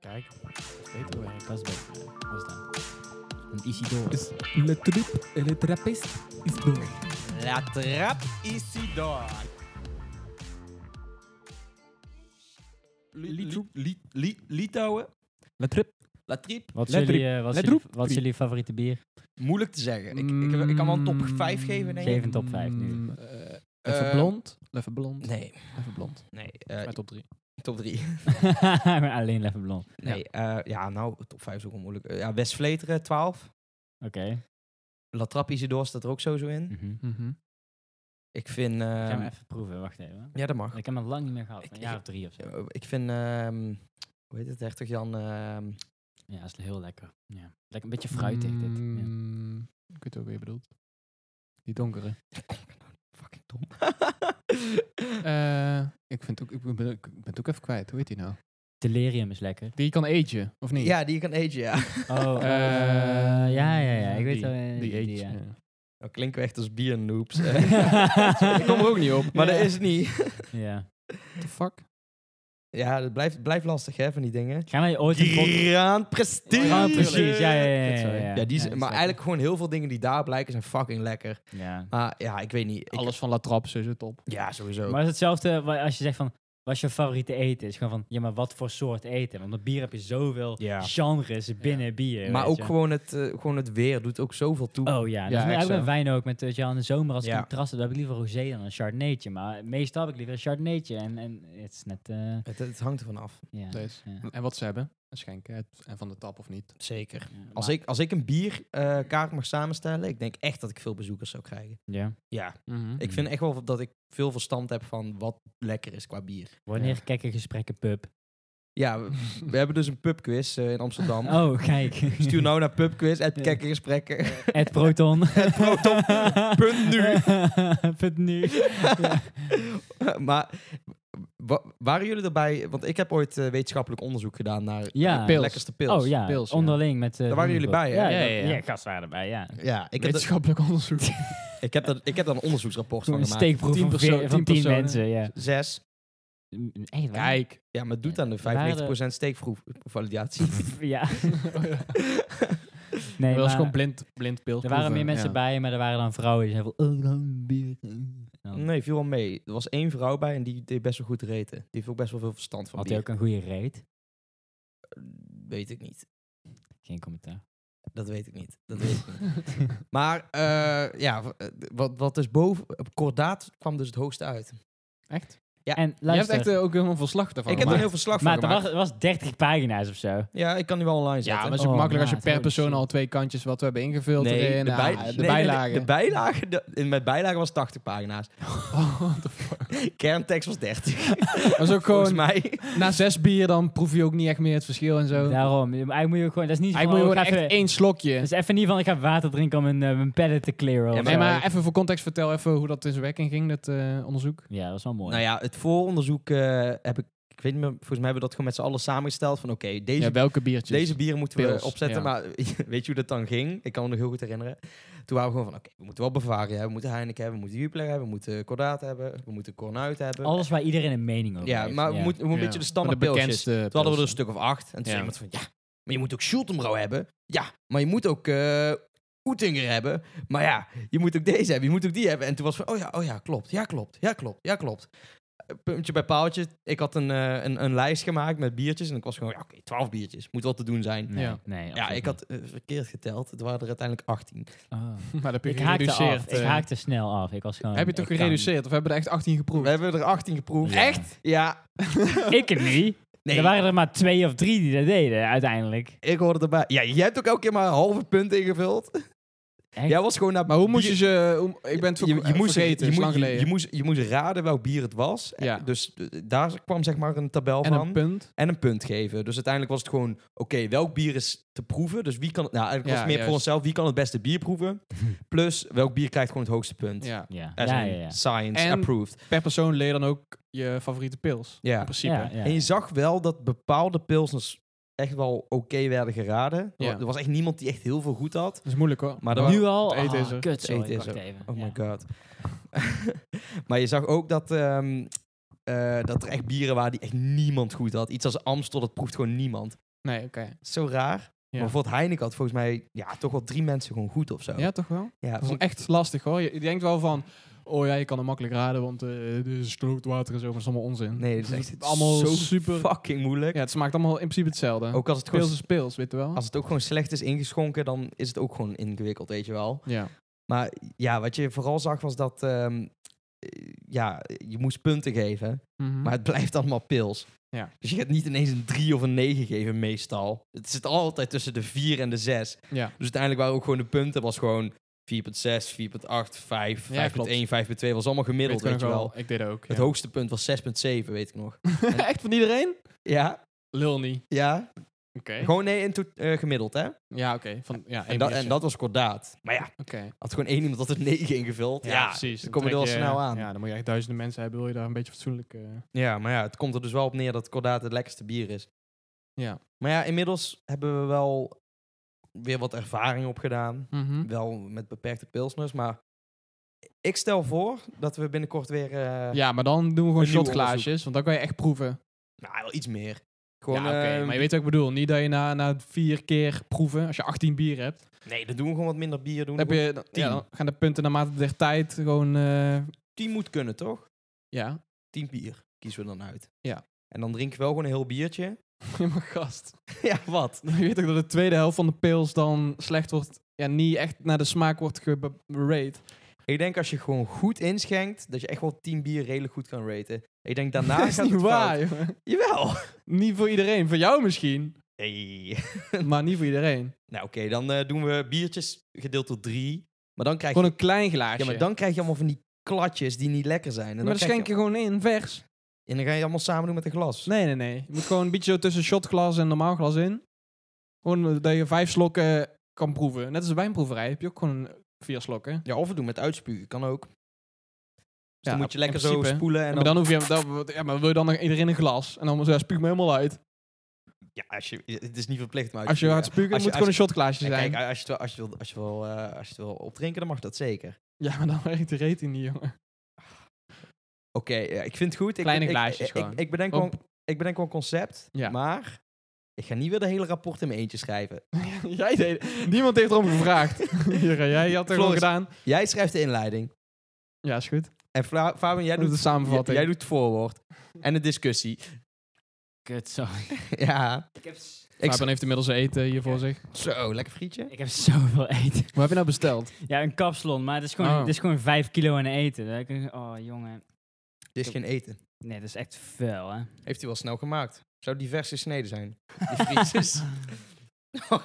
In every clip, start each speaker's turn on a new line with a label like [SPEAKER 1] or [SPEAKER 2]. [SPEAKER 1] Kijk, dat is beter werk. Dat is beter werk. Wat is dat? Een Isidore.
[SPEAKER 2] Is le trup en le trapist is door.
[SPEAKER 1] La trap Isidore.
[SPEAKER 3] Li-
[SPEAKER 2] Litouw.
[SPEAKER 3] Li- Li- Litouwen.
[SPEAKER 2] Le trup.
[SPEAKER 3] La Trip.
[SPEAKER 1] Wat is
[SPEAKER 2] Let
[SPEAKER 1] jullie, eh, wat is
[SPEAKER 2] Let
[SPEAKER 1] jullie,
[SPEAKER 2] roep.
[SPEAKER 1] wat is jullie favoriete bier?
[SPEAKER 3] Moeilijk te zeggen. Ik, ik, ik kan wel een top 5 geven, denk ik.
[SPEAKER 1] Geef een top vijf nu.
[SPEAKER 2] Mm, eh, even
[SPEAKER 3] Eh,
[SPEAKER 2] blond. Even blond.
[SPEAKER 3] Nee,
[SPEAKER 2] Even blond.
[SPEAKER 3] nee. eh,
[SPEAKER 2] Mijn top 3.
[SPEAKER 3] top 3.
[SPEAKER 1] Maar Alleen Leffe Blond.
[SPEAKER 3] Nee, ja. ja, nou, top 5 is ook wel moeilijk. Eh, ja, West Vleteren, 12.
[SPEAKER 1] Oké.
[SPEAKER 3] La Trappe Isidore staat er ook sowieso in.
[SPEAKER 1] Mhm.
[SPEAKER 3] Ik vind...
[SPEAKER 1] Ik ga
[SPEAKER 3] ehm,
[SPEAKER 1] hem even proeven, wacht even.
[SPEAKER 3] ja, dat mag.
[SPEAKER 1] Ik heb hem lang niet meer gehad,
[SPEAKER 3] Ik-
[SPEAKER 1] een jaar
[SPEAKER 3] ik-
[SPEAKER 1] of drie of zo.
[SPEAKER 3] Eh, Ik vind... ehm, hoe heet het? Hertog Jan... ehm,
[SPEAKER 1] Ja, is heel lekker. Ja. Lekker een beetje fruitig dit. Ja.
[SPEAKER 2] Mm, Ik weet ook wat je bedoelt. Die donkere.
[SPEAKER 3] fucking dom.
[SPEAKER 2] Eh, ik, vind ook, ik, ben, ik ben het ook even kwijt. Hoe heet die nou?
[SPEAKER 1] Delirium is lekker.
[SPEAKER 2] Die kan agen, of niet?
[SPEAKER 3] ja, die kan agen, ja.
[SPEAKER 1] Oh,
[SPEAKER 2] Eh,
[SPEAKER 1] eh, ja, ja, ja. Ik weet
[SPEAKER 2] die,
[SPEAKER 1] wel. eh,
[SPEAKER 2] Die age.
[SPEAKER 1] ja.
[SPEAKER 2] ja.
[SPEAKER 3] Nou, klinken we echt als biernoops.
[SPEAKER 2] Ik kom er ook niet op.
[SPEAKER 3] Eh, maar
[SPEAKER 1] Ja.
[SPEAKER 3] dat is niet.
[SPEAKER 1] Ja.
[SPEAKER 2] What the fuck?
[SPEAKER 3] Ja, dat blijft, blijft lastig, hè, van die dingen.
[SPEAKER 1] Gaan wij ooit een podcast...
[SPEAKER 3] Grand Prestige.
[SPEAKER 2] Ja,
[SPEAKER 1] Ja, precies. Ja, ja, ja.
[SPEAKER 2] Dat
[SPEAKER 1] ja,
[SPEAKER 2] zou je-
[SPEAKER 1] ja.
[SPEAKER 3] Ja, die is-
[SPEAKER 1] Ja,
[SPEAKER 3] maar eigenlijk gewoon heel veel dingen die daar blijken zijn fucking lekker.
[SPEAKER 1] lekker. Ja.
[SPEAKER 3] Maar ja, ik weet niet. ik-
[SPEAKER 2] Alles van La Trappe is het top.
[SPEAKER 3] Ja, sowieso.
[SPEAKER 1] Maar het is hetzelfde wa- als je zegt van... Wat is je favoriete eten? Is gewoon van... Ja, maar wat voor soort eten? Want met bier heb je zoveel
[SPEAKER 3] Ja.
[SPEAKER 1] genres binnen bier.
[SPEAKER 3] maar
[SPEAKER 1] weet
[SPEAKER 3] ook
[SPEAKER 1] je.
[SPEAKER 3] gewoon het, eh, gewoon het weer doet ook zoveel toe.
[SPEAKER 1] Oh ja, dat
[SPEAKER 2] Ja,
[SPEAKER 1] is
[SPEAKER 2] echt
[SPEAKER 1] eigenlijk
[SPEAKER 2] zo.
[SPEAKER 1] met wijn ook. Met, weet je, wel, in de zomer als het
[SPEAKER 3] Ja.
[SPEAKER 1] contrast heb, heb ik liever rosé dan een chardonnaytje. Maar meestal heb ik liever een chardonnaytje. En, en het is net... eh,
[SPEAKER 3] Het, het hangt ervan af.
[SPEAKER 1] ja,
[SPEAKER 2] Deze.
[SPEAKER 1] ja.
[SPEAKER 2] En wat ze hebben. Een schenken. het- En van de tap of niet.
[SPEAKER 3] Zeker.
[SPEAKER 1] Ja,
[SPEAKER 3] Als
[SPEAKER 1] maar-
[SPEAKER 3] ik, als ik een bierkaart kaart mag samenstellen, ik denk echt dat ik veel bezoekers zou krijgen.
[SPEAKER 1] Ja.
[SPEAKER 3] Ja, ik
[SPEAKER 1] Mhm.
[SPEAKER 3] vind echt wel dat ik veel verstand heb van wat lekker is qua bier.
[SPEAKER 1] Wanneer kijken gesprekken pub?
[SPEAKER 3] Ja, we, we hebben dus een pubquiz eh, in Amsterdam.
[SPEAKER 1] Oh, kijk.
[SPEAKER 3] Stuur nou naar pubquiz en
[SPEAKER 1] Ja.
[SPEAKER 3] kekkergesprekken.
[SPEAKER 1] Het proton. Het
[SPEAKER 3] proton. Punt nu.
[SPEAKER 1] Punt nu. Ja.
[SPEAKER 3] maar wa- waren jullie erbij? Want ik heb ooit eh, wetenschappelijk onderzoek gedaan naar
[SPEAKER 1] Ja.
[SPEAKER 3] de
[SPEAKER 2] Pils.
[SPEAKER 3] lekkerste pils.
[SPEAKER 1] Oh ja,
[SPEAKER 2] Pils, ja.
[SPEAKER 1] onderling met... eh,
[SPEAKER 3] Daar waren jullie bij, hè?
[SPEAKER 1] Ja, ja,
[SPEAKER 2] Ja,
[SPEAKER 1] ja.
[SPEAKER 2] ja, ja.
[SPEAKER 1] gast waren erbij, ja.
[SPEAKER 3] Ja, ik heb, dat-
[SPEAKER 2] Wetenschappelijk onderzoek.
[SPEAKER 3] ik, heb dat, ik heb daar een onderzoeksrapport van
[SPEAKER 1] Een
[SPEAKER 3] gemaakt.
[SPEAKER 1] steekproef
[SPEAKER 2] Tien
[SPEAKER 1] van,
[SPEAKER 2] perso-
[SPEAKER 1] veer- van
[SPEAKER 2] tien
[SPEAKER 1] tien
[SPEAKER 2] personen.
[SPEAKER 1] mensen, ja.
[SPEAKER 3] Zes.
[SPEAKER 1] Echt waar?
[SPEAKER 2] Kijk.
[SPEAKER 3] Ja, maar doet aan de
[SPEAKER 1] Waren-
[SPEAKER 3] 95% steekproefvalidatie.
[SPEAKER 1] Ja.
[SPEAKER 2] Nee,
[SPEAKER 1] Nee,
[SPEAKER 2] dat was
[SPEAKER 1] maar
[SPEAKER 2] gewoon blind, blind beeld.
[SPEAKER 1] er waren meer mensen bij, maar er waren dan vrouwen die zeiden van... Oh, dan bier. eh. Dan
[SPEAKER 3] Nee, viel wel mee. Er was één vrouw bij en die deed best wel goed reten. Die heeft ook best wel veel verstand van
[SPEAKER 1] Had hij
[SPEAKER 3] bier. Eh,
[SPEAKER 1] ook een goede reet?
[SPEAKER 3] Weet ik niet.
[SPEAKER 1] Geen commentaar.
[SPEAKER 3] Dat weet ik niet. Dat weet ik niet. Maar eh, ja, w- eh, wat, wat dus boven... Op kordaat kwam dus het hoogste uit.
[SPEAKER 2] Echt?
[SPEAKER 3] Ja,
[SPEAKER 1] en
[SPEAKER 2] Je hebt
[SPEAKER 1] luister,
[SPEAKER 2] echt eh, ook helemaal verslag daarvan
[SPEAKER 3] ik heb er
[SPEAKER 2] gemaakt.
[SPEAKER 3] een heel verslag van
[SPEAKER 1] maar er
[SPEAKER 3] gemaakt.
[SPEAKER 1] was, er was 30 pagina's of zo.
[SPEAKER 3] Ja, ik kan die wel online zetten.
[SPEAKER 2] Ja, maar het is
[SPEAKER 1] Oh,
[SPEAKER 2] ook makkelijk als
[SPEAKER 1] maat,
[SPEAKER 2] je per
[SPEAKER 1] holy
[SPEAKER 2] persoon
[SPEAKER 1] shit.
[SPEAKER 2] al twee kantjes wat we hebben ingevuld erin.
[SPEAKER 3] de,
[SPEAKER 2] ah,
[SPEAKER 3] bij-
[SPEAKER 2] de
[SPEAKER 3] nee, nee, nee,
[SPEAKER 2] bijlagen.
[SPEAKER 3] de bijlagen, de- in mijn bijlage was 80 pagina's.
[SPEAKER 2] Oh, what the fuck.
[SPEAKER 3] Kerntekst was 30.
[SPEAKER 2] Dat is ook
[SPEAKER 3] Volgens
[SPEAKER 2] gewoon,
[SPEAKER 3] mij.
[SPEAKER 2] na zes bier dan proef je ook niet echt meer het verschil en zo.
[SPEAKER 1] Daarom. je- Eigenlijk moet je ook gewoon... Dat is niet zo
[SPEAKER 2] Eigenlijk
[SPEAKER 1] van,
[SPEAKER 2] moet je
[SPEAKER 1] Nou,
[SPEAKER 2] gewoon
[SPEAKER 1] oh,
[SPEAKER 2] echt
[SPEAKER 1] ik ga even-
[SPEAKER 2] één slokje.
[SPEAKER 1] Dus even niet van, ik ga water drinken om mijn, eh, mijn pallet te clearen.
[SPEAKER 3] Ja,
[SPEAKER 1] of
[SPEAKER 2] Nee,
[SPEAKER 1] zo.
[SPEAKER 2] maar even voor context vertel even hoe dat in zijn werking ging, dat eh, onderzoek.
[SPEAKER 1] Ja, dat is wel mooi.
[SPEAKER 3] Nou ja, het vooronderzoek eh, heb ik... Ik weet niet meer, volgens mij hebben we dat gewoon met z'n allen samengesteld. Van oké, deze
[SPEAKER 2] ja, welke biertjes?
[SPEAKER 3] Deze bieren moeten
[SPEAKER 2] Pils,
[SPEAKER 3] we opzetten.
[SPEAKER 2] ja.
[SPEAKER 3] Maar weet je hoe dat dan ging? Ik kan me nog heel goed herinneren. Toen waren we gewoon van, oké, we moeten wel Bavaria hebben. We moeten Heineken hebben. We moeten Jupiler hebben. We moeten Cordaat hebben. We moeten Cornuit hebben.
[SPEAKER 1] Alles waar iedereen een mening over
[SPEAKER 3] ja,
[SPEAKER 1] heeft.
[SPEAKER 3] maar we moeten we moeten een beetje de standaard
[SPEAKER 2] de
[SPEAKER 3] pilsjes.
[SPEAKER 2] bekendste eh,
[SPEAKER 3] Toen hadden we er een
[SPEAKER 2] pilsen.
[SPEAKER 3] stuk of acht. En toen zei
[SPEAKER 2] Ja.
[SPEAKER 3] iemand van, ja, maar je moet ook Schultenbrouw hebben. Ja, maar je moet ook... eh Oetinger hebben, maar ja, je moet ook deze hebben, je moet ook die hebben. En toen was van, oh ja, oh ja, klopt, ja klopt, ja klopt, ja klopt. Eh, Puntje bij paaltje, ik had een, eh, een, een lijst gemaakt met biertjes en ik was gewoon, ja, oké, twaalf biertjes, moet wel te doen zijn.
[SPEAKER 1] Nee,
[SPEAKER 2] Ja.
[SPEAKER 1] nee,
[SPEAKER 3] Ja,
[SPEAKER 1] absoluut
[SPEAKER 3] ik had eh, verkeerd geteld. Het waren er uiteindelijk 18.
[SPEAKER 1] niet. Oh.
[SPEAKER 2] Maar dat heb
[SPEAKER 1] Ik
[SPEAKER 2] je
[SPEAKER 1] haakte
[SPEAKER 2] gereduceerd.
[SPEAKER 1] af. Ik
[SPEAKER 2] eh.
[SPEAKER 1] haakte snel af. Ik was gewoon...
[SPEAKER 2] Heb je toch
[SPEAKER 1] ik kan
[SPEAKER 2] gereduceerd? Of hebben we er echt 18
[SPEAKER 3] We
[SPEAKER 2] geproefd?
[SPEAKER 3] hebben er 18 geproefd.
[SPEAKER 1] Ja.
[SPEAKER 3] Echt? Ja.
[SPEAKER 1] niet. Ik niet.
[SPEAKER 3] Nee,
[SPEAKER 1] Er waren er maar twee of drie die dat deden, uiteindelijk.
[SPEAKER 3] ik hoorde erbij. Ja, jij hebt ook elke keer maar een halve punt ingevuld.
[SPEAKER 1] Echt?
[SPEAKER 3] Jij was gewoon naar...
[SPEAKER 2] Maar hoe moest je ze... hoe- ik ben het ver- vergeten,
[SPEAKER 3] je,
[SPEAKER 2] is
[SPEAKER 3] moest-
[SPEAKER 2] lang
[SPEAKER 3] je,
[SPEAKER 2] geleden.
[SPEAKER 3] je moest, je moest raden welk bier het was. En
[SPEAKER 2] Ja.
[SPEAKER 3] Dus eh, daar kwam zeg maar een tabel
[SPEAKER 2] en
[SPEAKER 3] van.
[SPEAKER 2] een punt.
[SPEAKER 3] en een punt geven. Dus uiteindelijk was het gewoon... Oké, welk bier is te proeven? Dus wie kan... het- Nou, eigenlijk
[SPEAKER 2] Ja,
[SPEAKER 3] was het meer voor
[SPEAKER 2] juist.
[SPEAKER 3] onszelf. Wie kan het beste bier proeven? Plus, welk bier krijgt gewoon het hoogste punt?
[SPEAKER 2] Ja.
[SPEAKER 1] Ja, ja,
[SPEAKER 3] As
[SPEAKER 1] ja.
[SPEAKER 3] in
[SPEAKER 1] ja.
[SPEAKER 3] Science
[SPEAKER 2] En-
[SPEAKER 3] approved.
[SPEAKER 2] Per persoon leer dan ook je favoriete pils.
[SPEAKER 3] Ja.
[SPEAKER 2] In principe.
[SPEAKER 1] Ja, ja.
[SPEAKER 3] En je zag wel dat bepaalde pilsners echt wel oké werden geraden. Er
[SPEAKER 2] Ja.
[SPEAKER 3] wa- Er was echt niemand die echt heel veel goed had.
[SPEAKER 2] Dat is moeilijk hoor.
[SPEAKER 3] Maar er wa-
[SPEAKER 1] Nu al?
[SPEAKER 2] Het eten is
[SPEAKER 1] Ah,
[SPEAKER 2] er.
[SPEAKER 1] kut, sorry,
[SPEAKER 3] eten is
[SPEAKER 1] wacht
[SPEAKER 3] er.
[SPEAKER 1] even.
[SPEAKER 3] Oh
[SPEAKER 1] Ja.
[SPEAKER 3] my god. maar je zag ook dat, ehm, eh, dat er echt bieren waren die echt niemand goed had. Iets als Amstel, dat proeft gewoon niemand.
[SPEAKER 2] Nee, oké.
[SPEAKER 3] Zo raar.
[SPEAKER 2] Ja.
[SPEAKER 3] Maar bijvoorbeeld Heineken had volgens mij ja, toch wel drie mensen gewoon goed of zo.
[SPEAKER 2] Ja, toch wel?
[SPEAKER 3] Ja,
[SPEAKER 2] Dat is
[SPEAKER 3] vond-
[SPEAKER 2] wel echt lastig hoor. Je, je denkt wel van, oh ja, je kan het makkelijk raden, want eh dit is stroopwater en zo, maar dat is allemaal onzin.
[SPEAKER 3] nee, dat
[SPEAKER 2] Het
[SPEAKER 3] is echt
[SPEAKER 2] allemaal
[SPEAKER 3] zo
[SPEAKER 2] super...
[SPEAKER 3] fucking moeilijk.
[SPEAKER 2] Ja, het smaakt allemaal in principe hetzelfde.
[SPEAKER 3] Ook als het,
[SPEAKER 2] Pils
[SPEAKER 3] gewoon,
[SPEAKER 2] is pils, weet je wel?
[SPEAKER 3] als het ook gewoon slecht is ingeschonken, dan is het ook gewoon ingewikkeld, weet je wel.
[SPEAKER 2] Ja.
[SPEAKER 3] Maar ja, wat je vooral zag was dat ehm, eh, ja, je moest punten geven,
[SPEAKER 2] Mhm.
[SPEAKER 3] maar het blijft allemaal pils.
[SPEAKER 2] Ja.
[SPEAKER 3] Dus je gaat niet ineens een 3 of een 9 geven meestal. Het zit altijd tussen de 4 en de 6.
[SPEAKER 2] ja.
[SPEAKER 3] Dus uiteindelijk waren ook gewoon de punten was gewoon 4.6, 4.8, 5,
[SPEAKER 2] Ja,
[SPEAKER 3] 5.1, 5.2 was allemaal gemiddeld,
[SPEAKER 2] Weet
[SPEAKER 3] weet
[SPEAKER 2] ik
[SPEAKER 3] je
[SPEAKER 2] nog
[SPEAKER 3] wel.
[SPEAKER 2] Ik deed ook.
[SPEAKER 3] Het
[SPEAKER 2] ja.
[SPEAKER 3] hoogste punt was 6.7, weet ik nog.
[SPEAKER 2] echt van iedereen?
[SPEAKER 3] Ja,
[SPEAKER 2] Lul niet.
[SPEAKER 3] ja.
[SPEAKER 2] Oké.
[SPEAKER 3] Gewoon nee, in to- eh, gemiddeld, hè?
[SPEAKER 2] Ja, oké. Van, ja,
[SPEAKER 3] En,
[SPEAKER 2] één
[SPEAKER 3] dat- en
[SPEAKER 2] biertje.
[SPEAKER 3] dat was kordaat. Maar ja,
[SPEAKER 2] Oké.
[SPEAKER 3] had gewoon één iemand dat er 9 ingevuld. Ja, ja,
[SPEAKER 2] precies.
[SPEAKER 3] dan kom je er
[SPEAKER 2] trek
[SPEAKER 3] wel snel aan.
[SPEAKER 2] Ja, dan moet je echt duizenden mensen hebben, wil je daar een beetje fatsoenlijk... eh,
[SPEAKER 3] maar ja, het komt er dus wel op neer dat kordaat het lekkerste bier is.
[SPEAKER 2] Ja.
[SPEAKER 3] Maar ja, inmiddels hebben we wel weer wat ervaring opgedaan.
[SPEAKER 2] mhm.
[SPEAKER 3] Wel met beperkte pilsners, maar ik stel voor dat we binnenkort weer... eh,
[SPEAKER 2] Ja, maar dan doen we gewoon
[SPEAKER 3] Een nieuw
[SPEAKER 2] shotglaasjes, want dan kan je echt proeven.
[SPEAKER 3] Nou, wel iets meer.
[SPEAKER 2] Ja,
[SPEAKER 3] Gewoon,
[SPEAKER 2] oké.
[SPEAKER 3] eh,
[SPEAKER 2] maar je weet wat ik bedoel. Niet dat je na, na vier keer proeven, als je 18 bier hebt,
[SPEAKER 3] Nee, dan doen we gewoon wat minder bier. Doen
[SPEAKER 2] Dan, heb je, dan,
[SPEAKER 3] tien.
[SPEAKER 2] ja, dan gaan de punten naarmate der tijd gewoon... eh,
[SPEAKER 3] Tien moet kunnen, toch?
[SPEAKER 2] ja.
[SPEAKER 3] Tien bier kiezen we dan uit.
[SPEAKER 2] Ja.
[SPEAKER 3] En dan drink je wel gewoon een heel biertje.
[SPEAKER 2] Ja, maar gast.
[SPEAKER 3] ja, wat?
[SPEAKER 2] Je weet ook dat de tweede helft van de pils dan slecht wordt... Ja, niet echt naar de smaak wordt geberate.
[SPEAKER 3] Ik denk als je gewoon goed inschenkt, dat je echt wel tien bier redelijk goed kan raten. Ik denk daarna
[SPEAKER 2] Dat is
[SPEAKER 3] gaat
[SPEAKER 2] niet
[SPEAKER 3] het
[SPEAKER 2] waar,
[SPEAKER 3] fout.
[SPEAKER 2] jongen.
[SPEAKER 3] Jawel.
[SPEAKER 2] Niet voor iedereen. Voor jou misschien,
[SPEAKER 3] Hey.
[SPEAKER 2] maar niet voor iedereen.
[SPEAKER 3] Nou, oké, dan eh, doen we biertjes gedeeld door drie. Maar dan krijg je...
[SPEAKER 2] Gewoon een klein glaasje.
[SPEAKER 3] Ja, maar dan krijg je allemaal van die klatjes die niet lekker zijn. En dan,
[SPEAKER 2] Maar dan
[SPEAKER 3] krijg
[SPEAKER 2] schenk je gewoon in, vers.
[SPEAKER 3] je... En dan ga je allemaal samen doen met een glas.
[SPEAKER 2] Nee, nee, nee. Je moet gewoon een beetje zo tussen shotglas en normaal glas in. Gewoon eh, dat je vijf slokken kan proeven. Net als een wijnproeverij heb je ook gewoon vier slokken.
[SPEAKER 3] Ja, of we doen met uitspugen, kan ook. Dus
[SPEAKER 2] Ja,
[SPEAKER 3] dan moet je
[SPEAKER 2] in
[SPEAKER 3] lekker zo
[SPEAKER 2] principe.
[SPEAKER 3] spoelen. En
[SPEAKER 2] maar
[SPEAKER 3] dan...
[SPEAKER 2] dan hoef je... Dan, ja, maar wil je dan nog iedereen een glas? En dan zo, ja, spuug me helemaal uit.
[SPEAKER 3] Ja, als je... het is niet verplicht, maar
[SPEAKER 2] Als je
[SPEAKER 3] uitspugen,
[SPEAKER 2] gaat spugen, moet
[SPEAKER 3] Als je-
[SPEAKER 2] het gewoon een shotglaasje
[SPEAKER 3] Ja,
[SPEAKER 2] zijn.
[SPEAKER 3] kijk, als je het wel, als je het wil, als je het wil, eh, als je het wil opdrinken, dan mag dat zeker.
[SPEAKER 2] ja, maar dan werkt de rating niet, jongen.
[SPEAKER 3] Oké, ja, ik vind het goed. Ik-
[SPEAKER 2] Kleine
[SPEAKER 3] ik,
[SPEAKER 2] glaasjes
[SPEAKER 3] ik,
[SPEAKER 2] gewoon.
[SPEAKER 3] Ik, ik bedenk wel,
[SPEAKER 2] Gewoon-
[SPEAKER 3] ik bedenk wel een concept,
[SPEAKER 2] Ja.
[SPEAKER 3] maar ik ga niet weer de hele rapport in mijn eentje schrijven.
[SPEAKER 2] jij deed... Niemand heeft erom gevraagd. Hier, eh, jij had het gewoon
[SPEAKER 3] Floris.
[SPEAKER 2] gedaan.
[SPEAKER 3] Jij schrijft de inleiding.
[SPEAKER 2] Ja, is goed.
[SPEAKER 3] En Fla- Fabian, jij
[SPEAKER 2] Jij doet
[SPEAKER 3] doet,
[SPEAKER 2] de
[SPEAKER 3] jij,
[SPEAKER 2] samenvatting.
[SPEAKER 3] jij doet het voorwoord. En de discussie.
[SPEAKER 1] Kut, sorry.
[SPEAKER 3] ja.
[SPEAKER 1] Ik heb, s-
[SPEAKER 3] Ik
[SPEAKER 2] Fabian heeft inmiddels eten hier voor zich.
[SPEAKER 3] Zo, lekker frietje.
[SPEAKER 1] ik heb zoveel eten.
[SPEAKER 2] Wat heb je nou besteld?
[SPEAKER 1] Ja, een kapsalon, maar het is gewoon,
[SPEAKER 2] Oh.
[SPEAKER 1] het is gewoon vijf kilo aan eten. Daar kun je- Oh, jongen.
[SPEAKER 3] Dit is geen eten.
[SPEAKER 1] Nee, dat is echt vuil, hè.
[SPEAKER 3] Heeft hij wel snel gemaakt. Zou diverse sneden zijn. Die frietjes.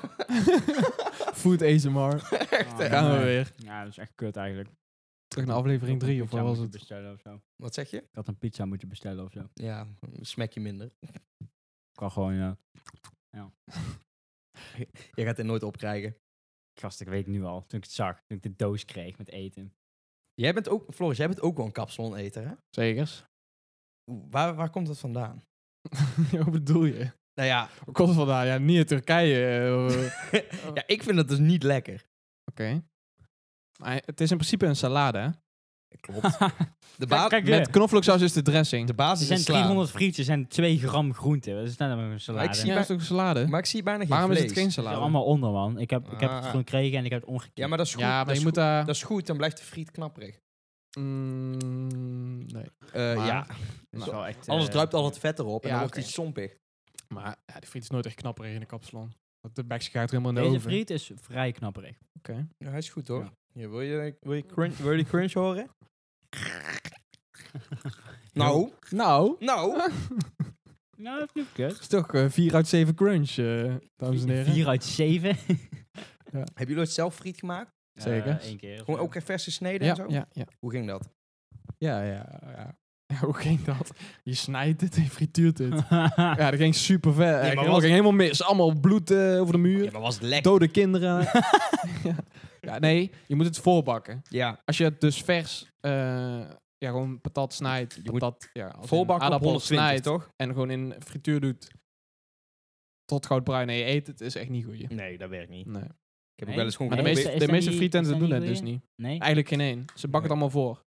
[SPEAKER 2] Food ASMR.
[SPEAKER 3] Echt, hè?
[SPEAKER 1] Oh,
[SPEAKER 2] Gaan we
[SPEAKER 1] nee.
[SPEAKER 2] weer.
[SPEAKER 1] Ja, dat is echt kut eigenlijk.
[SPEAKER 2] Terug naar aflevering
[SPEAKER 1] Ik had een
[SPEAKER 2] 3 of
[SPEAKER 1] pizza
[SPEAKER 2] wat was
[SPEAKER 1] moeten
[SPEAKER 2] het?
[SPEAKER 1] Bestellen of zo. Ik
[SPEAKER 3] Wat zeg je?
[SPEAKER 1] had een pizza moeten bestellen of zo.
[SPEAKER 3] Ja, een smekje minder.
[SPEAKER 1] Ik kan gewoon, ja.
[SPEAKER 3] Je gaat dit nooit opkrijgen.
[SPEAKER 1] Gast, ik weet nu al. Toen ik het zag, toen ik de doos kreeg met eten.
[SPEAKER 3] Jij bent ook, Floris, jij bent ook wel een kapsaloneter, hè?
[SPEAKER 2] Zekers.
[SPEAKER 3] Waar, waar komt dat vandaan?
[SPEAKER 2] Wat bedoel je?
[SPEAKER 3] Nou ja,
[SPEAKER 2] Waar komt het vandaan? Ja, niet in Turkije. eh, eh.
[SPEAKER 3] ja, ik vind dat dus niet lekker.
[SPEAKER 2] Oké. Maar het is in principe een salade, hè?
[SPEAKER 3] Klopt. De, ba
[SPEAKER 1] Kijk, kijk, eh,
[SPEAKER 2] Met knoflooksaus is de dressing.
[SPEAKER 3] de
[SPEAKER 1] er
[SPEAKER 3] basis
[SPEAKER 1] zijn
[SPEAKER 3] is sla.
[SPEAKER 1] 300 frietjes en 2 gram groente. Dat is net een salade.
[SPEAKER 3] ik zie-
[SPEAKER 2] ja, dat is toch een salade?
[SPEAKER 3] Maar ik zie bijna geen
[SPEAKER 2] Waarom is
[SPEAKER 3] vlees.
[SPEAKER 2] het geen
[SPEAKER 1] Het
[SPEAKER 2] salade?
[SPEAKER 1] is er allemaal onder, man. Ik heb, ik heb het
[SPEAKER 3] Ah.
[SPEAKER 1] gewoon gekregen en ik heb het omgekeerd.
[SPEAKER 3] Ja, maar dat is goed.
[SPEAKER 2] ja, maar
[SPEAKER 3] dat,
[SPEAKER 2] je
[SPEAKER 3] is
[SPEAKER 2] moet
[SPEAKER 3] goed.
[SPEAKER 2] daar...
[SPEAKER 3] dat is goed, dan blijft de friet knapperig.
[SPEAKER 2] Mm, nee.
[SPEAKER 3] Eh,
[SPEAKER 2] Maar-
[SPEAKER 3] ja,
[SPEAKER 1] Dat is wel echt,
[SPEAKER 3] anders
[SPEAKER 1] eh,
[SPEAKER 3] druipt al het vet erop en
[SPEAKER 2] ja,
[SPEAKER 3] dan wordt
[SPEAKER 2] oké.
[SPEAKER 3] hij sompig.
[SPEAKER 2] Maar ja, die friet is nooit echt knapperig in de kapsalon. Want de bekje gaat er helemaal in de
[SPEAKER 1] Deze
[SPEAKER 2] oven.
[SPEAKER 1] friet is vrij knapperig.
[SPEAKER 2] Oké.
[SPEAKER 3] Ja, hij is goed
[SPEAKER 1] hoor.
[SPEAKER 3] wil, je, wil, je crunch, wil je die crunch horen? Nou,
[SPEAKER 2] Nou,
[SPEAKER 3] nou.
[SPEAKER 1] Nou, dat is niet kut.
[SPEAKER 2] dat is toch eh, 4 uit 7 crunch, eh, dames en heren.
[SPEAKER 1] 4 uit 7.
[SPEAKER 3] Hebben jullie ooit zelf friet gemaakt?
[SPEAKER 2] Zeker.
[SPEAKER 1] Eén Eh, keer. of
[SPEAKER 3] Gewoon
[SPEAKER 1] zo.
[SPEAKER 3] ook verse sneden
[SPEAKER 2] ja,
[SPEAKER 3] en zo?
[SPEAKER 2] ja, ja,
[SPEAKER 3] Hoe ging dat?
[SPEAKER 2] ja, ja, ja. Ja, hoe ging dat? Je snijdt dit en je frituurt dit. Ja, dat ging super ver.
[SPEAKER 3] maar
[SPEAKER 2] dat
[SPEAKER 3] was-
[SPEAKER 2] ging helemaal mis. Allemaal bloed eh, over de muur.
[SPEAKER 3] Ja, maar was het lekker?
[SPEAKER 2] Dode kinderen. ja. ja, nee, je moet het voorbakken.
[SPEAKER 3] Ja,
[SPEAKER 2] Als je het dus vers, eh, ja, gewoon patat snijdt,
[SPEAKER 3] Je moet
[SPEAKER 2] patat, ja, als in
[SPEAKER 3] volbakken op
[SPEAKER 2] aardappelen
[SPEAKER 3] 120,
[SPEAKER 2] snijdt
[SPEAKER 3] toch?
[SPEAKER 2] en gewoon in frituur doet tot goudbruin en je eet het, is echt niet goed.
[SPEAKER 3] Nee, dat werkt niet.
[SPEAKER 2] Nee.
[SPEAKER 3] Ik heb
[SPEAKER 1] Nee?
[SPEAKER 3] ook wel eens gewoon
[SPEAKER 2] Maar de
[SPEAKER 1] Nee,
[SPEAKER 3] geprobeerd-
[SPEAKER 2] meeste,
[SPEAKER 1] is
[SPEAKER 2] de
[SPEAKER 1] dat
[SPEAKER 2] meeste
[SPEAKER 1] niet-
[SPEAKER 2] frietent
[SPEAKER 1] is dat
[SPEAKER 2] doen
[SPEAKER 1] niet
[SPEAKER 2] het
[SPEAKER 1] goeie?
[SPEAKER 2] dus niet.
[SPEAKER 1] Nee?
[SPEAKER 2] Eigenlijk geen één. Ze bakken het allemaal voor.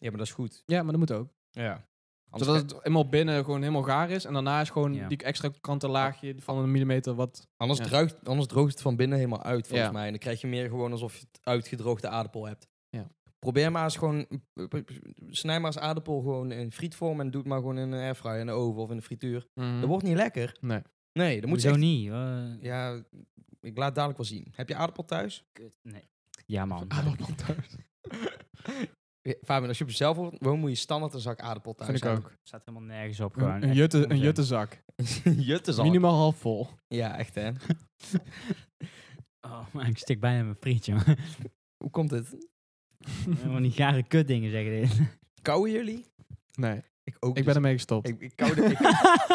[SPEAKER 3] Ja, maar dat is goed.
[SPEAKER 2] Ja, maar dat moet ook.
[SPEAKER 3] Ja. Anders
[SPEAKER 2] Zodat het helemaal binnen gewoon helemaal gaar is. En daarna is gewoon
[SPEAKER 1] Ja.
[SPEAKER 2] die extra kantenlaagje van een millimeter wat...
[SPEAKER 3] Anders,
[SPEAKER 2] Ja.
[SPEAKER 3] druigt- anders droogt het van binnen helemaal uit, volgens
[SPEAKER 2] Ja.
[SPEAKER 3] mij. En dan krijg je meer gewoon alsof je het uitgedroogde aardappel hebt.
[SPEAKER 2] Ja.
[SPEAKER 3] Probeer maar eens gewoon... Snij maar eens aardappel gewoon in frietvorm en doe het maar gewoon in een airfryer, in de oven of in de frituur. Dat wordt niet lekker.
[SPEAKER 2] Nee.
[SPEAKER 3] Mm. Nee, dat moet
[SPEAKER 1] Zo
[SPEAKER 3] je echt-
[SPEAKER 1] niet. hoor.
[SPEAKER 3] Ja, ik laat het dadelijk wel zien. Heb je aardappel thuis?
[SPEAKER 1] Kut, Nee. Ja, man.
[SPEAKER 2] Aardappel thuis.
[SPEAKER 3] Ja, Fabian, als je op jezelf woont, moet je standaard een zak aardappel thuis
[SPEAKER 2] Vind ik
[SPEAKER 3] hebben.
[SPEAKER 2] ook.
[SPEAKER 1] staat helemaal nergens op. Gewoon.
[SPEAKER 2] Een, een,
[SPEAKER 1] Echt
[SPEAKER 2] jutte, een
[SPEAKER 1] onzin.
[SPEAKER 2] juttenzak.
[SPEAKER 3] Juttenzak.
[SPEAKER 2] Minimaal half vol.
[SPEAKER 3] Ja, echt hè.
[SPEAKER 1] Oh, maar ik stik bijna mijn frietje. man.
[SPEAKER 3] Hoe komt het?
[SPEAKER 1] Helemaal die gare kutdingen zeggen dit.
[SPEAKER 3] Kouwen jullie?
[SPEAKER 2] Nee,
[SPEAKER 3] Ik ook
[SPEAKER 2] ik
[SPEAKER 3] dus.
[SPEAKER 2] ben ermee gestopt.
[SPEAKER 3] Ik, ik, kou de-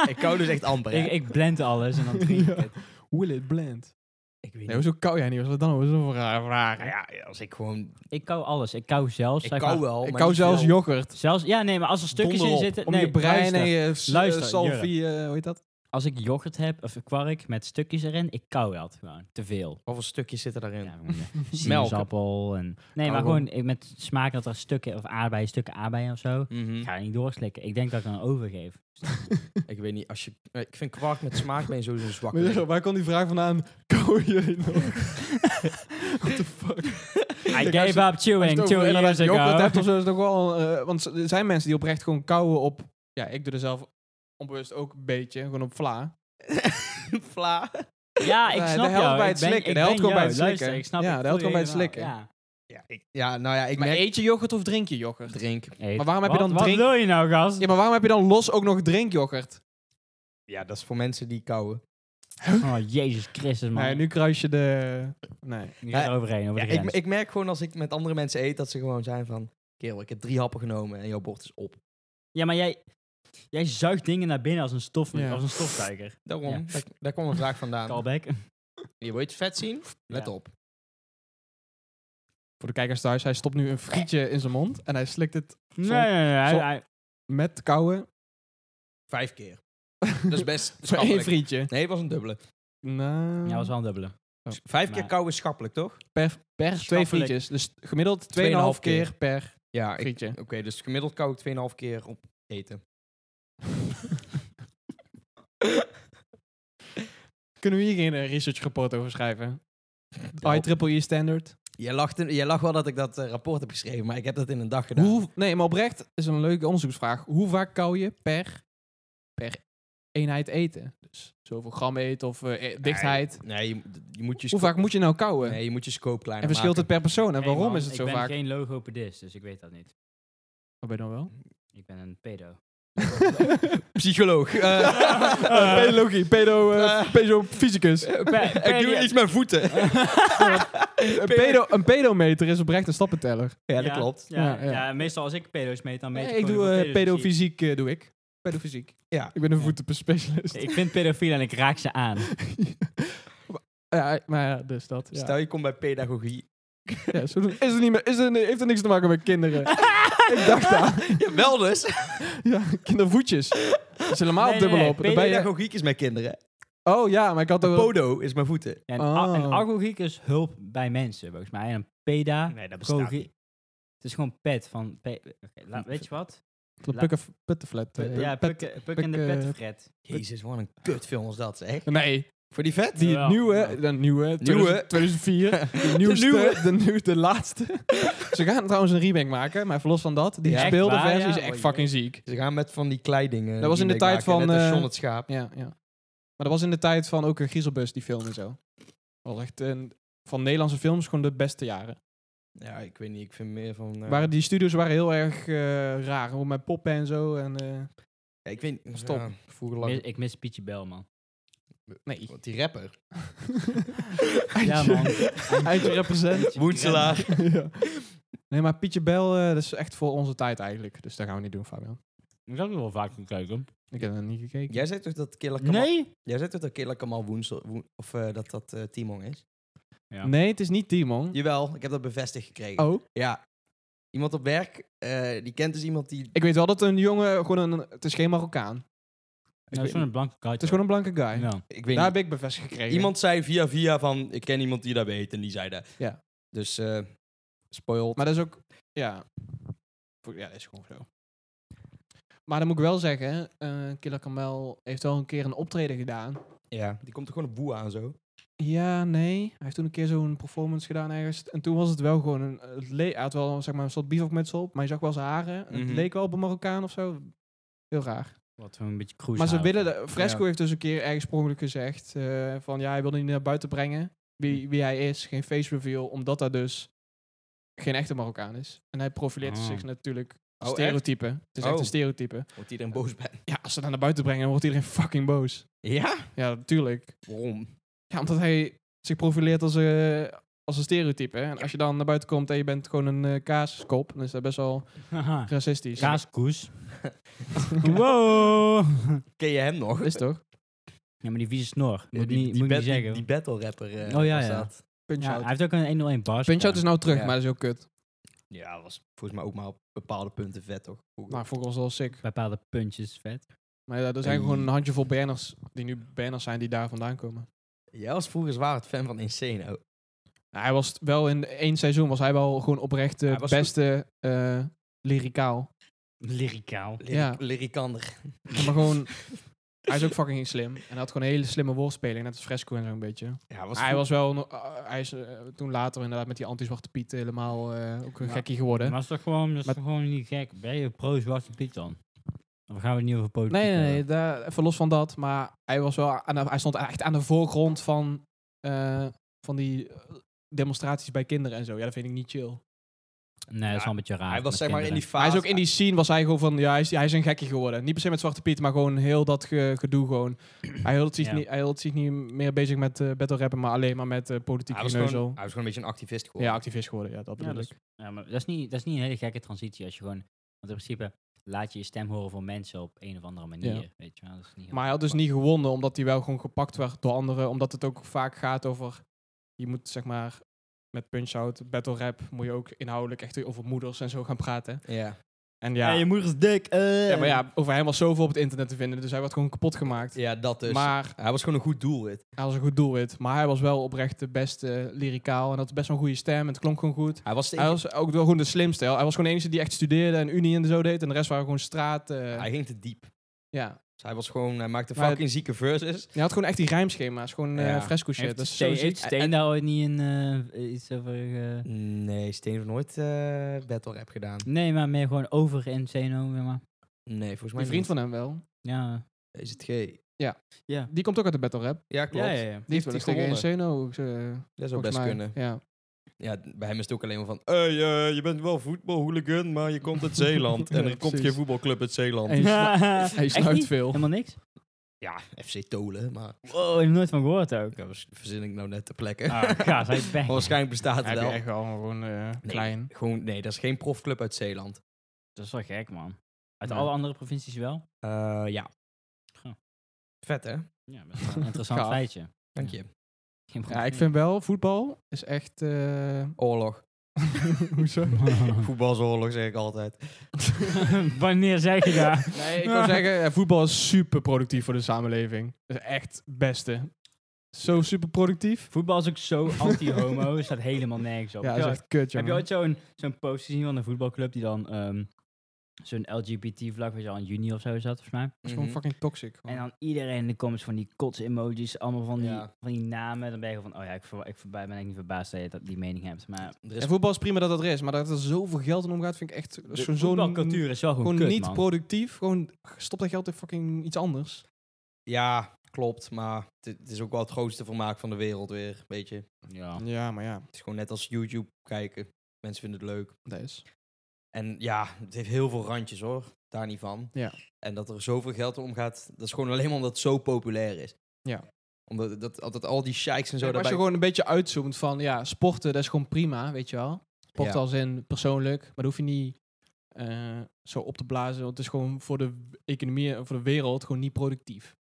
[SPEAKER 3] ik, ik kou dus echt amper. hè.
[SPEAKER 1] Ik, ik blend alles en dan drink ik
[SPEAKER 2] Ja.
[SPEAKER 1] het.
[SPEAKER 2] Will it blend?
[SPEAKER 3] Ik weet
[SPEAKER 2] Nee, hoezo kou jij niet? Wat is dat dan? Wat is dat voor rare vraag?
[SPEAKER 3] Nou ja, als ik gewoon...
[SPEAKER 1] Ik kou alles. Ik kou zelfs.
[SPEAKER 3] Ik
[SPEAKER 1] zeg
[SPEAKER 3] kou
[SPEAKER 1] maar,
[SPEAKER 3] wel.
[SPEAKER 2] ik
[SPEAKER 3] oh, maar
[SPEAKER 2] kou
[SPEAKER 3] niet
[SPEAKER 2] zelfs
[SPEAKER 3] veel.
[SPEAKER 2] yoghurt.
[SPEAKER 1] Zelfs, ja, nee, maar als er stukjes
[SPEAKER 3] Donder
[SPEAKER 1] in
[SPEAKER 3] op,
[SPEAKER 1] zitten...
[SPEAKER 2] Om
[SPEAKER 1] nee,
[SPEAKER 2] je brein
[SPEAKER 1] luister.
[SPEAKER 2] en je s-
[SPEAKER 1] Luister,
[SPEAKER 2] eh, salvie, eh, hoe heet dat?
[SPEAKER 1] Als ik yoghurt heb, of kwark met stukjes erin, ik kou dat gewoon. Te veel.
[SPEAKER 3] Hoeveel stukjes zitten daarin?
[SPEAKER 1] Ja, gewoon, eh, sinaasappel en... Nee, maar
[SPEAKER 3] Kauwgom.
[SPEAKER 1] gewoon ik- met smaak dat er stukken of aardbeien, stukken aardbeien of zo.
[SPEAKER 2] Hm.
[SPEAKER 1] Ik ga er niet doorslikken. Ik denk dat ik dan overgeef.
[SPEAKER 3] Ik weet niet, als je... eh, Ik vind kwark met smaak ben je sowieso een zwakke.
[SPEAKER 2] Maar ja, waar kwam die vraag vandaan? Kou jullie nog? What the fuck?
[SPEAKER 1] I
[SPEAKER 2] als je-
[SPEAKER 1] gave up chewing
[SPEAKER 2] Als je het
[SPEAKER 1] two
[SPEAKER 2] over
[SPEAKER 1] years
[SPEAKER 2] inderdaad yoghurt hebt
[SPEAKER 1] ago.
[SPEAKER 2] of zo, is het toch wel... eh, want er zijn mensen die oprecht gewoon kouwen op... Ja, ik doe er zelf onbewust ook een beetje. Gewoon op vla.
[SPEAKER 3] Vla.
[SPEAKER 1] Ja, ik
[SPEAKER 2] Eh,
[SPEAKER 1] snap
[SPEAKER 2] de helft
[SPEAKER 1] jou.
[SPEAKER 2] bij
[SPEAKER 1] Ik
[SPEAKER 2] het
[SPEAKER 1] ben-
[SPEAKER 2] slikken.
[SPEAKER 1] ik
[SPEAKER 2] De helft
[SPEAKER 1] ben
[SPEAKER 2] gewoon bij
[SPEAKER 1] jou.
[SPEAKER 2] het slikken.
[SPEAKER 1] Luister, ik snap
[SPEAKER 2] Ja,
[SPEAKER 1] het.
[SPEAKER 2] de helft
[SPEAKER 1] Voel
[SPEAKER 2] gewoon
[SPEAKER 1] je
[SPEAKER 2] bij het
[SPEAKER 1] helemaal.
[SPEAKER 3] Ja, ik, ja, nou ja, ik
[SPEAKER 2] Maar
[SPEAKER 3] merk...
[SPEAKER 2] eet je yoghurt of drink je yoghurt?
[SPEAKER 3] Drink.
[SPEAKER 1] Ja.
[SPEAKER 2] Maar waarom heb je
[SPEAKER 1] Wat-
[SPEAKER 2] dan
[SPEAKER 1] Wat
[SPEAKER 2] drink-
[SPEAKER 1] wil je nou, gast?
[SPEAKER 2] Ja, maar waarom heb je dan los ook nog drinkyoghurt?
[SPEAKER 3] Ja, dat is voor mensen die kouwen.
[SPEAKER 1] Oh, Jezus Christus, man.
[SPEAKER 2] Nee, nu kruis je de... Nee.
[SPEAKER 1] Nu gaat er overheen, over
[SPEAKER 3] Ja,
[SPEAKER 1] de
[SPEAKER 3] ik,
[SPEAKER 1] grens.
[SPEAKER 3] ik merk gewoon als ik met andere mensen eet, dat ze gewoon zijn van... Kerel, ik heb drie happen genomen en jouw bord is op.
[SPEAKER 1] Ja, maar jij, jij zuigt dingen naar binnen als een, stof,
[SPEAKER 2] Ja.
[SPEAKER 1] als een stofzuiger.
[SPEAKER 3] Daarom,
[SPEAKER 1] Ja.
[SPEAKER 3] daar, daar kwam een vraag vandaan.
[SPEAKER 1] Callback.
[SPEAKER 3] Je wil je het vet zien? Let
[SPEAKER 1] Ja.
[SPEAKER 3] op.
[SPEAKER 2] Voor de kijkers thuis, hij stopt nu een frietje in zijn mond en hij slikt het
[SPEAKER 1] Nee, nee, nee. hij-
[SPEAKER 2] Zo-
[SPEAKER 1] hij-
[SPEAKER 2] met kouwen.
[SPEAKER 3] Vijf keer. Dat is best
[SPEAKER 2] Voor één
[SPEAKER 3] schappelijk.
[SPEAKER 2] frietje.
[SPEAKER 3] Nee, het was een dubbele.
[SPEAKER 2] Nou,
[SPEAKER 1] ja, was wel een dubbele.
[SPEAKER 3] Vijf keer
[SPEAKER 1] Maar-
[SPEAKER 3] kouwen is schappelijk, toch?
[SPEAKER 2] per, per twee
[SPEAKER 1] Schappelijk.
[SPEAKER 2] frietjes. Dus gemiddeld 2,5
[SPEAKER 3] Tweeënhalf keer.
[SPEAKER 2] keer per
[SPEAKER 3] Ja, ik-
[SPEAKER 2] frietje.
[SPEAKER 3] oké, dus gemiddeld kou ik 2,5 keer op eten.
[SPEAKER 2] Kunnen we hier geen eh, researchrapport over schrijven? IEEE standard.
[SPEAKER 3] Jij lacht, jij lacht wel dat ik dat eh, rapport heb geschreven, maar ik heb dat in een dag gedaan.
[SPEAKER 2] Hoe, nee, maar oprecht is een leuke onderzoeksvraag. Hoe vaak kou je per, per eenheid eten? Dus zoveel gram eten of eh, eh, dichtheid.
[SPEAKER 3] Nee, nee, je, moet- je moet je
[SPEAKER 2] Hoe
[SPEAKER 3] scope-
[SPEAKER 2] vaak moet je nou kouwen?
[SPEAKER 3] Nee, je moet je scope kleiner
[SPEAKER 2] en verschilt het per persoon? En
[SPEAKER 1] Hey,
[SPEAKER 2] waarom
[SPEAKER 1] man,
[SPEAKER 2] is het zo
[SPEAKER 1] Ik ben
[SPEAKER 2] vaak?
[SPEAKER 1] geen logopedist, dus ik weet dat niet.
[SPEAKER 2] Wat ben je dan wel?
[SPEAKER 1] Ik ben een pedo.
[SPEAKER 3] Psycholoog.
[SPEAKER 1] Eh,
[SPEAKER 2] Pedologie, pedo,
[SPEAKER 3] eh,
[SPEAKER 2] fysicus.
[SPEAKER 3] ik doe iets met voeten.
[SPEAKER 2] Een, pedo, een pedometer is oprecht een stappenteller.
[SPEAKER 3] ja, dat klopt.
[SPEAKER 1] Ja,
[SPEAKER 2] Ja, ja.
[SPEAKER 1] ja, meestal als ik pedo's meet, dan meet
[SPEAKER 2] Nee,
[SPEAKER 1] ik
[SPEAKER 2] ik
[SPEAKER 1] gewoon
[SPEAKER 2] doe
[SPEAKER 1] hoeveel
[SPEAKER 2] eh,
[SPEAKER 1] pedo's ik zie.
[SPEAKER 2] pedofysiek, eh, doe ik. Pedofysiek.
[SPEAKER 3] Ja.
[SPEAKER 2] Ik ben een
[SPEAKER 1] Ja.
[SPEAKER 2] voetenspecialist.
[SPEAKER 1] Ik vind pedofielen en ik raak ze aan.
[SPEAKER 2] ja, maar ja, dus dat. Ja.
[SPEAKER 3] Stel je komt bij pedagogie.
[SPEAKER 2] Ja, zo doen- is er niet meer, is er, nee, heeft er niks te maken met kinderen. ik dacht dat.
[SPEAKER 3] Ja, wel dus.
[SPEAKER 2] Ja, kindervoetjes. Dat is helemaal
[SPEAKER 1] Nee, nee,
[SPEAKER 2] dubbel
[SPEAKER 1] nee,
[SPEAKER 2] op. Dan
[SPEAKER 1] pedo-
[SPEAKER 2] ben je-
[SPEAKER 3] Pedagogiek is mijn kinderen.
[SPEAKER 2] oh ja, maar ik had ook...
[SPEAKER 3] Podo is mijn voeten.
[SPEAKER 1] En
[SPEAKER 2] Ah.
[SPEAKER 1] a- en agogiek is hulp bij mensen, volgens mij. En een peda...
[SPEAKER 3] Nee, dat
[SPEAKER 1] gogi- Het is gewoon pet van... pe- Oké, laat- weet je wat?
[SPEAKER 2] de pukken, puttenflat. eh,
[SPEAKER 1] ja,
[SPEAKER 2] pet-
[SPEAKER 1] Puk, Puk en de
[SPEAKER 2] Puk, eh,
[SPEAKER 1] Petfred.
[SPEAKER 3] Jezus, wat een kutfilm was dat, zeg.
[SPEAKER 2] Nee,
[SPEAKER 3] Voor die vet?
[SPEAKER 2] die
[SPEAKER 1] Ja.
[SPEAKER 2] nieuwe, de nieuwe, 2000- 2004. De nieuwste, de,
[SPEAKER 3] nieuwe.
[SPEAKER 2] nieuw- de laatste. Ze gaan trouwens een remake maken, maar even los van dat, die
[SPEAKER 3] Ja, echt
[SPEAKER 2] gespeelde
[SPEAKER 1] waar,
[SPEAKER 2] versie
[SPEAKER 1] ja?
[SPEAKER 2] is echt
[SPEAKER 1] Oh,
[SPEAKER 2] fucking ziek.
[SPEAKER 3] Ze gaan met van die kleidingen.
[SPEAKER 2] Dat was in de
[SPEAKER 3] remake
[SPEAKER 2] tijd
[SPEAKER 3] maken,
[SPEAKER 2] van,
[SPEAKER 3] Net als
[SPEAKER 2] eh,
[SPEAKER 3] John het schaap.
[SPEAKER 2] Ja, ja. Maar dat was in de tijd van ook een Griezelbus, die film en zo. Was echt een, van Nederlandse films gewoon de beste jaren.
[SPEAKER 3] Ja, ik weet niet. Ik vind meer van... eh,
[SPEAKER 2] Waren die studios waren heel erg eh, raar, hoe met poppen en zo. En, eh,
[SPEAKER 3] ja, ik weet niet.
[SPEAKER 2] Stop.
[SPEAKER 3] Ja, vroeger
[SPEAKER 1] Ik mis-
[SPEAKER 3] lang...
[SPEAKER 1] Ik mis Pietje Bel, man.
[SPEAKER 2] nee.
[SPEAKER 3] Want die rapper.
[SPEAKER 1] Ja, man.
[SPEAKER 2] Eindje represent.
[SPEAKER 3] Woenselaar.
[SPEAKER 2] ja. Nee, maar Pietje Bel, eh, dat is echt voor onze tijd eigenlijk. Dus dat gaan we niet doen, Fabian.
[SPEAKER 1] Ik zou er wel vaak naar kijken.
[SPEAKER 2] Ik heb dat niet gekeken.
[SPEAKER 3] Jij zei toch dat Killer Kamal...
[SPEAKER 1] Nee?
[SPEAKER 3] Jij zei toch dat Killer Kamal woensel... woen- of eh, dat dat eh, Timon is?
[SPEAKER 1] Ja.
[SPEAKER 2] Nee, het is niet Timon.
[SPEAKER 3] Jawel, ik heb dat bevestigd gekregen.
[SPEAKER 2] Oh.
[SPEAKER 3] Ja. Iemand op werk, eh, die kent dus iemand die...
[SPEAKER 2] Ik weet wel dat een jongen gewoon een... Het is geen Marokkaan.
[SPEAKER 1] Dat is gewoon een blanke kaart. Nou,
[SPEAKER 2] Het is gewoon een blanke guy.
[SPEAKER 1] Ja.
[SPEAKER 3] Ik weet
[SPEAKER 2] Daar
[SPEAKER 3] niet.
[SPEAKER 2] heb ik bevestigd gekregen.
[SPEAKER 3] Iemand zei via via van... Ik ken iemand die dat weet en die zei dat.
[SPEAKER 2] Ja.
[SPEAKER 3] Dus... eh spoiled.
[SPEAKER 2] Maar dat is ook... Ja. Vo- Ja, dat is gewoon zo. Maar dan moet ik wel zeggen, eh Killer Kamel heeft wel een keer een optreden gedaan.
[SPEAKER 3] Ja. Die komt er gewoon op woe aan zo.
[SPEAKER 2] Ja, nee. Hij heeft toen een keer zo'n performance gedaan ergens. En toen was het wel gewoon een... Het le- hij had wel zeg maar, een soort bivakmuts op, maar je zag wel zijn haren. En
[SPEAKER 3] Mhm.
[SPEAKER 2] Het leek wel op een Marokkaan of zo. Heel raar.
[SPEAKER 1] Wat we een beetje cruise
[SPEAKER 2] Maar ze
[SPEAKER 1] houden.
[SPEAKER 2] willen... de- Fresco
[SPEAKER 3] Ja.
[SPEAKER 2] heeft dus een keer ergens per ongeluk gezegd... eh, van ja, hij wilde niet naar buiten brengen
[SPEAKER 3] Hm.
[SPEAKER 2] wie, wie hij is. Geen face reveal, omdat hij dus geen echte Marokkaan is. En hij profileert
[SPEAKER 1] Oh.
[SPEAKER 2] zich natuurlijk
[SPEAKER 3] Ah. Oh, echt?
[SPEAKER 2] stereotype. Het is echt
[SPEAKER 3] Oh.
[SPEAKER 2] een stereotype.
[SPEAKER 3] Wordt iedereen boos bij.
[SPEAKER 2] Ja, als ze dat naar buiten brengen, dan wordt iedereen fucking boos.
[SPEAKER 3] Ja?
[SPEAKER 2] Ja, natuurlijk.
[SPEAKER 3] Waarom?
[SPEAKER 2] Ja, omdat hij zich profileert als, eh, als een stereotype. En als je dan naar buiten komt en je bent gewoon een eh, kaaskop, dan is dat best wel
[SPEAKER 1] Haha.
[SPEAKER 2] racistisch.
[SPEAKER 1] Kaaskoes. wow.
[SPEAKER 3] Ken je hem nog?
[SPEAKER 2] Is toch?
[SPEAKER 1] Ja, maar die vieze snor.
[SPEAKER 3] Ja,
[SPEAKER 1] Moet ik
[SPEAKER 3] die,
[SPEAKER 1] niet,
[SPEAKER 3] die
[SPEAKER 1] moet ik
[SPEAKER 3] bat-
[SPEAKER 1] niet
[SPEAKER 3] die-
[SPEAKER 1] zeggen.
[SPEAKER 3] Die battle rapper eh,
[SPEAKER 1] Oh, ja,
[SPEAKER 3] was
[SPEAKER 1] ja.
[SPEAKER 3] dat.
[SPEAKER 1] ja,
[SPEAKER 2] Punch-out.
[SPEAKER 1] hij heeft ook een 101 bars.
[SPEAKER 2] Punch-out is nou terug,
[SPEAKER 3] Ja.
[SPEAKER 2] maar dat is heel kut.
[SPEAKER 3] Ja, was volgens mij ook maar op bepaalde punten vet, toch?
[SPEAKER 2] Maar voor Nou, ons wel sick.
[SPEAKER 1] Bepaalde puntjes, vet.
[SPEAKER 2] Maar ja, er zijn
[SPEAKER 3] Hey.
[SPEAKER 2] gewoon een handjevol banners die nu banners zijn die daar vandaan komen.
[SPEAKER 3] Jij was vroeger zwaar het fan van Insano.
[SPEAKER 2] Nou, hij was t- wel in één seizoen was hij wel gewoon oprecht de
[SPEAKER 3] Hij was
[SPEAKER 2] beste eh lyricaal.
[SPEAKER 1] Lyricaal.
[SPEAKER 3] Lyri-
[SPEAKER 2] Ja.
[SPEAKER 3] Lyrikander.
[SPEAKER 2] Maar gewoon, hij is ook fucking slim. En hij had gewoon een hele slimme woordspeling, net als Fresco en zo'n beetje.
[SPEAKER 3] Ja, was
[SPEAKER 2] hij
[SPEAKER 3] vroeg-
[SPEAKER 2] was wel, no- eh, hij is eh, toen later inderdaad met die anti-zwarte Piet helemaal eh, ook een
[SPEAKER 1] Ja.
[SPEAKER 2] gekkie geworden.
[SPEAKER 1] Maar is toch gewoon, is
[SPEAKER 2] Maar-
[SPEAKER 1] toch gewoon niet gek? Ben je pro-zwarte Piet dan? Of gaan we het niet over politiek
[SPEAKER 2] Nee, nee, nee,
[SPEAKER 1] hebben?
[SPEAKER 2] daar, even los van dat. Maar hij, was wel aan de- hij stond echt aan de voorgrond van, eh, van die eh, demonstraties bij kinderen en zo. Ja, dat vind ik niet chill.
[SPEAKER 1] Nee, dat is wel een beetje raar.
[SPEAKER 3] Hij was
[SPEAKER 1] met
[SPEAKER 3] zeg maar in die
[SPEAKER 1] kinderen.
[SPEAKER 3] fase.
[SPEAKER 2] hij is ook in die scene, was hij gewoon van, ja, hij is, hij is een gekkie geworden. Niet per se met Zwarte Piet, maar gewoon heel dat ge- gedoe gewoon. Hij hield zich,
[SPEAKER 1] Ja.
[SPEAKER 2] niet, hij hield zich niet meer bezig met eh battle rappen, maar alleen maar met eh politiek
[SPEAKER 3] hij was,
[SPEAKER 2] geneuzel.
[SPEAKER 3] gewoon, hij was gewoon een beetje een activist geworden.
[SPEAKER 2] Ja, activist geworden, ja, dat
[SPEAKER 1] Ja,
[SPEAKER 2] bedoel
[SPEAKER 1] dat
[SPEAKER 2] ik.
[SPEAKER 1] is- Ja, maar dat is, niet, dat is niet een hele gekke transitie als je gewoon... Want in principe laat je je stem horen voor mensen op een of andere manier.
[SPEAKER 2] Ja.
[SPEAKER 1] Weet je wel, dat is niet heel-
[SPEAKER 2] Maar hij had dus niet gewonnen, omdat hij wel gewoon gepakt werd door anderen. Omdat het ook vaak gaat over, je moet zeg maar met punch-out, battle rap, moet je ook inhoudelijk echt over moeders en zo gaan praten.
[SPEAKER 3] Ja.
[SPEAKER 2] En ja, ja,
[SPEAKER 1] moeder is dik. eh.
[SPEAKER 2] maar ja, over hem was zoveel op het internet te vinden, dus hij werd gewoon kapot gemaakt.
[SPEAKER 3] ja, dat dus.
[SPEAKER 2] Maar
[SPEAKER 3] hij was gewoon een goed doelwit.
[SPEAKER 2] Hij was een goed doelwit, maar hij was wel oprecht de beste lyricaal. En had best wel een goede stem en het klonk gewoon goed.
[SPEAKER 3] Hij was de
[SPEAKER 2] Hij was ook wel gewoon de slimste. Hij was gewoon de enige die echt studeerde en unie en zo deed. En de rest waren gewoon straat. eh,
[SPEAKER 3] Hij ging te diep.
[SPEAKER 2] ja.
[SPEAKER 3] Dus hij was gewoon, hij maakte
[SPEAKER 2] Maar-
[SPEAKER 3] fucking zieke verses.
[SPEAKER 2] Hij had gewoon echt die rijmschema's. Gewoon eh,
[SPEAKER 3] Ja.
[SPEAKER 2] fresco shit.
[SPEAKER 1] Heeft
[SPEAKER 2] Dat is zo
[SPEAKER 1] Steen,
[SPEAKER 2] ziek.
[SPEAKER 1] heeft Steen daar ooit niet in eh, iets over... eh,
[SPEAKER 3] Nee, Steen heeft nooit eh, battle rap gedaan.
[SPEAKER 1] Nee, maar meer gewoon over in Zeno, zeg maar.
[SPEAKER 3] Nee, volgens mij
[SPEAKER 2] Die vriend van hem wel.
[SPEAKER 1] Ja.
[SPEAKER 3] Is het G?
[SPEAKER 2] Die komt ook uit de battle rap.
[SPEAKER 3] Ja, klopt.
[SPEAKER 1] Ja, ja, ja.
[SPEAKER 2] Die heeft
[SPEAKER 3] Die
[SPEAKER 2] wel eens
[SPEAKER 3] heeft
[SPEAKER 2] tegen
[SPEAKER 3] gewonnen.
[SPEAKER 2] Enceno. ook, eh,
[SPEAKER 3] Dat zou
[SPEAKER 2] volgens
[SPEAKER 3] best
[SPEAKER 2] mij.
[SPEAKER 3] kunnen.
[SPEAKER 2] Ja.
[SPEAKER 3] Ja, bij hem is het ook alleen maar van... Hey, eh, je bent wel voetbalhooligan, maar je komt uit Zeeland.
[SPEAKER 2] Ja,
[SPEAKER 3] en er komt
[SPEAKER 2] precies.
[SPEAKER 3] geen voetbalclub uit Zeeland.
[SPEAKER 2] En- Hij snu- Hij
[SPEAKER 1] Echt
[SPEAKER 2] snuift
[SPEAKER 1] niet?
[SPEAKER 2] veel.
[SPEAKER 1] Helemaal niks?
[SPEAKER 3] Ja, FC Tolen, maar...
[SPEAKER 1] Wow, ik heb nooit van gehoord ook.
[SPEAKER 3] Ja, was- verzin ik nou net de plekken.
[SPEAKER 1] Ah, gaas, hij is
[SPEAKER 3] Maar
[SPEAKER 1] back.
[SPEAKER 3] waarschijnlijk bestaat
[SPEAKER 2] Hij
[SPEAKER 3] het
[SPEAKER 2] is
[SPEAKER 3] wel.
[SPEAKER 2] echt wel gewoon eh, klein.
[SPEAKER 3] Gewoon, nee, dat is geen profclub uit Zeeland.
[SPEAKER 1] Dat is wel gek, man. Uit
[SPEAKER 2] Ja.
[SPEAKER 1] alle andere provincies wel?
[SPEAKER 3] Eh, ja.
[SPEAKER 1] Huh.
[SPEAKER 3] Vet, hè?
[SPEAKER 1] Ja, best wel een interessant
[SPEAKER 2] Gaaf.
[SPEAKER 1] feitje.
[SPEAKER 3] Dank je.
[SPEAKER 1] Geen
[SPEAKER 2] Ja,
[SPEAKER 1] probleem.
[SPEAKER 2] ik vind wel, voetbal is echt... eh,
[SPEAKER 3] Oorlog.
[SPEAKER 2] Hoezo?
[SPEAKER 3] Voetbalsoorlog zeg ik altijd.
[SPEAKER 1] Wanneer zeg je dat?
[SPEAKER 2] Nee, ik wil zeggen, eh, voetbal is super productief voor de samenleving. Dat is echt het beste. Zo super productief.
[SPEAKER 1] Voetbal is ook zo anti-homo, staat helemaal nergens op.
[SPEAKER 2] Ja,
[SPEAKER 1] Heb
[SPEAKER 2] dat
[SPEAKER 1] je
[SPEAKER 2] is echt kut,
[SPEAKER 1] Heb je
[SPEAKER 2] jongen.
[SPEAKER 1] ooit zo'n zo'n post gezien van een voetbalclub die dan ehm, zo'n LGBT-vlag, weet je al, in juni of zo zat, volgens mij.
[SPEAKER 2] Dat is gewoon
[SPEAKER 3] Mhm.
[SPEAKER 2] fucking toxic.
[SPEAKER 1] En
[SPEAKER 2] gewoon.
[SPEAKER 1] dan iedereen in de comments van die kots-emojis, allemaal van die,
[SPEAKER 3] Ja.
[SPEAKER 1] van die namen. Dan ben je gewoon van, oh ja, ik, verwa- ik verba- ben echt niet verbaasd dat je dat, die mening hebt. Maar
[SPEAKER 3] Er
[SPEAKER 2] En
[SPEAKER 3] is
[SPEAKER 2] voetbal is prima dat dat er is, maar dat er zoveel geld in omgaat, vind ik echt
[SPEAKER 1] de
[SPEAKER 2] zo'n...
[SPEAKER 1] voetbalcultuur is wel gewoon,
[SPEAKER 2] Gewoon
[SPEAKER 1] kut,
[SPEAKER 2] niet
[SPEAKER 1] man.
[SPEAKER 2] productief. Gewoon stop dat geld in fucking iets anders.
[SPEAKER 3] Ja, klopt. Maar het- het is ook wel het grootste vermaak van de wereld weer, weet je.
[SPEAKER 1] Ja.
[SPEAKER 2] Ja, maar ja,
[SPEAKER 3] Het is gewoon net als YouTube kijken. Mensen vinden het leuk.
[SPEAKER 2] dat is...
[SPEAKER 3] En ja, het heeft heel veel randjes hoor. Daar niet van.
[SPEAKER 2] Ja.
[SPEAKER 3] En dat er zoveel geld om gaat, dat is gewoon alleen maar omdat het zo populair is.
[SPEAKER 2] Ja.
[SPEAKER 3] Omdat dat, altijd al die sheiks en zo
[SPEAKER 2] Kijk, als je
[SPEAKER 3] daarbij...
[SPEAKER 2] gewoon een beetje uitzoomt van, ja, sporten, dat is gewoon prima, weet je wel. Sporten
[SPEAKER 3] Ja.
[SPEAKER 2] als in persoonlijk, maar dat hoef je niet eh, zo op te blazen. Want het is gewoon voor de economie en voor de wereld gewoon niet productief.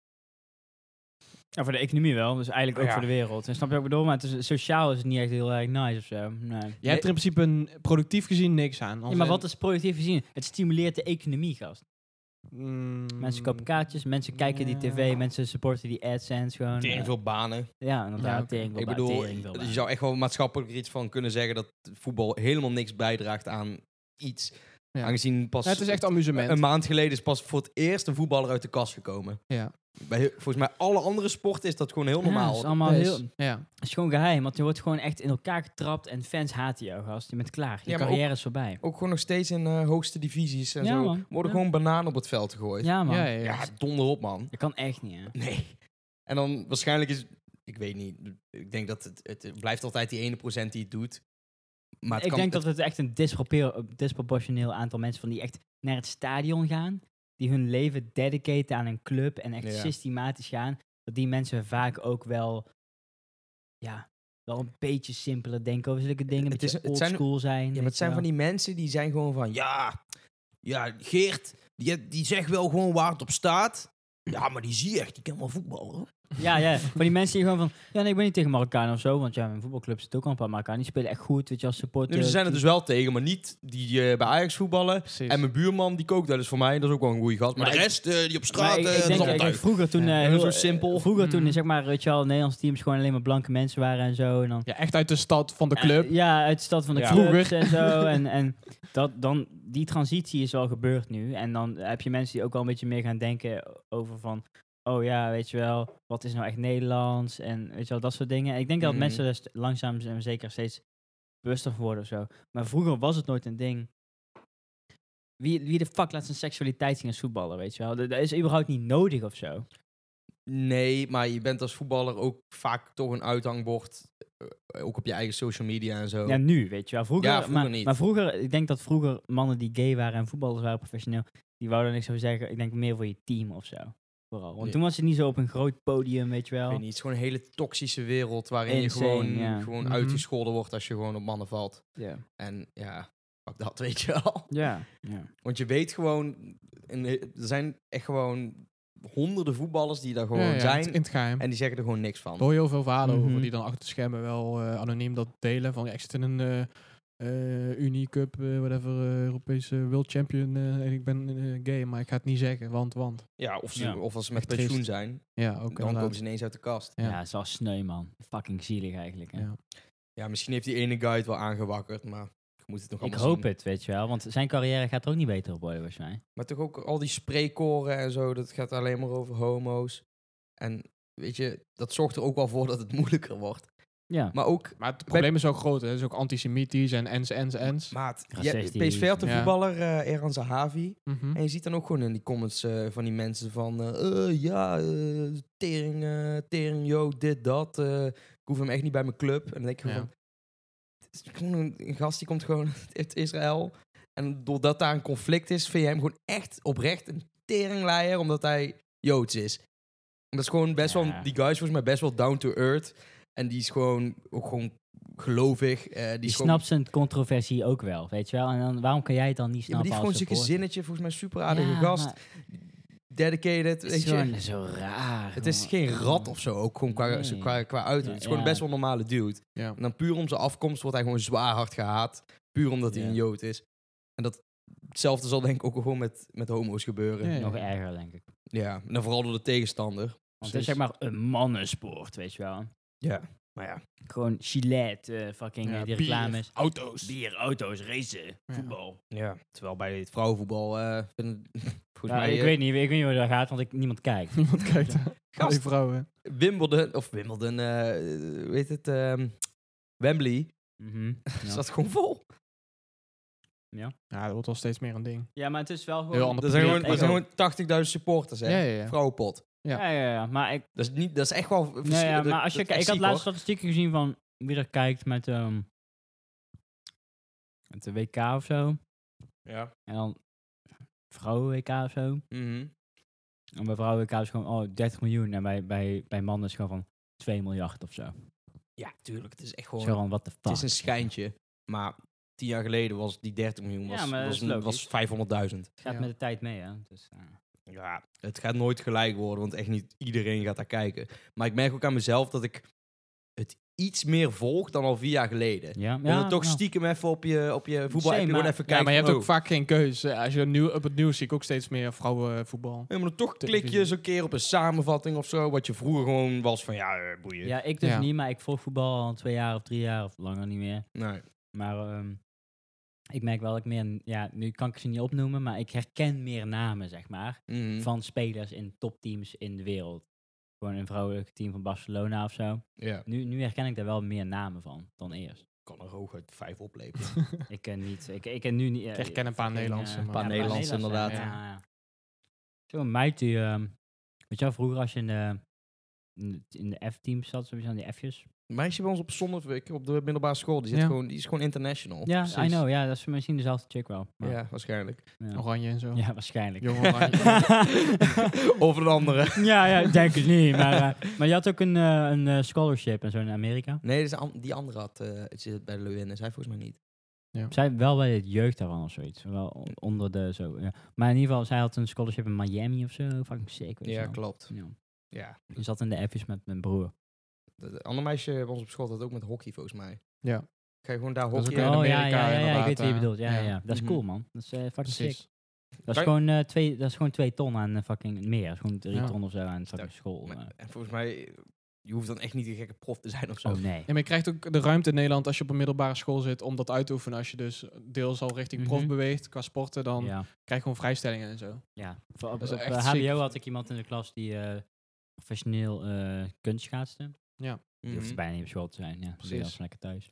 [SPEAKER 1] Ja, voor de economie wel, dus eigenlijk
[SPEAKER 2] Oh
[SPEAKER 1] ook
[SPEAKER 3] Ja.
[SPEAKER 1] voor de wereld. En snap je ook bedoel, maar het is, sociaal is het niet echt heel erg nice of zo. Nee.
[SPEAKER 2] Jij hebt er in principe een, productief gezien niks aan.
[SPEAKER 1] Ja, maar wat is productief gezien? Het stimuleert de economie, gast.
[SPEAKER 2] Mm.
[SPEAKER 1] Mensen kopen kaartjes, mensen kijken die tv,
[SPEAKER 2] Ja.
[SPEAKER 1] mensen supporten die AdSense gewoon.
[SPEAKER 2] eh,
[SPEAKER 3] Tering veel banen.
[SPEAKER 1] Ja, inderdaad.
[SPEAKER 2] Ja, oké.
[SPEAKER 1] tering,
[SPEAKER 3] Ik
[SPEAKER 1] wel
[SPEAKER 3] bedoel,
[SPEAKER 1] bij, tering, wel bij.
[SPEAKER 3] Dus je zou echt wel maatschappelijk er iets van kunnen zeggen dat voetbal helemaal niks bijdraagt aan iets.
[SPEAKER 2] Ja.
[SPEAKER 3] Aangezien pas
[SPEAKER 2] Ja, het is echt amusement.
[SPEAKER 3] een maand geleden is pas voor het eerst een voetballer uit de kast gekomen.
[SPEAKER 2] ja.
[SPEAKER 3] Bij, he- volgens mij alle andere sporten is dat gewoon heel
[SPEAKER 1] Ja, het
[SPEAKER 3] normaal.
[SPEAKER 1] is allemaal
[SPEAKER 2] Dus,
[SPEAKER 1] heel...
[SPEAKER 2] ja.
[SPEAKER 1] Het is gewoon geheim, want je wordt gewoon echt in elkaar getrapt en fans haten jou, gast. Je bent klaar. Je
[SPEAKER 3] Ja, maar
[SPEAKER 1] carrière is voorbij.
[SPEAKER 3] Ook gewoon nog steeds in eh, hoogste divisies en
[SPEAKER 1] Ja,
[SPEAKER 3] zo.
[SPEAKER 1] man.
[SPEAKER 3] Worden
[SPEAKER 1] Ja.
[SPEAKER 3] gewoon bananen op het veld gegooid.
[SPEAKER 1] Ja, man.
[SPEAKER 2] Ja, ja, ja.
[SPEAKER 3] Ja, donder op, man.
[SPEAKER 1] Dat kan echt niet, hè.
[SPEAKER 3] Nee. En dan waarschijnlijk is... Ik weet niet. Ik denk dat het, het blijft altijd die ene procent die het doet. Maar het
[SPEAKER 1] ik
[SPEAKER 3] kan,
[SPEAKER 1] denk dat het echt een dispropeer- een disproportioneel aantal mensen van die echt naar het stadion gaan, die hun leven dedicaten aan een club en echt
[SPEAKER 3] Ja.
[SPEAKER 1] systematisch gaan, dat die mensen vaak ook wel, ja, wel een beetje simpeler denken over zulke dingen,
[SPEAKER 3] Eh, Het
[SPEAKER 1] het
[SPEAKER 3] is-
[SPEAKER 1] beetje
[SPEAKER 3] het
[SPEAKER 1] old
[SPEAKER 3] zijn-
[SPEAKER 1] school zijn.
[SPEAKER 3] Ja, maar het zijn van die mensen die zijn gewoon van... Ja, ja Geert, die, die zegt wel gewoon waar het op staat. Ja, maar die zie je echt. Die kan wel voetballen. hoor.
[SPEAKER 1] Ja, ja, van die mensen die gewoon van, ja, nee, ik ben niet tegen Marokkaan of zo, want ja, mijn voetbalclub zit ook al een paar Marokkaan, die spelen echt goed, weet je, als supporter.
[SPEAKER 3] Nee, maar ze zijn er dus wel tegen, maar niet die eh, bij Ajax voetballen.
[SPEAKER 2] Precies.
[SPEAKER 3] En mijn buurman, die kookt wel eens voor mij. Dat is ook wel een goede gast. Maar,
[SPEAKER 1] Maar
[SPEAKER 3] de
[SPEAKER 1] ik-
[SPEAKER 3] rest, eh, die op
[SPEAKER 1] Maar ik,
[SPEAKER 3] straat, eh,
[SPEAKER 1] ik
[SPEAKER 3] dat is
[SPEAKER 1] denk,
[SPEAKER 3] allemaal
[SPEAKER 1] kijk,
[SPEAKER 3] tuig.
[SPEAKER 1] vroeger toen, eh,
[SPEAKER 3] Ja,
[SPEAKER 1] heel,
[SPEAKER 3] zo simpel.
[SPEAKER 1] vroeger toen,
[SPEAKER 2] Mhm.
[SPEAKER 1] zeg maar, weet je al, Nederlandse teams gewoon alleen maar blanke mensen waren en zo, en dan
[SPEAKER 2] ja, echt uit de stad, van de club.
[SPEAKER 1] Eh, ja, uit de stad van de
[SPEAKER 3] Ja.
[SPEAKER 1] clubs en zo. En, en dat, dan, die transitie is wel gebeurd nu. En dan heb je mensen die ook wel een beetje meer gaan denken over van... Oh ja, weet je wel, wat is nou echt Nederlands? En weet je wel, dat soort dingen. Ik denk dat
[SPEAKER 3] Mhm.
[SPEAKER 1] mensen er st- langzaam en zeker steeds bewuster van worden of zo. Maar vroeger was het nooit een ding. Wie, wie de fuck laat zijn seksualiteit zien als voetballer, weet je wel? Dat, dat is überhaupt niet nodig of zo.
[SPEAKER 3] Nee, maar je bent als voetballer ook vaak toch een uithangbord. eh, Ook op je eigen social media en zo.
[SPEAKER 1] Ja, nu, weet je wel. Vroeger,
[SPEAKER 3] Ja, vroeger
[SPEAKER 1] maar,
[SPEAKER 3] niet.
[SPEAKER 1] maar vroeger, ik denk dat vroeger mannen die gay waren en voetballers waren professioneel, die wouden niks zo zeggen. Ik denk meer voor je team of zo. Vooral. Want
[SPEAKER 3] Ja.
[SPEAKER 1] toen was het niet zo op een groot podium, weet je wel.
[SPEAKER 3] Ik weet niet, het is gewoon een hele toxische wereld waarin
[SPEAKER 1] Oh. Insane,
[SPEAKER 3] je gewoon,
[SPEAKER 1] ja.
[SPEAKER 3] gewoon
[SPEAKER 2] Mhm.
[SPEAKER 3] uitgescholden wordt als je gewoon op mannen valt.
[SPEAKER 1] Ja.
[SPEAKER 3] En ja, pak dat, weet je wel.
[SPEAKER 1] Ja. ja.
[SPEAKER 3] Want je weet gewoon, en er zijn echt gewoon honderden voetballers die daar gewoon
[SPEAKER 2] Ja, ja,
[SPEAKER 3] zijn.
[SPEAKER 2] In het geheim.
[SPEAKER 3] En die zeggen er gewoon niks van.
[SPEAKER 2] Er hoor je heel veel verhalen
[SPEAKER 1] Mhm.
[SPEAKER 2] over die dan achter de schermen wel eh, anoniem dat delen. Van ja, ik zit in een eh eh, Unie Cup, eh, whatever, eh, Europese World Champion eh, en ik ben eh, gay, maar ik ga het niet zeggen, want, want.
[SPEAKER 3] Ja, of, ze,
[SPEAKER 1] Ja.
[SPEAKER 3] of als ze met
[SPEAKER 2] Echt
[SPEAKER 3] pensioen
[SPEAKER 2] triest.
[SPEAKER 3] zijn,
[SPEAKER 2] Ja, ook
[SPEAKER 3] dan komen
[SPEAKER 2] inderdaad.
[SPEAKER 3] ze ineens uit de kast.
[SPEAKER 1] Ja,
[SPEAKER 2] Ja.
[SPEAKER 1] het is wel sneu, man. Fucking zielig eigenlijk. Hè?
[SPEAKER 2] Ja.
[SPEAKER 3] Ja, misschien heeft die ene guy het wel aangewakkerd, maar je moet het nog
[SPEAKER 1] Ik
[SPEAKER 3] allemaal
[SPEAKER 1] hoop
[SPEAKER 3] zien.
[SPEAKER 1] het, weet je wel. Want zijn carrière gaat er ook niet beter op worden, volgens mij.
[SPEAKER 3] Maar toch ook al die spreekkoren en zo, dat gaat alleen maar over homo's. En weet je, dat zorgt er ook wel voor dat het moeilijker wordt.
[SPEAKER 1] Ja.
[SPEAKER 3] Maar ook,
[SPEAKER 2] Maar het probleem is ook groot, hè. Het is ook antisemitisch en ens, ens, ens.
[SPEAKER 3] maat, je-
[SPEAKER 1] Racistisch.
[SPEAKER 3] PSV had een
[SPEAKER 2] Ja.
[SPEAKER 3] voetballer, eh Eran Zahavi.
[SPEAKER 2] Mhm.
[SPEAKER 3] En je ziet dan ook gewoon in die comments eh, van die mensen van... eh, eh, ja, eh, tering, eh, tering, yo, dit, dat. eh, ik hoef hem echt niet bij mijn club. En dan denk je
[SPEAKER 2] Ja.
[SPEAKER 3] gewoon... Het is gewoon een, een gast die komt gewoon uit Israël. En doordat daar een conflict is, vind je hem gewoon echt oprecht een teringleier. Omdat hij Joods is. En dat is gewoon best
[SPEAKER 1] Ja.
[SPEAKER 3] wel... Die guy is volgens mij best wel down to earth. En die is gewoon, ook gewoon gelovig. eh, die
[SPEAKER 1] Die
[SPEAKER 3] is gewoon,
[SPEAKER 1] snapt zijn controversie ook wel, weet je wel. En dan, waarom kan jij het dan niet
[SPEAKER 3] ja, maar
[SPEAKER 1] snappen
[SPEAKER 3] die heeft gewoon
[SPEAKER 1] als
[SPEAKER 3] zijn
[SPEAKER 1] supporter?
[SPEAKER 3] gezinnetje. Volgens mij een super aardige
[SPEAKER 1] Ja,
[SPEAKER 3] gast.
[SPEAKER 1] maar
[SPEAKER 3] Dedicated.
[SPEAKER 1] Het is
[SPEAKER 3] Weet je.
[SPEAKER 1] gewoon zo raar.
[SPEAKER 3] Het is
[SPEAKER 1] man.
[SPEAKER 3] geen rat of zo, ook gewoon qua,
[SPEAKER 1] Nee.
[SPEAKER 3] qua, qua uiterlijk. het is gewoon
[SPEAKER 1] Ja,
[SPEAKER 3] een
[SPEAKER 1] ja.
[SPEAKER 3] best wel een normale dude.
[SPEAKER 2] Ja.
[SPEAKER 3] En dan puur om zijn afkomst wordt hij gewoon zwaar hard gehaat. Puur omdat hij
[SPEAKER 1] Ja.
[SPEAKER 3] een jood is. En dat hetzelfde zal denk ik ook gewoon met, met homo's gebeuren.
[SPEAKER 2] Ja,
[SPEAKER 3] Ja.
[SPEAKER 2] ja.
[SPEAKER 1] Nog erger, denk ik.
[SPEAKER 3] en dan vooral door de tegenstander.
[SPEAKER 1] Want het is zeg maar een mannensport, weet je wel.
[SPEAKER 3] Ja, maar ja.
[SPEAKER 1] Gewoon Gillette, eh, fucking
[SPEAKER 2] Ja,
[SPEAKER 1] eh, die
[SPEAKER 2] bier,
[SPEAKER 1] reclames.
[SPEAKER 2] auto's.
[SPEAKER 1] Bier, auto's, racen,
[SPEAKER 2] Ja.
[SPEAKER 1] voetbal.
[SPEAKER 3] ja. Terwijl bij het vrouwenvoetbal, eh, vinden- volgens
[SPEAKER 1] Ja,
[SPEAKER 3] mij,
[SPEAKER 1] ik,
[SPEAKER 3] eh,
[SPEAKER 1] weet niet, ik weet niet hoe dat gaat, want ik, niemand kijkt.
[SPEAKER 2] Niemand kijkt aan. Al die
[SPEAKER 3] Gast.
[SPEAKER 2] vrouwen.
[SPEAKER 3] Wimbledon, of Wimbledon, eh, weet het, ehm, Wembley,
[SPEAKER 1] Mhm, ja.
[SPEAKER 3] zat gewoon vol.
[SPEAKER 2] Ja, dat wordt wel steeds meer een ding.
[SPEAKER 1] ja, maar het is wel gewoon...
[SPEAKER 2] Heel ander
[SPEAKER 3] Er zijn
[SPEAKER 2] publiek
[SPEAKER 3] gewoon, er
[SPEAKER 2] ook.
[SPEAKER 3] zijn gewoon 80.000 supporters, hè.
[SPEAKER 2] Ja, ja, ja.
[SPEAKER 3] Vrouwenpot.
[SPEAKER 2] ja.
[SPEAKER 1] Ja, ja, ja, maar ik,
[SPEAKER 3] Dat is, niet, dat is echt wel...
[SPEAKER 1] ja, ja, maar als je,
[SPEAKER 3] kijkt,
[SPEAKER 1] kijkt- ik had laatst statistieken gezien van wie er kijkt met, ehm met de WK of zo.
[SPEAKER 3] Ja.
[SPEAKER 1] En dan vrouwen-WK of zo.
[SPEAKER 3] Mhm.
[SPEAKER 1] En bij vrouwen-WK is gewoon oh, 30 miljoen. En bij, bij, bij mannen is gewoon van 2 miljard of zo.
[SPEAKER 3] Ja, tuurlijk. Het is echt
[SPEAKER 1] Zo
[SPEAKER 3] gewoon...
[SPEAKER 1] van, what the fuck.
[SPEAKER 3] het is een schijntje. Maar tien jaar geleden was die 30 miljoen was,
[SPEAKER 1] Ja, maar dat
[SPEAKER 3] was,
[SPEAKER 1] is
[SPEAKER 3] een-
[SPEAKER 1] logisch.
[SPEAKER 3] was 500.000.
[SPEAKER 1] Het gaat
[SPEAKER 2] Ja.
[SPEAKER 1] met de tijd mee, hè. Dus, eh.
[SPEAKER 3] Ja, het gaat nooit gelijk worden, want echt niet iedereen gaat daar kijken. Maar ik merk ook aan mezelf dat ik het iets meer volg dan al vier jaar geleden.
[SPEAKER 1] ja,
[SPEAKER 3] Ja,
[SPEAKER 1] ja,
[SPEAKER 3] toch
[SPEAKER 1] ja.
[SPEAKER 3] stiekem even op je, op je voetbal
[SPEAKER 1] Same,
[SPEAKER 3] heb je gewoon
[SPEAKER 1] maar-
[SPEAKER 3] even kijken.
[SPEAKER 2] Ja, maar je hebt
[SPEAKER 3] van,
[SPEAKER 2] ook
[SPEAKER 3] oh.
[SPEAKER 2] vaak geen keuze. Als je nieuw, op het nieuws zie ik ook steeds meer vrouwenvoetbal.
[SPEAKER 3] Ja, maar dan toch klik je
[SPEAKER 2] Televisie.
[SPEAKER 3] eens een keer op een samenvatting of zo, wat je vroeger gewoon was van ja, eh, boeien.
[SPEAKER 1] Ja, ik dus
[SPEAKER 2] Ja.
[SPEAKER 1] niet, maar ik volg voetbal al twee jaar of drie jaar of langer niet meer.
[SPEAKER 3] Nee.
[SPEAKER 1] Maar ehm, Ik merk wel dat ik meer, ja, nu kan ik ze niet opnoemen, maar ik herken meer namen, zeg maar,
[SPEAKER 3] Mhm.
[SPEAKER 2] Hm.
[SPEAKER 1] van spelers in topteams in de wereld. Gewoon een vrouwelijk team van Barcelona of zo.
[SPEAKER 3] Ja.
[SPEAKER 1] Nu, nu herken ik daar wel meer namen van dan eerst.
[SPEAKER 3] Kan er hooguit vijf opleveren.
[SPEAKER 1] Ik ken niet, ik, ik ken nu niet. eh,
[SPEAKER 2] Ik herken een paar
[SPEAKER 1] fucking,
[SPEAKER 2] Nederlandse,
[SPEAKER 1] eh,
[SPEAKER 2] maar- Een paar
[SPEAKER 3] Nederlandse,
[SPEAKER 1] Nederlandse,
[SPEAKER 2] inderdaad.
[SPEAKER 1] Ja, ja. Zo'n meid die, ehm weet je wel, vroeger als je in de, in de- in de F-team zat, sowieso aan die F'jes.
[SPEAKER 3] Een meisje bij ons op zondag op de middelbare school, die, zit
[SPEAKER 2] Ja.
[SPEAKER 3] gewoon, die is gewoon international.
[SPEAKER 1] Ja, I
[SPEAKER 2] precies.
[SPEAKER 1] know, ja, dat is misschien dezelfde chick wel. maar-
[SPEAKER 3] Ja, waarschijnlijk.
[SPEAKER 1] ja.
[SPEAKER 2] Oranje en zo.
[SPEAKER 1] Ja, waarschijnlijk.
[SPEAKER 2] Jong Oranje.
[SPEAKER 3] of een andere.
[SPEAKER 1] ja, ja, ik denk het niet. Maar, eh, maar je had ook een, eh, een eh, scholarship en zo in Amerika.
[SPEAKER 3] Nee, dus an- die andere had, eh, het zit bij de Lewin en zij volgens mij niet.
[SPEAKER 1] Zij wel bij het jeugd daarvan of zoiets. Wel on- onder de zo. Ja. Maar in ieder geval, zij had een scholarship in Miami of zo. Fucking sick. weet je wel.
[SPEAKER 3] klopt.
[SPEAKER 1] Ja.
[SPEAKER 3] Ja.
[SPEAKER 1] Je zat in de F's met mijn broer.
[SPEAKER 3] Het andere meisje bij ons op school had dat ook met hockey volgens mij.
[SPEAKER 2] Ja.
[SPEAKER 3] Ga je gewoon daar
[SPEAKER 2] Dat is
[SPEAKER 3] hockey
[SPEAKER 2] ook
[SPEAKER 3] en
[SPEAKER 2] een-
[SPEAKER 1] oh ja,
[SPEAKER 2] Amerika
[SPEAKER 1] ja, ja, ja, ik
[SPEAKER 2] inderdaad,
[SPEAKER 1] weet wie je
[SPEAKER 2] eh,
[SPEAKER 1] bedoelt. Ja, ja.
[SPEAKER 2] ja.
[SPEAKER 1] ja. Dat is
[SPEAKER 3] Mhm.
[SPEAKER 1] cool, man. Dat is eh, fucking sick.
[SPEAKER 2] Precies.
[SPEAKER 1] Dat
[SPEAKER 3] Kan je-
[SPEAKER 1] is, gewoon, eh, twee, dat is gewoon twee ton aan eh, fucking meer. Dat is gewoon drie
[SPEAKER 2] Ja.
[SPEAKER 1] ton of zo aan fucking school.
[SPEAKER 3] Maar-
[SPEAKER 1] eh.
[SPEAKER 3] En volgens mij, je hoeft dan echt niet een gekke prof te zijn of zo.
[SPEAKER 1] Oh nee.
[SPEAKER 2] Ja, maar je krijgt ook de ruimte in Nederland als je op een middelbare school zit om dat uit te oefenen. Als je dus deels al richting prof
[SPEAKER 1] Mhm.
[SPEAKER 2] beweegt qua sporten, dan
[SPEAKER 1] Ja.
[SPEAKER 2] krijg je gewoon vrijstellingen en zo.
[SPEAKER 1] Ja, voor- op,
[SPEAKER 2] Dat is
[SPEAKER 1] op,
[SPEAKER 2] echt
[SPEAKER 1] eh,
[SPEAKER 2] ziek.
[SPEAKER 1] HBO had ik iemand in de klas die eh, professioneel eh kunst schaatste. Die
[SPEAKER 3] Mhm.
[SPEAKER 1] hoeft bijna niet op school te zijn. Ja,
[SPEAKER 2] Precies.
[SPEAKER 1] precies. Dat lekker thuis.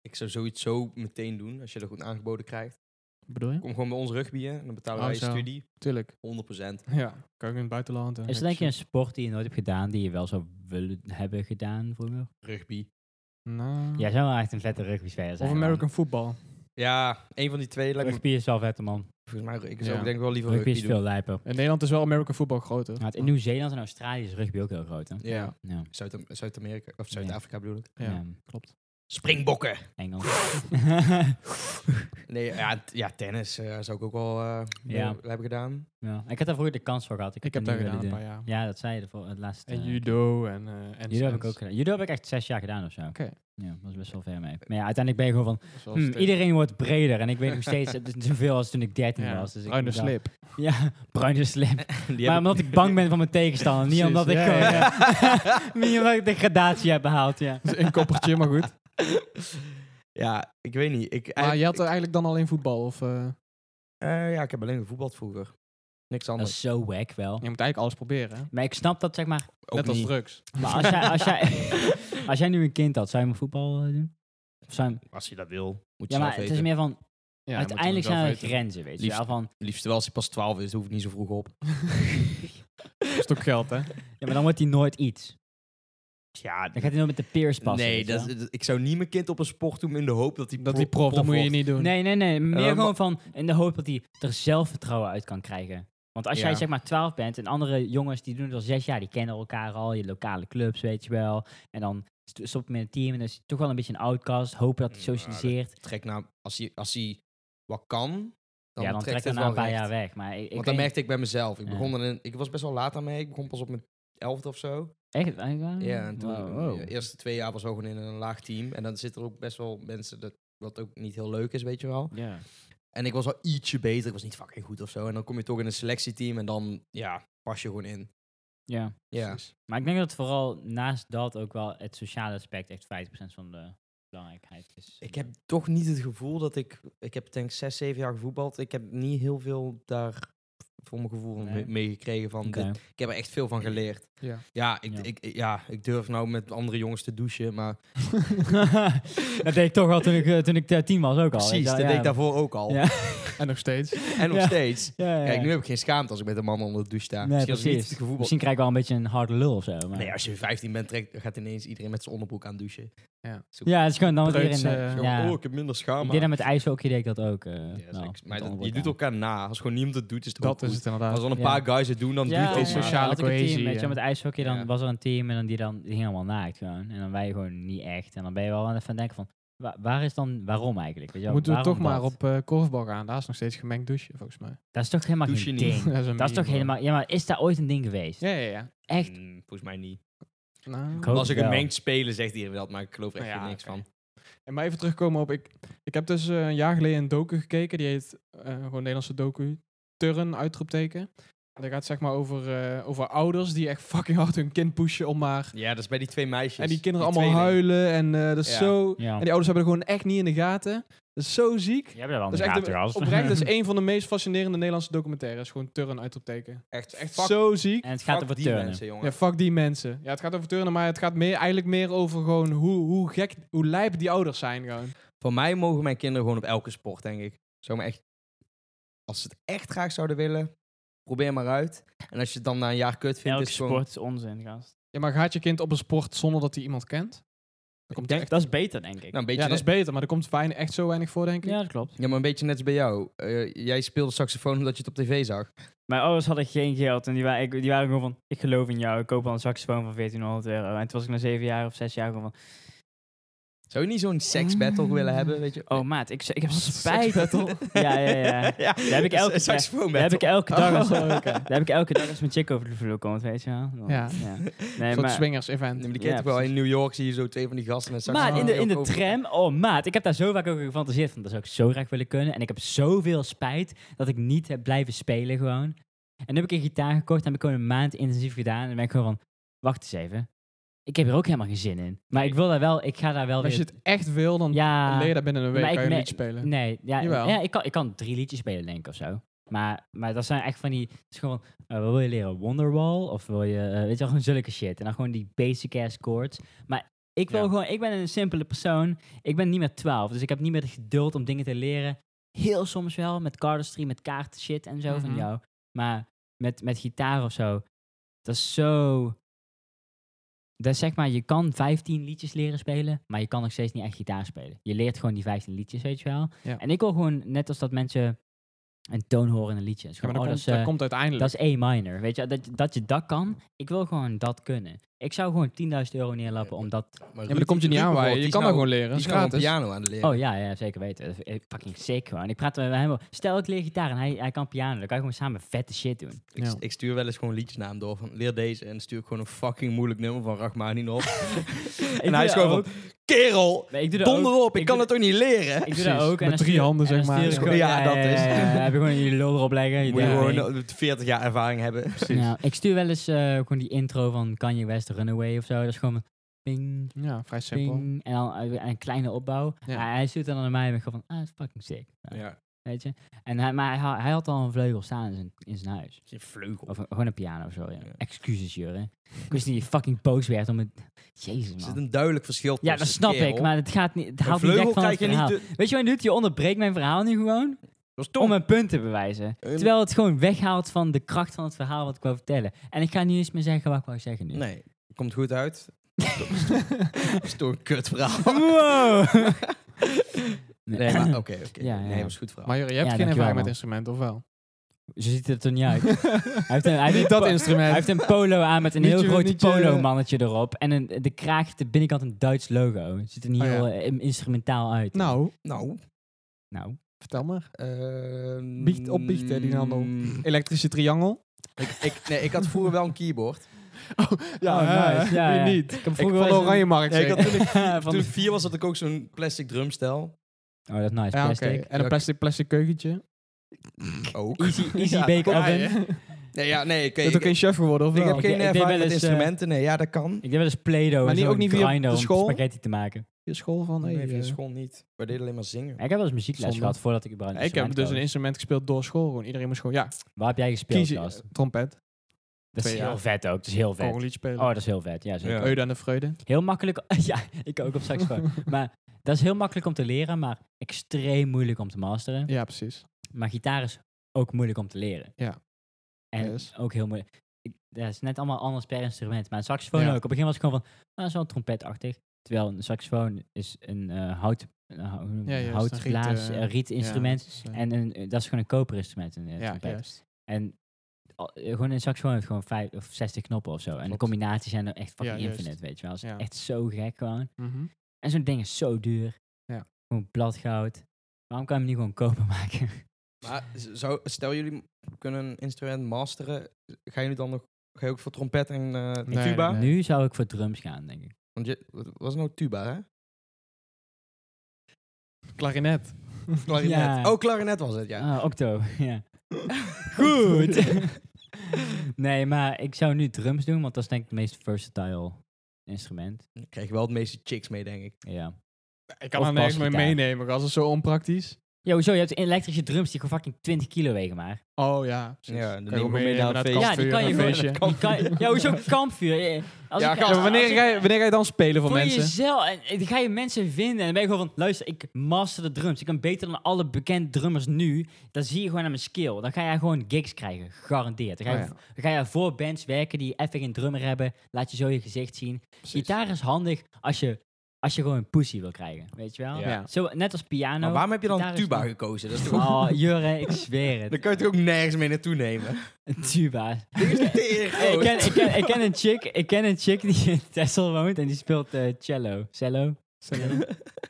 [SPEAKER 3] Ik zou zoiets zo meteen doen, als je dat goed aangeboden krijgt.
[SPEAKER 2] Bedoel je?
[SPEAKER 3] Kom gewoon bij ons rugbyen en dan betalen
[SPEAKER 2] Oh,
[SPEAKER 3] wij je
[SPEAKER 2] zo.
[SPEAKER 3] studie.
[SPEAKER 2] Tuurlijk.
[SPEAKER 3] 100%.
[SPEAKER 2] Ja, kan ook in het buitenland. en
[SPEAKER 1] Is er
[SPEAKER 2] zo.
[SPEAKER 1] denk je een sport die je nooit hebt gedaan, die je wel zou willen hebben gedaan vroeger?
[SPEAKER 3] Rugby.
[SPEAKER 2] Nou.
[SPEAKER 1] Jij zou wel echt een vette rugbyspeler zijn.
[SPEAKER 2] Of
[SPEAKER 1] man.
[SPEAKER 2] American football.
[SPEAKER 3] Ja, een van die twee lijkt me
[SPEAKER 1] Rugby is wel vetter, man.
[SPEAKER 3] volgens mij. Ik
[SPEAKER 2] Ja.
[SPEAKER 3] zou denk ik wel liever
[SPEAKER 1] Rugby
[SPEAKER 3] rugby,
[SPEAKER 1] is
[SPEAKER 3] doen.
[SPEAKER 1] veel lijper.
[SPEAKER 2] In Nederland is wel American football groter.
[SPEAKER 1] Maar in Nieuw-Zeeland en Australië is rugby ook heel groot, hè?
[SPEAKER 3] Ja.
[SPEAKER 2] Ja.
[SPEAKER 1] Ja.
[SPEAKER 3] Zuid- Zuid-Amerika, of Zuid-Afrika bedoel ik.
[SPEAKER 2] Ja.
[SPEAKER 1] Ehm,
[SPEAKER 3] Springbokken!
[SPEAKER 1] Engels.
[SPEAKER 3] Nee, ja, t- ja tennis eh, zou ik ook wel eh,
[SPEAKER 1] Ja.
[SPEAKER 3] willen hebben gedaan.
[SPEAKER 1] ja. Ik had daar vroeger de kans voor gehad. Ik,
[SPEAKER 2] Ik
[SPEAKER 1] had
[SPEAKER 2] heb
[SPEAKER 1] het
[SPEAKER 2] daar
[SPEAKER 1] niet
[SPEAKER 2] gedaan een
[SPEAKER 1] willen
[SPEAKER 2] paar
[SPEAKER 1] doen.
[SPEAKER 2] jaar.
[SPEAKER 1] Ja, dat zei je de vol- het laatste.
[SPEAKER 2] En
[SPEAKER 1] eh,
[SPEAKER 2] judo en... eh en
[SPEAKER 1] Judo heb ik ook gedaan. Judo heb ik echt zes jaar gedaan of zo.
[SPEAKER 2] Oké.
[SPEAKER 1] Ja, dat was best wel ver mee. Maar ja, uiteindelijk ben je gewoon van,
[SPEAKER 2] ook.
[SPEAKER 1] hmm, iedereen wordt breder. En ik weet nog steeds, het is zoveel als toen ik 13 was. Dus ik
[SPEAKER 2] bruine
[SPEAKER 1] moet wel-
[SPEAKER 2] slip.
[SPEAKER 1] Ja, bruine slip. maar
[SPEAKER 3] Die heb ik-
[SPEAKER 1] omdat ik bang ben van mijn tegenstander. niet
[SPEAKER 2] Precies,
[SPEAKER 1] omdat ik
[SPEAKER 2] ja,
[SPEAKER 1] gewoon,
[SPEAKER 2] ja.
[SPEAKER 1] eh, niet omdat ik de gradatie heb behaald, ja.
[SPEAKER 2] Dat is een koppertje, Dus maar goed.
[SPEAKER 3] ja, ik weet niet. Ik,
[SPEAKER 2] Maar je had
[SPEAKER 3] ik-
[SPEAKER 2] eigenlijk dan alleen voetbal? Of, eh,
[SPEAKER 3] eh, ja, ik heb alleen gevoetbald vroeger. Niks
[SPEAKER 1] Dat
[SPEAKER 3] anders.
[SPEAKER 1] is zo wack wel.
[SPEAKER 2] Je moet eigenlijk alles proberen. hè?
[SPEAKER 1] Maar ik snap dat, zeg maar.
[SPEAKER 3] Ook
[SPEAKER 2] Net als
[SPEAKER 3] niet.
[SPEAKER 2] drugs.
[SPEAKER 1] Maar als jij, als, jij, als jij nu een kind had, zou je maar voetbal eh, doen? Of zou je,
[SPEAKER 3] Als je dat wil, moet je
[SPEAKER 1] ja, maar
[SPEAKER 3] zelf
[SPEAKER 1] het
[SPEAKER 3] weten.
[SPEAKER 1] is meer van,
[SPEAKER 2] Ja,
[SPEAKER 1] uiteindelijk zijn er
[SPEAKER 2] we
[SPEAKER 1] grenzen, weet je
[SPEAKER 3] Liefst-
[SPEAKER 1] wel. Van,
[SPEAKER 3] Liefst wel als hij pas 12 is, hoef ik niet zo vroeg op.
[SPEAKER 2] Stuk geld, hè?
[SPEAKER 1] ja, maar dan wordt hij nooit iets.
[SPEAKER 3] Ja,
[SPEAKER 1] Dan gaat hij nooit met de peers passen.
[SPEAKER 3] nee,
[SPEAKER 1] weet je
[SPEAKER 3] dat,
[SPEAKER 1] wel.
[SPEAKER 3] is- dat- ik zou niet mijn kind op een sport doen in de hoop dat hij
[SPEAKER 2] Dat die prof, dat moet je
[SPEAKER 3] wordt.
[SPEAKER 2] niet doen.
[SPEAKER 1] Nee, nee, nee. Meer
[SPEAKER 3] Eh, maar-
[SPEAKER 1] gewoon van in de hoop dat hij er zelfvertrouwen uit kan krijgen. Want als jij
[SPEAKER 3] Ja.
[SPEAKER 1] zeg maar 12 bent en andere jongens die doen het al zes jaar, die kennen elkaar al, je lokale clubs, weet je wel. En dan st- stopt hij met het team en dan is hij toch wel een beetje een outcast, hopen dat hij
[SPEAKER 3] Ja, dat-
[SPEAKER 1] socialiseert.
[SPEAKER 3] Trek nou, als hij, als hij wat kan, dan,
[SPEAKER 1] ja, dan
[SPEAKER 3] trekt
[SPEAKER 1] trekt
[SPEAKER 3] het
[SPEAKER 1] hij na
[SPEAKER 3] wel
[SPEAKER 1] een paar
[SPEAKER 3] recht.
[SPEAKER 1] jaar weg. Maar ik, ik
[SPEAKER 3] Want dat
[SPEAKER 1] weet-
[SPEAKER 3] merkte ik bij mezelf. Ik,
[SPEAKER 1] Ja.
[SPEAKER 3] begon er in, ik was best wel laat aan mee. Ik begon pas op mijn elfde of zo.
[SPEAKER 1] Echt? Ah,
[SPEAKER 3] Ja, en toen,
[SPEAKER 1] wow,
[SPEAKER 3] eh,
[SPEAKER 1] wow.
[SPEAKER 3] de eerste twee jaar was ook gewoon in een laag team. En dan zitten er ook best wel mensen dat, wat ook niet heel leuk is, weet je wel.
[SPEAKER 1] Ja.
[SPEAKER 3] En ik was al ietsje beter. Ik was niet fucking goed of zo. En dan kom je toch in een selectieteam en dan, ja, pas je gewoon in.
[SPEAKER 1] ja.
[SPEAKER 3] Ja,
[SPEAKER 2] Precies.
[SPEAKER 1] Maar ik denk dat vooral naast dat ook wel het sociale aspect echt 50% van de belangrijkheid is.
[SPEAKER 3] ik heb toch niet het gevoel dat ik... Ik heb denk ik zes, zeven jaar gevoetbald. Ik heb niet heel veel daar voor mijn gevoel van
[SPEAKER 1] Nee.
[SPEAKER 3] mee- meegekregen. van
[SPEAKER 1] Oké.
[SPEAKER 3] dit- ik heb er echt veel van geleerd.
[SPEAKER 2] Ja.
[SPEAKER 3] Ja ik,
[SPEAKER 1] Ja.
[SPEAKER 3] Ik, ik- ja, ik durf nou met andere jongens te douchen, maar...
[SPEAKER 1] dat deed ik toch al toen ik, eh, toen ik eh, tien was ook al. weet je
[SPEAKER 3] Precies,
[SPEAKER 1] wel,
[SPEAKER 3] dat
[SPEAKER 1] ja.
[SPEAKER 3] deed ik daarvoor ook al.
[SPEAKER 1] Ja.
[SPEAKER 2] En nog steeds.
[SPEAKER 3] En nog
[SPEAKER 1] Ja.
[SPEAKER 3] steeds.
[SPEAKER 1] Ja, ja,
[SPEAKER 3] Kijk,
[SPEAKER 1] ja.
[SPEAKER 3] nu heb ik geen schaamte als ik met een man onder de douche sta.
[SPEAKER 1] Nee,
[SPEAKER 3] Misschien als ik niet
[SPEAKER 1] precies.
[SPEAKER 3] het gevoel
[SPEAKER 1] Misschien krijg ik wel een beetje een harde lul of zo. Maar...
[SPEAKER 3] Nee, als je 15 bent, trekt, gaat ineens iedereen met zijn onderbroek aan douchen.
[SPEAKER 1] ja, het is gewoon dan wordt
[SPEAKER 2] Preuts,
[SPEAKER 1] iedereen... eh,
[SPEAKER 2] eh,
[SPEAKER 3] Zo,
[SPEAKER 1] ja.
[SPEAKER 3] Oh, ik heb minder schaamte.
[SPEAKER 1] Ik deed dat met ijshockey, deed ik dat ook. eh,
[SPEAKER 3] Ja, dat is
[SPEAKER 1] wel,
[SPEAKER 3] niks.
[SPEAKER 1] met
[SPEAKER 3] maar dat, je
[SPEAKER 1] onderbroek
[SPEAKER 3] doet
[SPEAKER 1] aan.
[SPEAKER 3] elkaar na. Als gewoon niemand het doet, is het ook
[SPEAKER 2] Dat is
[SPEAKER 3] goed.
[SPEAKER 2] het inderdaad.
[SPEAKER 3] Als dan een
[SPEAKER 1] Ja.
[SPEAKER 3] paar guys het doen, dan
[SPEAKER 1] Ja, ja,
[SPEAKER 3] doet het maar.
[SPEAKER 2] sociaal. sociale
[SPEAKER 1] had ik een team,
[SPEAKER 2] cohesie,
[SPEAKER 1] weet je,
[SPEAKER 2] ja.
[SPEAKER 1] met ijshockey dan
[SPEAKER 3] Ja.
[SPEAKER 1] was er een team en dan die dan die ging helemaal naakt gewoon. En dan wij gewoon niet echt. En dan ben je wel aan het van denken van, wa- waar is dan, waarom eigenlijk? Weet je wel,
[SPEAKER 2] Moeten we toch
[SPEAKER 1] waarom
[SPEAKER 2] maar
[SPEAKER 1] dat?
[SPEAKER 2] op eh korfbal gaan. Daar is nog steeds gemengd douchen, volgens mij.
[SPEAKER 1] Dat is toch helemaal
[SPEAKER 3] Douche
[SPEAKER 1] geen
[SPEAKER 3] je niet.
[SPEAKER 1] ding.
[SPEAKER 2] dat is, een
[SPEAKER 1] Dat is toch
[SPEAKER 2] meme, hoor.
[SPEAKER 1] helemaal... Ja, maar is daar ooit een ding geweest?
[SPEAKER 2] Ja, ja, ja.
[SPEAKER 1] Echt?
[SPEAKER 3] Mm, volgens mij niet.
[SPEAKER 2] Nou.
[SPEAKER 1] Ik hoop
[SPEAKER 3] als ik
[SPEAKER 1] het
[SPEAKER 3] een
[SPEAKER 1] wel.
[SPEAKER 3] mengt spelen, zegt iedereen dat, maar ik geloof er echt
[SPEAKER 2] Nou ja,
[SPEAKER 3] niks
[SPEAKER 2] oké.
[SPEAKER 3] van.
[SPEAKER 2] En maar even terugkomen op... Ik, ik heb dus eh, een jaar geleden een docu gekeken. Die heet eh, gewoon Nederlandse docu. Turn, uitroepteken. En dat gaat zeg maar over, eh, over ouders die echt fucking hard hun kind pushen om maar...
[SPEAKER 3] Ja, dat is bij die twee meisjes.
[SPEAKER 2] En die kinderen allemaal
[SPEAKER 3] tweeling.
[SPEAKER 2] huilen en eh, dat is
[SPEAKER 3] Ja.
[SPEAKER 2] zo...
[SPEAKER 1] Ja.
[SPEAKER 2] En die ouders hebben er gewoon echt niet in de gaten. Dat is zo ziek.
[SPEAKER 1] Je hebt er wel
[SPEAKER 2] Dat
[SPEAKER 1] een
[SPEAKER 2] is dus echt
[SPEAKER 1] gaten
[SPEAKER 2] de,
[SPEAKER 1] gehad.
[SPEAKER 2] oprecht, dat is een van de meest fascinerende Nederlandse documentaires. Gewoon Turn uitroepteken.
[SPEAKER 3] Echt, echt fuck,
[SPEAKER 2] Zo ziek.
[SPEAKER 1] En het gaat
[SPEAKER 3] fuck
[SPEAKER 1] over
[SPEAKER 3] die
[SPEAKER 1] turnen.
[SPEAKER 3] mensen, jongen.
[SPEAKER 2] Ja, fuck die mensen. Ja, het gaat over turnen, maar het gaat meer, eigenlijk meer over gewoon hoe, hoe gek, hoe lijp die ouders zijn gewoon.
[SPEAKER 3] Voor mij mogen mijn kinderen gewoon op elke sport, denk ik. Zomaar echt. Als ze het echt graag zouden willen, probeer maar uit. En als je het dan na een jaar kut vindt,
[SPEAKER 1] Elke
[SPEAKER 3] is het gewoon...
[SPEAKER 1] sport is onzin, gast.
[SPEAKER 2] Ja, maar gaat je kind op een sport zonder dat hij iemand kent? Dan komt
[SPEAKER 1] Ik
[SPEAKER 2] er
[SPEAKER 1] denk,
[SPEAKER 2] echt-
[SPEAKER 1] dat is beter, denk ik.
[SPEAKER 3] Nou, een beetje
[SPEAKER 2] ja, dat is
[SPEAKER 3] net,
[SPEAKER 2] beter, maar er komt weinig, echt zo weinig voor, denk ik.
[SPEAKER 1] ja, dat klopt.
[SPEAKER 3] ja, maar een beetje net als bij jou. Eh, jij speelde saxofoon omdat je het op tv zag.
[SPEAKER 1] Mijn ouders hadden geen geld en die waren, die waren gewoon van, ik geloof in jou, ik koop al een saxofoon van 1400 euro. En toen was ik na zeven jaar of zes jaar gewoon van, "Mm."
[SPEAKER 3] Zou je niet zo'n seksbattle willen hebben, weet je?
[SPEAKER 1] oh maat, ik, ik heb spijt. Ja, ja, ja. Daar heb ik
[SPEAKER 3] een
[SPEAKER 1] elke-
[SPEAKER 3] saxofoon
[SPEAKER 1] Daar heb ik elke dag als,
[SPEAKER 2] Oh, oké.
[SPEAKER 1] daar heb ik elke dag als mijn chick over de vloer komt, weet je wel. Dan-
[SPEAKER 2] Ja.
[SPEAKER 1] Nee,
[SPEAKER 2] Een soort
[SPEAKER 1] maar,
[SPEAKER 2] swingers-event.
[SPEAKER 3] Die kent
[SPEAKER 1] Ja,
[SPEAKER 3] ook wel in New York, zie je zo twee van die gasten met saxofoon.
[SPEAKER 1] maat, in de, in de
[SPEAKER 3] Ook over-
[SPEAKER 1] tram, oh maat, ik heb daar zo vaak over gefantaseerd van, dat zou ik zo graag willen kunnen. En ik heb zoveel spijt dat ik niet heb blijven spelen gewoon. En toen heb ik een gitaar gekocht en heb ik gewoon een maand intensief gedaan. En dan ben ik gewoon van, wacht eens even. Ik heb er ook helemaal geen zin in. Maar ik wil daar wel, ik ga daar wel
[SPEAKER 2] Als je
[SPEAKER 1] weer...
[SPEAKER 2] het echt wil, dan
[SPEAKER 1] Ja.
[SPEAKER 2] leer je dat binnen een week,
[SPEAKER 1] Maar ik
[SPEAKER 2] kan je een
[SPEAKER 1] me-
[SPEAKER 2] liedje spelen.
[SPEAKER 1] Nee, ja,
[SPEAKER 2] Jawel.
[SPEAKER 1] ja ik, kan, ik kan drie liedjes spelen, denk ik, of zo. Maar, maar dat zijn echt van die... Het is gewoon, eh, wil je leren Wonderwall? Of wil je, eh, weet je wel, gewoon zulke shit. En dan gewoon die basic ass chords. Maar ik wil
[SPEAKER 3] Ja.
[SPEAKER 1] gewoon... Ik ben een simpele persoon. Ik ben niet meer twaalf, dus ik heb niet meer het geduld om dingen te leren. Heel soms wel, met cardistry, met kaarten shit en zo van
[SPEAKER 2] Mhm.
[SPEAKER 1] jou. Maar met, met gitaar of zo, dat is zo... Dat is zeg maar, je kan 15 liedjes leren spelen, maar je kan nog steeds niet echt gitaar spelen. Je leert gewoon die 15 liedjes, weet je wel.
[SPEAKER 2] Ja.
[SPEAKER 1] En ik wil gewoon, net als dat mensen een toon horen in een liedje. Dus
[SPEAKER 2] Ja, maar
[SPEAKER 1] gewoon,
[SPEAKER 2] dat, komt,
[SPEAKER 1] oh, dat, is, eh,
[SPEAKER 2] dat komt uiteindelijk.
[SPEAKER 1] dat is A minor, weet je, dat, je- dat je dat kan. Ik wil gewoon dat kunnen. Ik zou gewoon 10.000 euro neerlappen om dat...
[SPEAKER 3] Maar
[SPEAKER 2] ja, maar dan komt je niet aan Je kan dat gewoon leren. Dat is
[SPEAKER 3] Die is nou
[SPEAKER 2] gratis.
[SPEAKER 3] gewoon piano aan het leren.
[SPEAKER 1] Oh ja, ja, zeker weten. Dat is eh, Fucking sick gewoon. Ik praat met hem over. Stel, ik leer gitaar en hij, hij kan piano. Dan kan je gewoon samen vette shit doen.
[SPEAKER 3] Ik,
[SPEAKER 2] Ja.
[SPEAKER 3] ik stuur wel eens gewoon liedjesnaam door van leer deze en stuur ik gewoon een fucking moeilijk nummer van Rachmaninoff. en hij is gewoon van, kerel,
[SPEAKER 1] Nee, ik doe dat ook.
[SPEAKER 3] donder op, ik,
[SPEAKER 1] ik
[SPEAKER 3] kan
[SPEAKER 1] doe-
[SPEAKER 3] het toch niet leren?
[SPEAKER 1] Ik doe dat
[SPEAKER 2] Precies,
[SPEAKER 1] ook.
[SPEAKER 2] met
[SPEAKER 1] dan
[SPEAKER 2] drie
[SPEAKER 1] stuur-
[SPEAKER 2] handen,
[SPEAKER 1] en dan
[SPEAKER 2] zeg maar.
[SPEAKER 1] stuur ik
[SPEAKER 2] Ja,
[SPEAKER 1] gewoon-
[SPEAKER 3] ja, dat is-
[SPEAKER 1] ja, ja. Heb je gewoon je lul erop leggen. Je
[SPEAKER 3] Moet je
[SPEAKER 1] doet
[SPEAKER 3] gewoon
[SPEAKER 1] ding.
[SPEAKER 3] eh, 40 jaar ervaring hebben.
[SPEAKER 1] Ja, ik stuur wel eens eh, gewoon die intro van Kanye West, Runaway of zo. Dat is gewoon een ping,
[SPEAKER 2] Ja, vrij simpel.
[SPEAKER 1] ping. En dan eh, weer een kleine opbouw.
[SPEAKER 2] Ja.
[SPEAKER 1] Hij- hij stuurt dan naar mij en ik gewoon van, ah, dat is fucking sick. Nou,
[SPEAKER 3] Ja,
[SPEAKER 1] Weet je? En hij, maar hij, ha- hij had al een vleugel staan in zijn, in zijn huis.
[SPEAKER 3] je vleugel.
[SPEAKER 1] Of een- gewoon een piano, sorry.
[SPEAKER 3] Ja.
[SPEAKER 1] Excuses, Jure. Ik wist niet dat je fucking boos werd om het... Jezus,
[SPEAKER 3] Er zit
[SPEAKER 1] man.
[SPEAKER 3] een duidelijk verschil tussen.
[SPEAKER 1] Ja, dat snap
[SPEAKER 3] kerel.
[SPEAKER 1] ik, maar het gaat niet... Het
[SPEAKER 3] Een
[SPEAKER 1] haalt niet
[SPEAKER 3] vleugel
[SPEAKER 1] weg van
[SPEAKER 3] krijg
[SPEAKER 1] het
[SPEAKER 3] je niet...
[SPEAKER 1] verhaal.
[SPEAKER 3] te-
[SPEAKER 1] Weet je wat je doet? Je onderbreekt mijn verhaal nu gewoon
[SPEAKER 3] Dat was
[SPEAKER 1] om
[SPEAKER 3] Tom.
[SPEAKER 1] een punt te bewijzen.
[SPEAKER 3] Een-
[SPEAKER 1] Terwijl het gewoon weghaalt van de kracht van het verhaal wat ik wou vertellen. En ik ga niet eens meer zeggen wat ik wou zeggen nu.
[SPEAKER 3] Nee, komt goed uit. Dat is toch een kut verhaal.
[SPEAKER 1] Wow!
[SPEAKER 3] Nee, maar oké, oké.
[SPEAKER 1] Ja, ja.
[SPEAKER 3] Nee, dat was een goed verhaal.
[SPEAKER 2] Maar Jure, je hebt
[SPEAKER 1] Ja,
[SPEAKER 2] geen
[SPEAKER 1] dankjewel,
[SPEAKER 2] ervaring met
[SPEAKER 1] man.
[SPEAKER 2] instrumenten, of wel?
[SPEAKER 1] Zo ziet het er niet uit. hij heeft een, hij heeft
[SPEAKER 2] Niet
[SPEAKER 1] een
[SPEAKER 2] dat
[SPEAKER 1] po-
[SPEAKER 2] instrument.
[SPEAKER 1] Hij heeft een polo aan met een
[SPEAKER 2] Niet
[SPEAKER 1] heel
[SPEAKER 2] je-
[SPEAKER 1] groot
[SPEAKER 2] niet je-
[SPEAKER 1] polo-mannetje erop. En een, de kraag, heeft de binnenkant een Duits logo. Ziet er niet
[SPEAKER 2] Oh, ja.
[SPEAKER 1] heel eh, im- instrumentaal uit.
[SPEAKER 2] Nou,
[SPEAKER 3] Nou,
[SPEAKER 1] Nou,
[SPEAKER 2] vertel maar.
[SPEAKER 3] ehm,
[SPEAKER 2] Biecht op biecht, hè, die handel. Elektrische triangel.
[SPEAKER 3] ik, ik, nee, ik had vroeger wel een keyboard.
[SPEAKER 1] Ja,
[SPEAKER 2] hè,
[SPEAKER 1] nice. Ja,
[SPEAKER 2] wie
[SPEAKER 1] ja.
[SPEAKER 2] niet.
[SPEAKER 1] ik heb
[SPEAKER 2] Ik
[SPEAKER 1] vroeger
[SPEAKER 2] van de
[SPEAKER 1] wel eens
[SPEAKER 2] oranje
[SPEAKER 1] een-
[SPEAKER 2] markt,
[SPEAKER 3] Ja, ik had toen ik,
[SPEAKER 1] van
[SPEAKER 3] toen ik
[SPEAKER 1] de-
[SPEAKER 3] vier was, had ik ook zo'n plastic drumstel.
[SPEAKER 1] Oh, dat is nice.
[SPEAKER 2] Ja, oké.
[SPEAKER 1] Plastic.
[SPEAKER 2] En een plastic, plastic Ah, keukentje.
[SPEAKER 3] Ook.
[SPEAKER 1] Easy, easy
[SPEAKER 3] Ja,
[SPEAKER 1] bake
[SPEAKER 3] kom maar,
[SPEAKER 1] oven.
[SPEAKER 3] hè. Nee, ja, nee, ik,
[SPEAKER 2] Je
[SPEAKER 3] ik,
[SPEAKER 2] bent ook geen chef geworden, of
[SPEAKER 3] ik
[SPEAKER 2] wel?
[SPEAKER 3] heb
[SPEAKER 1] Ik-
[SPEAKER 3] geen
[SPEAKER 1] ik deed wel
[SPEAKER 3] ervaring met
[SPEAKER 1] eens, eh,
[SPEAKER 3] instrumenten. Nee, ja, dat kan.
[SPEAKER 1] Ik deed wel eens Play-Doh
[SPEAKER 2] Maar
[SPEAKER 1] en
[SPEAKER 2] niet-
[SPEAKER 1] zo
[SPEAKER 2] ook niet via
[SPEAKER 1] grinder
[SPEAKER 2] de
[SPEAKER 1] om
[SPEAKER 2] school?
[SPEAKER 1] spaghetti te maken.
[SPEAKER 2] Je school van...
[SPEAKER 3] Nee,
[SPEAKER 2] hey,
[SPEAKER 3] via
[SPEAKER 2] eh,
[SPEAKER 3] school niet. We deden alleen maar zingen.
[SPEAKER 1] Ik heb wel eens muziekles
[SPEAKER 2] Zonde.
[SPEAKER 1] gehad voordat ik überhaupt
[SPEAKER 2] Ik heb
[SPEAKER 1] instrument
[SPEAKER 2] dus een
[SPEAKER 1] koos.
[SPEAKER 2] instrument gespeeld door school. Gewoon iedereen moest gewoon, ja,
[SPEAKER 1] Waar heb jij gespeeld,
[SPEAKER 2] kiezen.
[SPEAKER 1] Gast?
[SPEAKER 2] Trompet.
[SPEAKER 1] Dat is
[SPEAKER 2] Twee
[SPEAKER 1] heel
[SPEAKER 2] jaar.
[SPEAKER 1] vet ook. Dat is heel vet.
[SPEAKER 2] Gewoon lied spelen.
[SPEAKER 1] Oh, dat is heel vet. Ja, zeker.
[SPEAKER 3] Ja.
[SPEAKER 2] Eude en de Freude.
[SPEAKER 1] Heel makkelijk. Ja, ik ook op saxofoon. maar dat is heel makkelijk om te leren, maar extreem moeilijk om te masteren.
[SPEAKER 2] Ja, precies.
[SPEAKER 1] Maar gitaar is ook moeilijk om te leren.
[SPEAKER 2] Ja.
[SPEAKER 1] En
[SPEAKER 2] Yes.
[SPEAKER 1] ook heel moeilijk. Ik- Dat is net allemaal anders per instrument. Maar een saxofoon
[SPEAKER 2] Ja.
[SPEAKER 1] ook. Op het begin was ik gewoon van, ah, dat is wel trompetachtig. Terwijl een saxofoon is een eh, hout, een hou- een
[SPEAKER 2] Ja, juist, een riet,
[SPEAKER 1] houtblaas,
[SPEAKER 2] eh,
[SPEAKER 1] eh, rietinstrument.
[SPEAKER 2] Ja, dat is, eh,
[SPEAKER 1] En een, eh, dat is gewoon een koper instrument, een eh,
[SPEAKER 2] ja,
[SPEAKER 1] trompet.
[SPEAKER 2] juist.
[SPEAKER 1] En al- eh, gewoon een saxofoon heeft gewoon vijf of 60 knoppen of zo. En de
[SPEAKER 2] Klopt.
[SPEAKER 1] combinaties zijn er echt fucking
[SPEAKER 2] juist.
[SPEAKER 1] infinite, weet je wel. Dat is
[SPEAKER 2] Ja.
[SPEAKER 1] echt zo gek gewoon.
[SPEAKER 2] Mhm.
[SPEAKER 1] En zo'n ding is zo duur.
[SPEAKER 2] Ja.
[SPEAKER 1] Gewoon bladgoud. Waarom kan je hem niet gewoon koper maken?
[SPEAKER 3] Maar z- zou, stel jullie m- kunnen een instrument masteren, gaan jullie dan nog ga je ook voor trompet en eh,
[SPEAKER 2] Nee,
[SPEAKER 3] tuba?
[SPEAKER 2] nee, nee.
[SPEAKER 1] Nu zou ik voor drums gaan, denk ik.
[SPEAKER 3] Want je, wat was nou tuba, hè?
[SPEAKER 2] Klarinet.
[SPEAKER 3] Klarinet.
[SPEAKER 1] Ja.
[SPEAKER 3] Oh, klarinet was het, ja.
[SPEAKER 1] Ah, octo, ja. Goed! nee, maar ik zou nu drums doen, want dat is denk ik het meest versatile instrument.
[SPEAKER 3] Dan krijg je wel het meeste chicks mee, denk ik.
[SPEAKER 1] Ja.
[SPEAKER 2] Ik kan
[SPEAKER 1] Of
[SPEAKER 2] er nergens mee
[SPEAKER 1] basgitaar.
[SPEAKER 2] meenemen, als het zo onpraktisch.
[SPEAKER 1] Ja, hoezo? Je hebt elektrische drums die gewoon fucking 20 kilo wegen maar.
[SPEAKER 2] Oh ja, precies.
[SPEAKER 4] Ja, dan
[SPEAKER 2] Kan je
[SPEAKER 4] neem je
[SPEAKER 2] ook
[SPEAKER 4] mee naar een
[SPEAKER 2] het
[SPEAKER 4] feest.
[SPEAKER 1] Ja, die
[SPEAKER 2] kampvuur,
[SPEAKER 1] kan
[SPEAKER 2] een
[SPEAKER 1] je gewoon-
[SPEAKER 2] feestje.
[SPEAKER 1] Die kan- ja, hoezo? Kampvuur. eh. Als
[SPEAKER 2] Ja,
[SPEAKER 1] ik-
[SPEAKER 2] kan-
[SPEAKER 1] als-
[SPEAKER 2] maar wanneer,
[SPEAKER 1] als ik-
[SPEAKER 2] ga je, wanneer ga je dan spelen voor,
[SPEAKER 1] voor
[SPEAKER 2] mensen?
[SPEAKER 1] jezelf. En, en dan ga je mensen vinden. En dan ben je gewoon van, luister, ik master de drums. Ik kan beter dan alle bekende drummers nu. Dan zie je gewoon aan mijn skill. Dan ga jij gewoon gigs krijgen, gegarandeerd. Dan ga, je,
[SPEAKER 2] Oh ja,
[SPEAKER 1] dan ga je voor bands werken die even een drummer hebben. Laat je zo je gezicht zien.
[SPEAKER 2] precies.
[SPEAKER 1] Gitaar is handig als je, als je gewoon een pussy wil krijgen, weet je wel?
[SPEAKER 2] Ja.
[SPEAKER 1] Zo, net als piano.
[SPEAKER 3] Maar waarom heb je
[SPEAKER 1] Nou, gitaar
[SPEAKER 3] dan
[SPEAKER 1] is
[SPEAKER 3] tuba
[SPEAKER 1] niet-
[SPEAKER 3] gekozen? Dat is toch ook-
[SPEAKER 1] Oh, Jure, ik zweer het.
[SPEAKER 3] Daar kan je toch ook nergens mee naartoe nemen?
[SPEAKER 1] Een tuba.
[SPEAKER 3] Dit is teer
[SPEAKER 1] Hey, ik,
[SPEAKER 3] groot.
[SPEAKER 1] ken, ik, ken, ik, ken een chick, ik ken een chick die in Texel woont en die speelt eh, cello. Cello?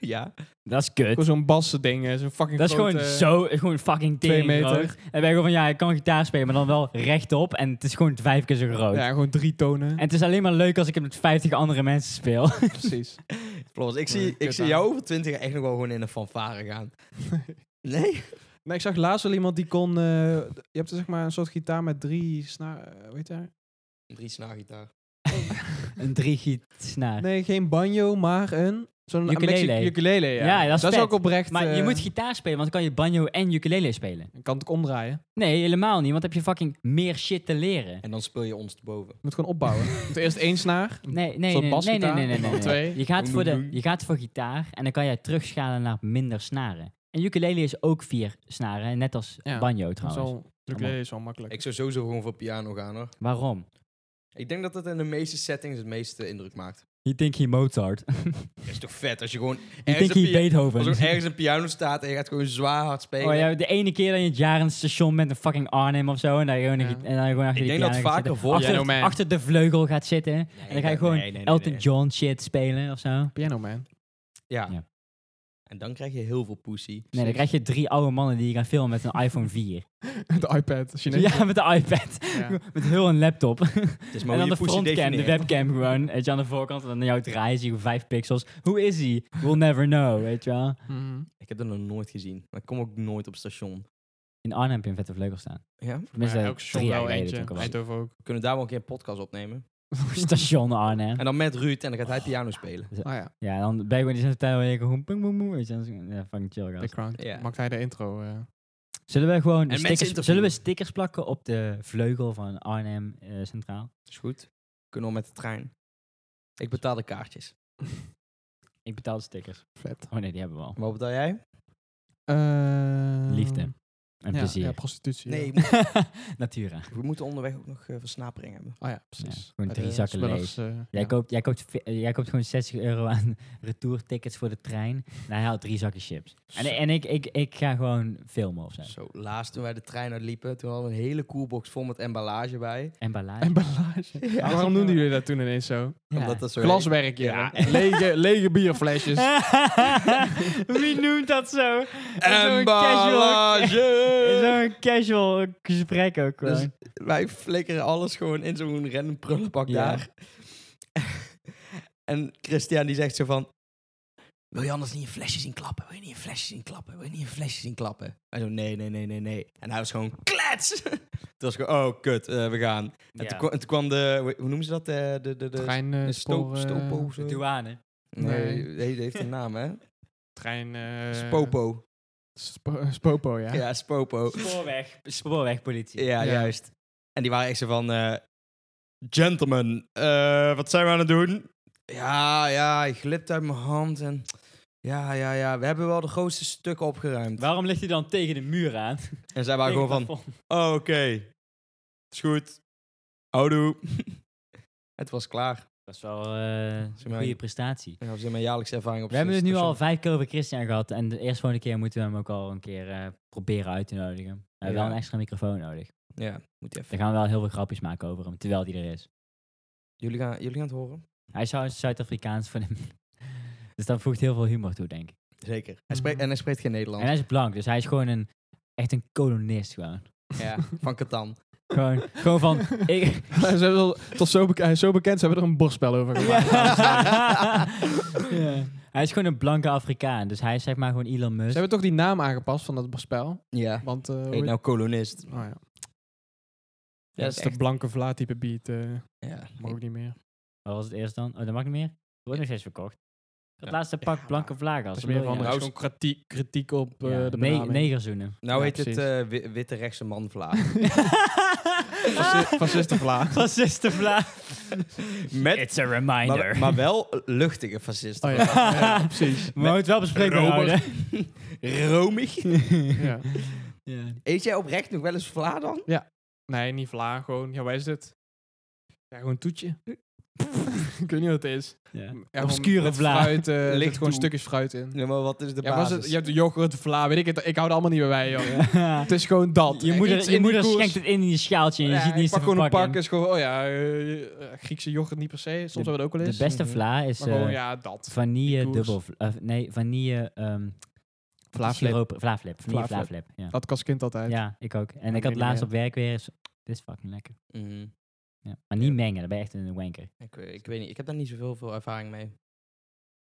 [SPEAKER 3] Ja.
[SPEAKER 1] Dat is kut.
[SPEAKER 2] Gewoon zo'n bassen ding, eh, zo'n fucking
[SPEAKER 1] Dat is gewoon
[SPEAKER 2] grote-
[SPEAKER 1] zo, gewoon fucking
[SPEAKER 2] twee
[SPEAKER 1] tering
[SPEAKER 2] meter.
[SPEAKER 1] groot. En ben je gewoon van, ja, ik kan gitaar spelen, maar dan wel rechtop. En het is gewoon vijf keer zo groot.
[SPEAKER 2] Ja, gewoon drie tonen.
[SPEAKER 1] En het is alleen maar leuk als ik het met vijftig andere mensen speel.
[SPEAKER 2] Precies.
[SPEAKER 3] Plos, ik zie, ik
[SPEAKER 2] kut
[SPEAKER 3] zie
[SPEAKER 2] aan.
[SPEAKER 3] jou over twintig echt nog wel gewoon in een fanfare gaan. Nee?
[SPEAKER 2] Nee, ik zag laatst wel iemand die kon... eh, d- je hebt zeg maar een soort gitaar met drie snaar... eh, hoe heet dat?
[SPEAKER 3] Drie snaargitaar.
[SPEAKER 1] Een drie snaar.
[SPEAKER 2] Nee, geen banjo, maar een... Zo'n
[SPEAKER 1] Ukulele.
[SPEAKER 2] Mexi- ukulele, ja.
[SPEAKER 1] Ja, dat is vet.
[SPEAKER 2] ook oprecht...
[SPEAKER 1] Maar je
[SPEAKER 2] eh,
[SPEAKER 1] moet gitaar spelen, want dan kan je banjo en ukulele spelen.
[SPEAKER 2] Ik kan het ook omdraaien.
[SPEAKER 1] Nee, helemaal niet, want dan heb je fucking meer shit te leren.
[SPEAKER 3] En dan speel je ons te boven.
[SPEAKER 2] Je moet gewoon opbouwen. Je moet eerst één snaar.
[SPEAKER 1] Nee, nee,
[SPEAKER 2] Zo'n
[SPEAKER 1] nee, nee, nee, nee,
[SPEAKER 2] basgitaar,
[SPEAKER 1] nee, nee, nee.
[SPEAKER 2] dan twee.
[SPEAKER 1] Je gaat,
[SPEAKER 3] Doem,
[SPEAKER 1] voor de,
[SPEAKER 3] doem, doem.
[SPEAKER 1] je gaat voor gitaar en dan kan jij terugschalen naar minder snaren. En ukulele is ook vier snaren, net als
[SPEAKER 2] Ja,
[SPEAKER 1] banjo
[SPEAKER 2] Dat is
[SPEAKER 1] trouwens.
[SPEAKER 2] wel, de ukulele is wel makkelijk.
[SPEAKER 3] Ik zou sowieso gewoon voor piano gaan hoor.
[SPEAKER 1] Waarom?
[SPEAKER 3] Ik denk dat dat in de meeste settings het meeste indruk maakt.
[SPEAKER 1] You think he Mozart.
[SPEAKER 3] Dat is toch vet als je gewoon
[SPEAKER 1] You think
[SPEAKER 3] ergens, een,
[SPEAKER 1] he
[SPEAKER 3] pia- als er
[SPEAKER 1] Beethoven.
[SPEAKER 3] gewoon ergens een piano staat en je gaat gewoon zwaar hard spelen.
[SPEAKER 1] Oh ja, de ene keer dat je het jaar in het station bent in fucking Arnhem of zo. En dan, gewoon,
[SPEAKER 2] Ja.
[SPEAKER 1] en dan gewoon achter
[SPEAKER 3] Ik
[SPEAKER 1] die
[SPEAKER 3] denk dat
[SPEAKER 1] piano gaat
[SPEAKER 3] vaker
[SPEAKER 1] zitten.
[SPEAKER 3] voor-
[SPEAKER 1] achter,
[SPEAKER 2] Piano Man.
[SPEAKER 1] achter de vleugel gaat zitten. en dan ga je
[SPEAKER 3] nee,
[SPEAKER 1] gewoon
[SPEAKER 3] nee, nee, nee,
[SPEAKER 1] Elton
[SPEAKER 3] nee.
[SPEAKER 1] John shit spelen of zo.
[SPEAKER 2] Piano, man.
[SPEAKER 3] Ja.
[SPEAKER 1] Ja.
[SPEAKER 3] En dan krijg je heel veel pussy.
[SPEAKER 1] Nee, dan krijg je drie oude mannen die je gaan filmen met een iPhone 4.
[SPEAKER 2] De iPad. Chinees.
[SPEAKER 1] ja, met de iPad.
[SPEAKER 2] Ja.
[SPEAKER 1] met heel een laptop.
[SPEAKER 3] Het is
[SPEAKER 1] en dan de
[SPEAKER 3] hoe je pussy
[SPEAKER 1] frontcam, de
[SPEAKER 3] definieert.
[SPEAKER 1] webcam gewoon. Weet je, aan de voorkant en dan jou draaien, zie je vijf pixels. Hoe is hij? We'll never know, weet je wel.
[SPEAKER 2] Mhm.
[SPEAKER 3] Ik heb dat nog nooit gezien. Maar ik kom ook nooit op station.
[SPEAKER 1] In Arnhem heb je een vette vleugel staan.
[SPEAKER 3] Ja?
[SPEAKER 1] Tenminste,
[SPEAKER 2] Ja, elk
[SPEAKER 1] drie
[SPEAKER 2] station
[SPEAKER 1] jaar
[SPEAKER 2] wel
[SPEAKER 1] geleden toen ik
[SPEAKER 2] eentje.
[SPEAKER 1] er was.
[SPEAKER 2] Eindhoven ook.
[SPEAKER 3] We kunnen daar wel een keer een podcast opnemen.
[SPEAKER 1] Station Arnhem.
[SPEAKER 3] En dan met Ruud en dan gaat hij piano spelen.
[SPEAKER 2] Ah ja,
[SPEAKER 1] Ja, dan ben je gewoon in zijn tijd waar je gewoon ping, boem, boem, weet je, dan is het- ja, fucking chill gast.
[SPEAKER 2] background.
[SPEAKER 3] Ja.
[SPEAKER 2] Maakt hij de intro. eh.
[SPEAKER 1] Zullen we gewoon
[SPEAKER 3] mensen
[SPEAKER 1] stickers,
[SPEAKER 3] interviewen.
[SPEAKER 1] zullen we stickers plakken op de vleugel van Arnhem eh, Centraal?
[SPEAKER 3] Is goed. Kunnen we met de trein. Ik betaal de kaartjes.
[SPEAKER 1] Ik betaal de stickers.
[SPEAKER 2] Vet.
[SPEAKER 1] Oh nee, die hebben we al.
[SPEAKER 3] Wat betaal jij?
[SPEAKER 2] Eh,
[SPEAKER 1] Liefde en En
[SPEAKER 2] ja,
[SPEAKER 1] plezier.
[SPEAKER 2] Ja, prostitutie.
[SPEAKER 3] Nee,
[SPEAKER 2] ja.
[SPEAKER 3] ik moet-
[SPEAKER 1] Natura.
[SPEAKER 3] we moeten onderweg ook nog eh, versnapering hebben.
[SPEAKER 2] Oh ja, precies.
[SPEAKER 1] Ja, gewoon
[SPEAKER 2] Bij
[SPEAKER 1] drie
[SPEAKER 2] de
[SPEAKER 1] zakken
[SPEAKER 2] smurfs, eh,
[SPEAKER 1] Jij,
[SPEAKER 2] ja.
[SPEAKER 1] koopt, jij, koopt, ve- eh, jij koopt gewoon 60 euro aan retourtickets voor de trein. En hij haalt drie zakken chips. En, en ik, ik, ik ga gewoon filmen of zo.
[SPEAKER 3] Zo, laatst toen wij de trein uitliepen, toen hadden we een hele koelbox vol met emballage bij.
[SPEAKER 1] En ballade.
[SPEAKER 2] Emballage.
[SPEAKER 3] Ja.
[SPEAKER 2] Waarom noemden jullie dat toen ineens zo?
[SPEAKER 1] Ja.
[SPEAKER 3] Omdat dat zo
[SPEAKER 2] Glaswerk, ja. Lege, lege bierflesjes.
[SPEAKER 1] Wie noemt dat zo? In Zo'n casual, in
[SPEAKER 3] Emballage!
[SPEAKER 1] zo'n casual gesprek ook gewoon.
[SPEAKER 3] Dus wij flikkeren alles gewoon in zo'n random prullenbak
[SPEAKER 1] Ja.
[SPEAKER 3] daar. en Christian die zegt zo van... Wil je anders niet een flesje zien klappen? Wil je niet een flesje zien klappen? Wil je niet een flesje zien klappen? Hij zo, nee, nee, nee, nee, nee. En hij was gewoon, klets! Toen was ik gewoon, oh, kut, eh, we gaan. En, toen, kwa- en toen kwam de, hoe- hoe noemen ze dat? eh, De, de, de,
[SPEAKER 2] Trein, eh,
[SPEAKER 3] de
[SPEAKER 2] spoor,
[SPEAKER 3] stoop,
[SPEAKER 2] eh,
[SPEAKER 3] stopo of
[SPEAKER 1] De
[SPEAKER 3] zo?
[SPEAKER 1] douane.
[SPEAKER 3] Nee,
[SPEAKER 2] Nee.
[SPEAKER 3] die- die heeft een naam, hè?
[SPEAKER 2] Trein... eh,
[SPEAKER 3] Spopo.
[SPEAKER 2] spo- eh, spopo, ja.
[SPEAKER 3] Ja, Spopo.
[SPEAKER 1] Spoorweg. Spoorwegpolitie.
[SPEAKER 3] Ja,
[SPEAKER 2] Ja.
[SPEAKER 3] juist. En die waren echt zo van... eh, Gentlemen, eh, wat zijn we aan het doen? Ja, ja, hij glipt uit mijn hand en... Ja, ja, ja, we hebben wel de grootste stukken opgeruimd.
[SPEAKER 1] Waarom ligt hij dan tegen de muur aan?
[SPEAKER 3] En zij waren gewoon van... Oh, oké. Is goed. Houdoe. het was klaar.
[SPEAKER 1] Dat is wel eh,
[SPEAKER 3] Zeg
[SPEAKER 1] een
[SPEAKER 3] maar-
[SPEAKER 1] goede prestatie.
[SPEAKER 3] Ja, Dat is mijn jaarlijkse ervaring op
[SPEAKER 1] We hebben het nu
[SPEAKER 3] station.
[SPEAKER 2] dus
[SPEAKER 1] al vijf keer over Christian gehad. En de eerste volgende keer moeten we hem ook al een keer eh, proberen uit te nodigen. We hebben
[SPEAKER 3] Ja.
[SPEAKER 1] wel een extra microfoon nodig.
[SPEAKER 3] Ja, moet even.
[SPEAKER 1] Dan gaan we wel heel veel grapjes maken over hem, terwijl hij er is.
[SPEAKER 3] Jullie gaan, jullie gaan het horen?
[SPEAKER 1] Hij is trouwens Zuid-Afrikaans van hem. Dus dat voegt heel veel humor toe, denk ik.
[SPEAKER 3] Zeker. Hij spreekt, en hij spreekt geen
[SPEAKER 1] Mm. En hij
[SPEAKER 3] Nederlands.
[SPEAKER 1] is blank, dus hij is gewoon een, echt een kolonist gewoon.
[SPEAKER 3] Ja, van Catan.
[SPEAKER 1] Gewoon, gewoon van... Ik,
[SPEAKER 2] Ze hebben wel- tot zo, bek- hij is zo bekend, ze hebben er een borstspel over gemaakt.
[SPEAKER 1] ja. Hij is gewoon een blanke Afrikaan, dus hij is zeg maar gewoon Elon
[SPEAKER 2] Ze
[SPEAKER 1] Musk.
[SPEAKER 2] hebben toch die naam aangepast van dat borstspel?
[SPEAKER 3] Ja.
[SPEAKER 2] Want... eh, hoe
[SPEAKER 3] Heet nou kolonist.
[SPEAKER 2] heet- oh, ja.
[SPEAKER 3] Ja,
[SPEAKER 2] Ja,
[SPEAKER 3] dat
[SPEAKER 2] dat
[SPEAKER 3] is
[SPEAKER 2] is de
[SPEAKER 3] echt-
[SPEAKER 2] blanke Vla-type beat. eh
[SPEAKER 3] Ja.
[SPEAKER 2] mag ook niet meer.
[SPEAKER 1] Wat was het eerst dan? Oh, dat mag niet meer. Er wordt nog steeds verkocht. Dat
[SPEAKER 4] Ja.
[SPEAKER 1] laatste pak
[SPEAKER 3] Ja,
[SPEAKER 1] blanke vlagen.
[SPEAKER 2] Dat
[SPEAKER 1] als
[SPEAKER 2] is meer van
[SPEAKER 3] ja.
[SPEAKER 2] dat is gewoon kritiek, kritiek op eh, de benaming.
[SPEAKER 1] negerzoenen.
[SPEAKER 3] Nou
[SPEAKER 2] Ja,
[SPEAKER 3] heet het
[SPEAKER 2] precies.
[SPEAKER 3] eh, wi- witte rechtse man vlaag.
[SPEAKER 2] Fasci- Fascistenvla.
[SPEAKER 1] Fascistenvla.
[SPEAKER 3] Met,
[SPEAKER 1] It's a reminder.
[SPEAKER 3] maar, maar wel luchtige fascisten.
[SPEAKER 2] Oh, ja. ja, precies.
[SPEAKER 1] we moeten het wel bespreekbaar
[SPEAKER 3] Robert.
[SPEAKER 1] houden.
[SPEAKER 3] Romig.
[SPEAKER 2] Ja.
[SPEAKER 3] Eet jij oprecht nog wel eens vla dan?
[SPEAKER 2] Nee, niet vla, gewoon. Ja, wat is dit? Ja, gewoon toetje. ik weet niet wat het is.
[SPEAKER 1] Ja.
[SPEAKER 2] Ja,
[SPEAKER 1] Obscure
[SPEAKER 2] gewoon met
[SPEAKER 1] vla.
[SPEAKER 2] Fruit, eh, er
[SPEAKER 3] Licht
[SPEAKER 2] zitten gewoon
[SPEAKER 3] toe.
[SPEAKER 2] stukjes fruit in.
[SPEAKER 3] Ja, maar wat is de
[SPEAKER 2] Ja, was
[SPEAKER 3] basis?
[SPEAKER 2] het, je hebt de yoghurt, vla, weet ik het. Ik hou er allemaal niet meer bij, joh. Het is gewoon dat.
[SPEAKER 1] Je moeder, je moeder schenkt het in in je schaaltje en je
[SPEAKER 2] ja,
[SPEAKER 1] ziet
[SPEAKER 2] ik
[SPEAKER 1] niet eens de
[SPEAKER 2] pak gewoon een pak.
[SPEAKER 1] verpakking.
[SPEAKER 2] Is gewoon, oh ja, eh, eh, Griekse yoghurt niet per se. Soms hebben we het ook wel
[SPEAKER 1] De
[SPEAKER 2] eens.
[SPEAKER 1] beste
[SPEAKER 2] Mhm.
[SPEAKER 1] vla is
[SPEAKER 2] Maar gewoon,
[SPEAKER 1] eh,
[SPEAKER 2] ja, dat.
[SPEAKER 1] vanille
[SPEAKER 2] koers.
[SPEAKER 1] dubbel... vla- eh, Nee, vanille... ehm,
[SPEAKER 2] Vlaaflip.
[SPEAKER 1] siroop- Vlaaflip. Vanille
[SPEAKER 2] Vlaaflip.
[SPEAKER 1] vlaaflip. Ja.
[SPEAKER 2] Dat als kind altijd.
[SPEAKER 1] Ja, ik ook. En
[SPEAKER 2] Ja,
[SPEAKER 1] ik had
[SPEAKER 2] ik
[SPEAKER 1] laatst
[SPEAKER 2] niet
[SPEAKER 1] op werk weer eens... Dit is fucking lekker.
[SPEAKER 3] Mhm.
[SPEAKER 1] Ja. Maar niet mengen, dan ben je echt een wanker.
[SPEAKER 3] ik, eh, ik weet niet, ik heb daar niet zoveel veel ervaring mee.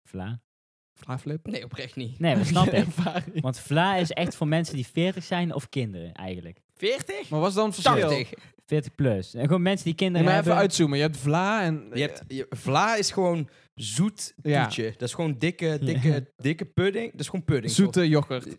[SPEAKER 1] Vla.
[SPEAKER 2] Vlaaflip.
[SPEAKER 3] Nee, oprecht niet.
[SPEAKER 1] Nee, dat snap ik.
[SPEAKER 2] Ervaring.
[SPEAKER 1] Want vla is echt voor mensen die 40 zijn of kinderen eigenlijk.
[SPEAKER 3] 40?
[SPEAKER 2] Maar was dan het verschil?
[SPEAKER 3] 80.
[SPEAKER 1] 40 plus. En gewoon mensen die
[SPEAKER 2] Nee,
[SPEAKER 1] kinderen
[SPEAKER 2] maar even
[SPEAKER 1] hebben.
[SPEAKER 2] uitzoomen. Je hebt vla en... eh,
[SPEAKER 3] Je hebt, je- vla is gewoon zoet
[SPEAKER 2] Ja.
[SPEAKER 3] toetje. Dat is gewoon dikke, dikke,
[SPEAKER 1] Ja.
[SPEAKER 3] dikke pudding. Dat is gewoon pudding.
[SPEAKER 2] Zoete yoghurt.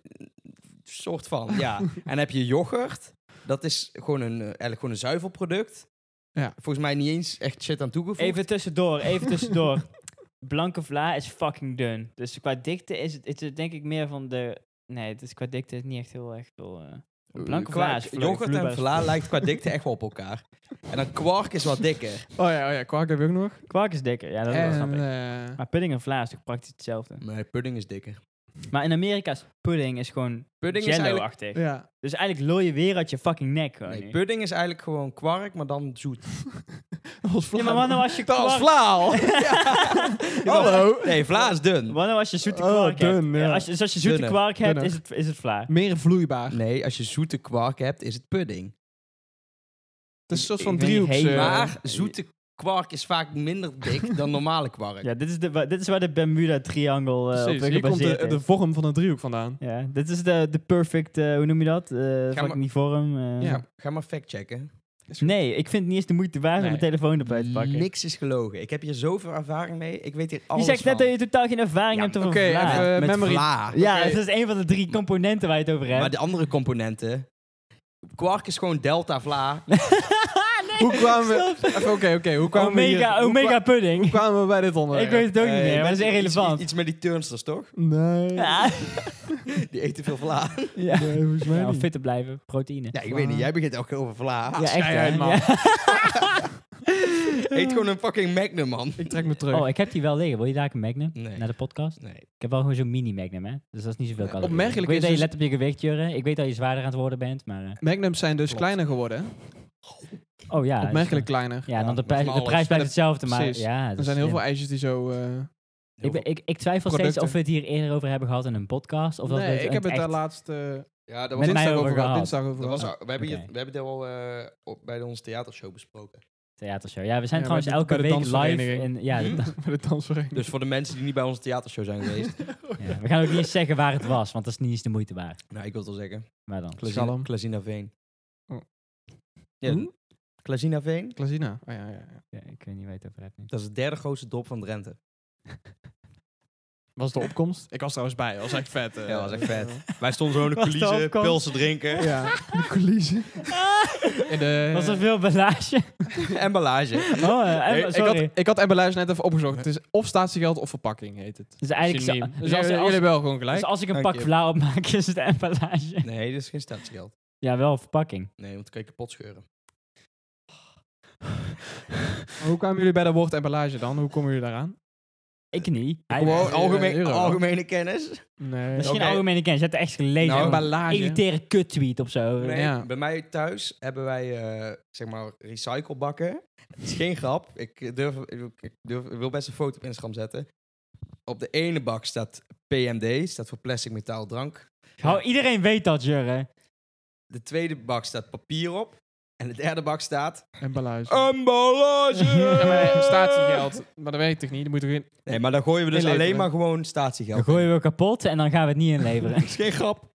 [SPEAKER 3] Soort van, ja. en dan heb je yoghurt. Dat is gewoon een, eh, eigenlijk gewoon een zuivelproduct.
[SPEAKER 2] Ja.
[SPEAKER 3] Volgens mij niet eens echt shit aan toegevoegd.
[SPEAKER 1] Even tussendoor, even tussendoor. Blanke vla is fucking dun. Dus qua dikte is het, het is denk ik meer van de... Nee, het is qua dikte niet echt heel erg veel... eh,
[SPEAKER 3] Eh,
[SPEAKER 1] blanke
[SPEAKER 3] qua-
[SPEAKER 1] vla is vloe-
[SPEAKER 3] Yoghurt
[SPEAKER 1] vloeibaar
[SPEAKER 3] en
[SPEAKER 1] is
[SPEAKER 3] vla
[SPEAKER 1] vloe-
[SPEAKER 3] lijkt qua dikte echt wel op elkaar. En dan kwark is wat dikker.
[SPEAKER 2] Oh ja, oh ja, kwark heb je ook nog.
[SPEAKER 1] Kwark is dikker, ja, dat dat snap
[SPEAKER 2] en,
[SPEAKER 1] ik.
[SPEAKER 2] eh,
[SPEAKER 1] Maar pudding en vla is toch praktisch hetzelfde.
[SPEAKER 3] Nee, pudding is dikker.
[SPEAKER 1] Maar in Amerika is pudding is gewoon
[SPEAKER 3] Pudding is eigenlijk...
[SPEAKER 1] jello-achtig.
[SPEAKER 2] ja.
[SPEAKER 1] Dus eigenlijk lul je weer uit je fucking nek gewoon.
[SPEAKER 3] Nee,
[SPEAKER 1] nu.
[SPEAKER 3] pudding is eigenlijk gewoon kwark, maar dan zoet.
[SPEAKER 2] Als vla.
[SPEAKER 1] Ja, maar wanneer was je
[SPEAKER 3] Dat was
[SPEAKER 1] kwark-
[SPEAKER 3] vlaal. Hallo. Oh. Nee, vla is dun.
[SPEAKER 1] Wanneer als je zoete
[SPEAKER 2] Oh,
[SPEAKER 1] kwark
[SPEAKER 2] dun,
[SPEAKER 1] hebt?
[SPEAKER 2] ja.
[SPEAKER 1] Ja, Als je, dus als je zoete
[SPEAKER 3] Dunner.
[SPEAKER 1] kwark hebt,
[SPEAKER 2] Dunner.
[SPEAKER 1] is het, is het vla.
[SPEAKER 2] Meer vloeibaar.
[SPEAKER 3] Nee, als je zoete kwark hebt, is het pudding.
[SPEAKER 2] Het is een soort
[SPEAKER 1] Ik-
[SPEAKER 2] van
[SPEAKER 1] ik weet niet,
[SPEAKER 2] driehoeks...
[SPEAKER 1] hey,
[SPEAKER 2] eh,
[SPEAKER 3] maar zoete kwark is vaak minder dik dan normale kwark.
[SPEAKER 1] Ja, dit is, de, wa- dit is waar de Bermuda-triangle eh op
[SPEAKER 2] precies. Hier komt
[SPEAKER 1] gebaseerd
[SPEAKER 2] de, de
[SPEAKER 1] is.
[SPEAKER 2] vorm van een driehoek vandaan.
[SPEAKER 1] Ja, dit is de, de perfect, eh, hoe noem je dat? Eh
[SPEAKER 3] maar-
[SPEAKER 1] fucking die vorm. eh.
[SPEAKER 2] Ja.
[SPEAKER 3] Ga, ga maar factchecken.
[SPEAKER 1] Nee, ik vind het niet eens de moeite waard om
[SPEAKER 2] Nee.
[SPEAKER 1] mijn telefoon erbij te pakken.
[SPEAKER 3] Niks is gelogen. Ik heb hier zoveel ervaring mee. Ik weet hier
[SPEAKER 1] je
[SPEAKER 3] alles
[SPEAKER 1] zegt net
[SPEAKER 3] van.
[SPEAKER 1] dat je totaal geen ervaring
[SPEAKER 3] Ja,
[SPEAKER 1] hebt
[SPEAKER 3] maar
[SPEAKER 1] over
[SPEAKER 2] oké,
[SPEAKER 1] vla.
[SPEAKER 2] even- eh,
[SPEAKER 3] Met
[SPEAKER 2] memory-
[SPEAKER 3] vla.
[SPEAKER 1] ja,
[SPEAKER 2] oké.
[SPEAKER 1] dat is een van de drie componenten waar je het over hebt.
[SPEAKER 3] Maar de andere componenten... Kwark is gewoon delta vla.
[SPEAKER 2] Hoe kwamen we... Even, Oké, oké. hoe kwamen we hier...
[SPEAKER 1] omega,
[SPEAKER 2] hoe
[SPEAKER 1] omega
[SPEAKER 2] kwa-
[SPEAKER 1] pudding.
[SPEAKER 2] Hoe kwamen we bij dit onderwerp?
[SPEAKER 1] ik weet het ook niet
[SPEAKER 3] Eh,
[SPEAKER 1] meer, maar dat is
[SPEAKER 3] mensen-
[SPEAKER 1] irrelevant.
[SPEAKER 3] Iets, iets met die turnsters, toch?
[SPEAKER 2] Nee.
[SPEAKER 1] ja,
[SPEAKER 3] Die eten veel vla.
[SPEAKER 1] ja.
[SPEAKER 2] Nee, volgens mij
[SPEAKER 1] Ja, om
[SPEAKER 2] niet.
[SPEAKER 1] fit te blijven, proteïne.
[SPEAKER 3] Ja, ik weet niet. Jij begint elke keer over vla.
[SPEAKER 1] Ja, echt,
[SPEAKER 2] schei
[SPEAKER 1] hè?
[SPEAKER 2] uit, man.
[SPEAKER 1] Ja.
[SPEAKER 3] Eet gewoon een fucking Magnum, man.
[SPEAKER 2] Ik trek me terug.
[SPEAKER 1] Oh, ik heb die wel liggen. Wil je daar ook een Magnum?
[SPEAKER 3] Nee.
[SPEAKER 1] Naar de podcast?
[SPEAKER 3] Nee.
[SPEAKER 1] Ik heb wel gewoon zo'n mini-Magnum, hè? Dus dat is niet zoveel
[SPEAKER 3] Nee.
[SPEAKER 1] calorieën.
[SPEAKER 2] Opmerkelijk
[SPEAKER 1] ik weet
[SPEAKER 2] is
[SPEAKER 1] dat je
[SPEAKER 2] dus-
[SPEAKER 1] let op je gewicht, Jurre. Ik weet dat je zwaarder aan het worden bent, maar... eh,
[SPEAKER 2] Magnums zijn dus
[SPEAKER 3] Klopt.
[SPEAKER 2] kleiner geworden.
[SPEAKER 1] oh ja.
[SPEAKER 2] Opmerkelijk
[SPEAKER 1] dus,
[SPEAKER 2] kleiner.
[SPEAKER 1] eh, Ja,
[SPEAKER 3] Ja,
[SPEAKER 1] dan de,
[SPEAKER 3] dat
[SPEAKER 1] prij-
[SPEAKER 3] is maar
[SPEAKER 1] de
[SPEAKER 3] alles.
[SPEAKER 1] prijs blijft
[SPEAKER 2] Dat-
[SPEAKER 1] hetzelfde, maar
[SPEAKER 2] precies.
[SPEAKER 1] ja... dat
[SPEAKER 2] Er
[SPEAKER 1] is
[SPEAKER 2] zijn heel
[SPEAKER 1] slim.
[SPEAKER 2] veel ijsjes die zo... eh,
[SPEAKER 1] Ik, ben- ik, ik twijfel steeds
[SPEAKER 2] producten.
[SPEAKER 1] of we het hier eerder over hebben gehad in een podcast. Of dat we
[SPEAKER 2] nee, ik heb het
[SPEAKER 1] echt-
[SPEAKER 2] daar laatst... eh,
[SPEAKER 3] Ja, dat
[SPEAKER 1] Met
[SPEAKER 3] was
[SPEAKER 2] dinsdag
[SPEAKER 1] mij over
[SPEAKER 2] over
[SPEAKER 1] gehad.
[SPEAKER 2] gehad. Dinsdag over
[SPEAKER 3] Dat was,
[SPEAKER 2] gehad.
[SPEAKER 3] we, hebben hier,
[SPEAKER 1] Oké.
[SPEAKER 3] we hebben dit al eh, op, bij onze theatershow besproken.
[SPEAKER 1] Theatershow. Ja, we zijn
[SPEAKER 2] Ja,
[SPEAKER 1] trouwens
[SPEAKER 2] bij de-
[SPEAKER 1] elke
[SPEAKER 2] bij de
[SPEAKER 1] week live.
[SPEAKER 2] dansvereniging.
[SPEAKER 1] In, ja, de-
[SPEAKER 2] Bij de dansvereniging.
[SPEAKER 3] Dus voor de mensen die niet bij onze theatershow zijn geweest.
[SPEAKER 1] ja, we gaan ook niet eens zeggen waar het was, want dat is niet eens de moeite waard.
[SPEAKER 3] nou, ik wil het wel zeggen.
[SPEAKER 1] Maar dan.
[SPEAKER 3] Klazina,
[SPEAKER 2] Shalom.
[SPEAKER 3] Klazina Veen.
[SPEAKER 2] Oh.
[SPEAKER 3] Ja,
[SPEAKER 2] Hoe?
[SPEAKER 3] Klazina Veen,
[SPEAKER 2] Klazina. Oh, ja, ja, ja.
[SPEAKER 1] Ja, ik weet niet waar je het over hebt nu.
[SPEAKER 3] dat is de derde grootste dorp van Drenthe.
[SPEAKER 2] Was de opkomst? Ik was trouwens bij. Dat was echt vet. eh.
[SPEAKER 3] Ja, dat was echt vet. Wij stonden zo in de
[SPEAKER 1] Was de
[SPEAKER 3] coulissen,
[SPEAKER 1] opkomst?
[SPEAKER 3] pilsen drinken.
[SPEAKER 2] Ja, de coulissen. In de-
[SPEAKER 1] Was er veel belage?
[SPEAKER 3] Emballage.
[SPEAKER 1] Oh, eh,
[SPEAKER 2] Hey, ik,
[SPEAKER 1] sorry.
[SPEAKER 2] had, ik had emballage net even opgezocht. Het is of statiegeld of verpakking heet het.
[SPEAKER 1] Dus eigenlijk... zo-
[SPEAKER 2] Synoniem.
[SPEAKER 1] Dus
[SPEAKER 2] Ja,
[SPEAKER 1] als,
[SPEAKER 2] jullie
[SPEAKER 1] als,
[SPEAKER 2] hebben wel gewoon gelijk.
[SPEAKER 1] dus als ik een
[SPEAKER 3] Dank
[SPEAKER 1] pak
[SPEAKER 3] je.
[SPEAKER 1] vla opmaak, is het emballage.
[SPEAKER 3] Nee, dat is geen statiegeld.
[SPEAKER 1] Ja, wel verpakking.
[SPEAKER 3] Nee, want dan kan je kapot scheuren.
[SPEAKER 2] Maar Hoe kwamen jullie bij dat woord emballage dan? Hoe komen jullie daaraan?
[SPEAKER 1] Ik niet. Hij-
[SPEAKER 3] Gewoon
[SPEAKER 2] eh,
[SPEAKER 3] algemeen,
[SPEAKER 2] euro.
[SPEAKER 3] algemene kennis.
[SPEAKER 2] Nee.
[SPEAKER 1] Misschien
[SPEAKER 3] Oké.
[SPEAKER 1] algemene kennis. Je hebt het echt gelezen.
[SPEAKER 3] Nou,
[SPEAKER 1] Een
[SPEAKER 2] emballage.
[SPEAKER 1] Elitaire kut-tweet of zo.
[SPEAKER 3] Nee,
[SPEAKER 2] Ja.
[SPEAKER 3] Bij mij thuis hebben wij, eh, zeg maar, recyclebakken. Het is geen grap. Ik, durf, ik, durf, ik wil best een foto op Instagram zetten. Op de ene bak staat PMD, staat voor plastic metaal drank.
[SPEAKER 1] Hou, iedereen weet dat, Jurre.
[SPEAKER 3] De tweede bak staat papier op. En de derde bak staat...
[SPEAKER 2] Emballage.
[SPEAKER 3] Emballage!
[SPEAKER 2] Oh. Ja, maar statiegeld. Maar dat weet ik toch niet. Dan moet er geen-
[SPEAKER 3] Nee, maar dan gooien we dus
[SPEAKER 2] Inleveren.
[SPEAKER 3] alleen maar gewoon statiegeld.
[SPEAKER 1] Dan gooien we kapot en dan gaan we het niet inleveren.
[SPEAKER 3] Dat is geen grap.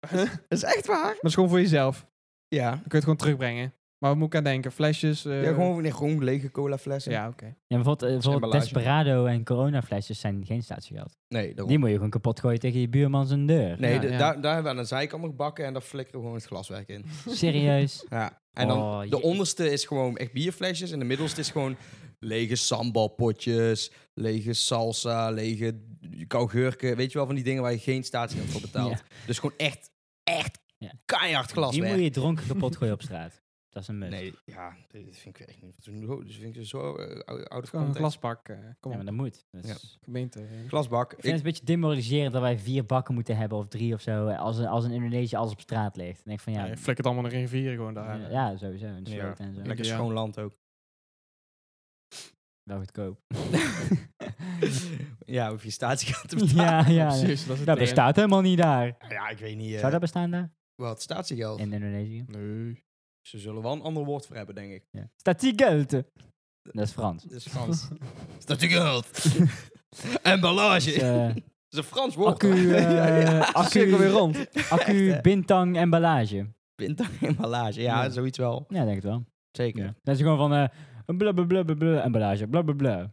[SPEAKER 3] Dat is echt waar.
[SPEAKER 2] Maar dat is gewoon voor jezelf.
[SPEAKER 3] Ja.
[SPEAKER 2] Dan kun je het gewoon terugbrengen. Maar we moeten aan denken, flesjes. eh,
[SPEAKER 3] ja, gewoon, nee, gewoon lege cola flessen.
[SPEAKER 2] Ja, oké.
[SPEAKER 1] Ja, bijvoorbeeld, eh, bijvoorbeeld
[SPEAKER 3] emballage.
[SPEAKER 1] Desperado en coronaflesjes zijn geen statiegeld.
[SPEAKER 3] Nee, daarom.
[SPEAKER 1] Die moet je gewoon kapot gooien tegen je buurman zijn deur.
[SPEAKER 3] nee
[SPEAKER 2] Ja,
[SPEAKER 3] de-
[SPEAKER 2] ja.
[SPEAKER 3] Daar, daar hebben we aan de zijkant nog bakken en daar flikkeren we gewoon het glaswerk in.
[SPEAKER 1] Serieus.
[SPEAKER 3] Ja. En dan
[SPEAKER 1] Oh,
[SPEAKER 3] de
[SPEAKER 1] je-
[SPEAKER 3] onderste is gewoon echt bierflesjes en de middelste is gewoon lege sambalpotjes, lege salsa, lege kauwgeurken. Weet je wel, van die dingen waar je geen statiegeld voor betaalt. Dus gewoon echt, echt
[SPEAKER 1] Ja.
[SPEAKER 3] keihard
[SPEAKER 1] Die moet
[SPEAKER 3] glaswerk.
[SPEAKER 1] je dronken kapot gooien op straat. Dat is een mut.
[SPEAKER 3] Nee, ja, dit vind ik echt niet. Zo- Dus vind ik zo eh, ou- out of
[SPEAKER 2] Gewoon een
[SPEAKER 3] context.
[SPEAKER 2] glasbak. eh, kom
[SPEAKER 1] Ja,
[SPEAKER 2] op,
[SPEAKER 1] maar dat moet. Dus
[SPEAKER 3] Ja.
[SPEAKER 1] Ik
[SPEAKER 2] gemeente. eh.
[SPEAKER 3] Glasbak.
[SPEAKER 1] vind het
[SPEAKER 3] Ik,
[SPEAKER 1] een beetje demoraliserend dat wij vier bakken moeten hebben of drie of zo. eh, Als, een- als in Indonesië alles op straat ligt. Dan denk ik van ja,
[SPEAKER 2] Ja, je flikkert het allemaal naar een rivier gewoon daar.
[SPEAKER 1] eh, ja sowieso. En
[SPEAKER 3] Ja.
[SPEAKER 1] sloot en zo.
[SPEAKER 3] lekker
[SPEAKER 2] Ja.
[SPEAKER 3] schoon land ook.
[SPEAKER 1] Wel goedkoop.
[SPEAKER 3] ja, hoef je statiegeld te betalen.
[SPEAKER 1] ja, ja. ja.
[SPEAKER 2] Precies, dat is het
[SPEAKER 1] Dat
[SPEAKER 2] ding.
[SPEAKER 1] bestaat helemaal niet daar.
[SPEAKER 3] Ja, ik weet niet. eh,
[SPEAKER 1] Zou dat bestaan daar?
[SPEAKER 3] Wat, statiegeld?
[SPEAKER 1] In Indonesië?
[SPEAKER 2] Nee.
[SPEAKER 3] Ze zullen wel een ander woord voor hebben, denk ik.
[SPEAKER 1] Ja. Statiegeld. Dat is Frans.
[SPEAKER 3] Dat is Frans. statiegeld. Emballage.
[SPEAKER 1] Dus, eh,
[SPEAKER 3] Dat is een Frans woord.
[SPEAKER 1] accu,
[SPEAKER 3] hoor.
[SPEAKER 1] eh,
[SPEAKER 3] Ja, ja.
[SPEAKER 1] accu,
[SPEAKER 2] Cirkel weer rond.
[SPEAKER 1] accu, bintang, emballage.
[SPEAKER 3] Pinta emballage. Ja,
[SPEAKER 1] Ja.
[SPEAKER 3] zoiets wel.
[SPEAKER 1] Ja, denk het wel.
[SPEAKER 3] Zeker.
[SPEAKER 1] Ja. Dat is gewoon van eh bla bla bla bla bla, emballage, bla bla bla.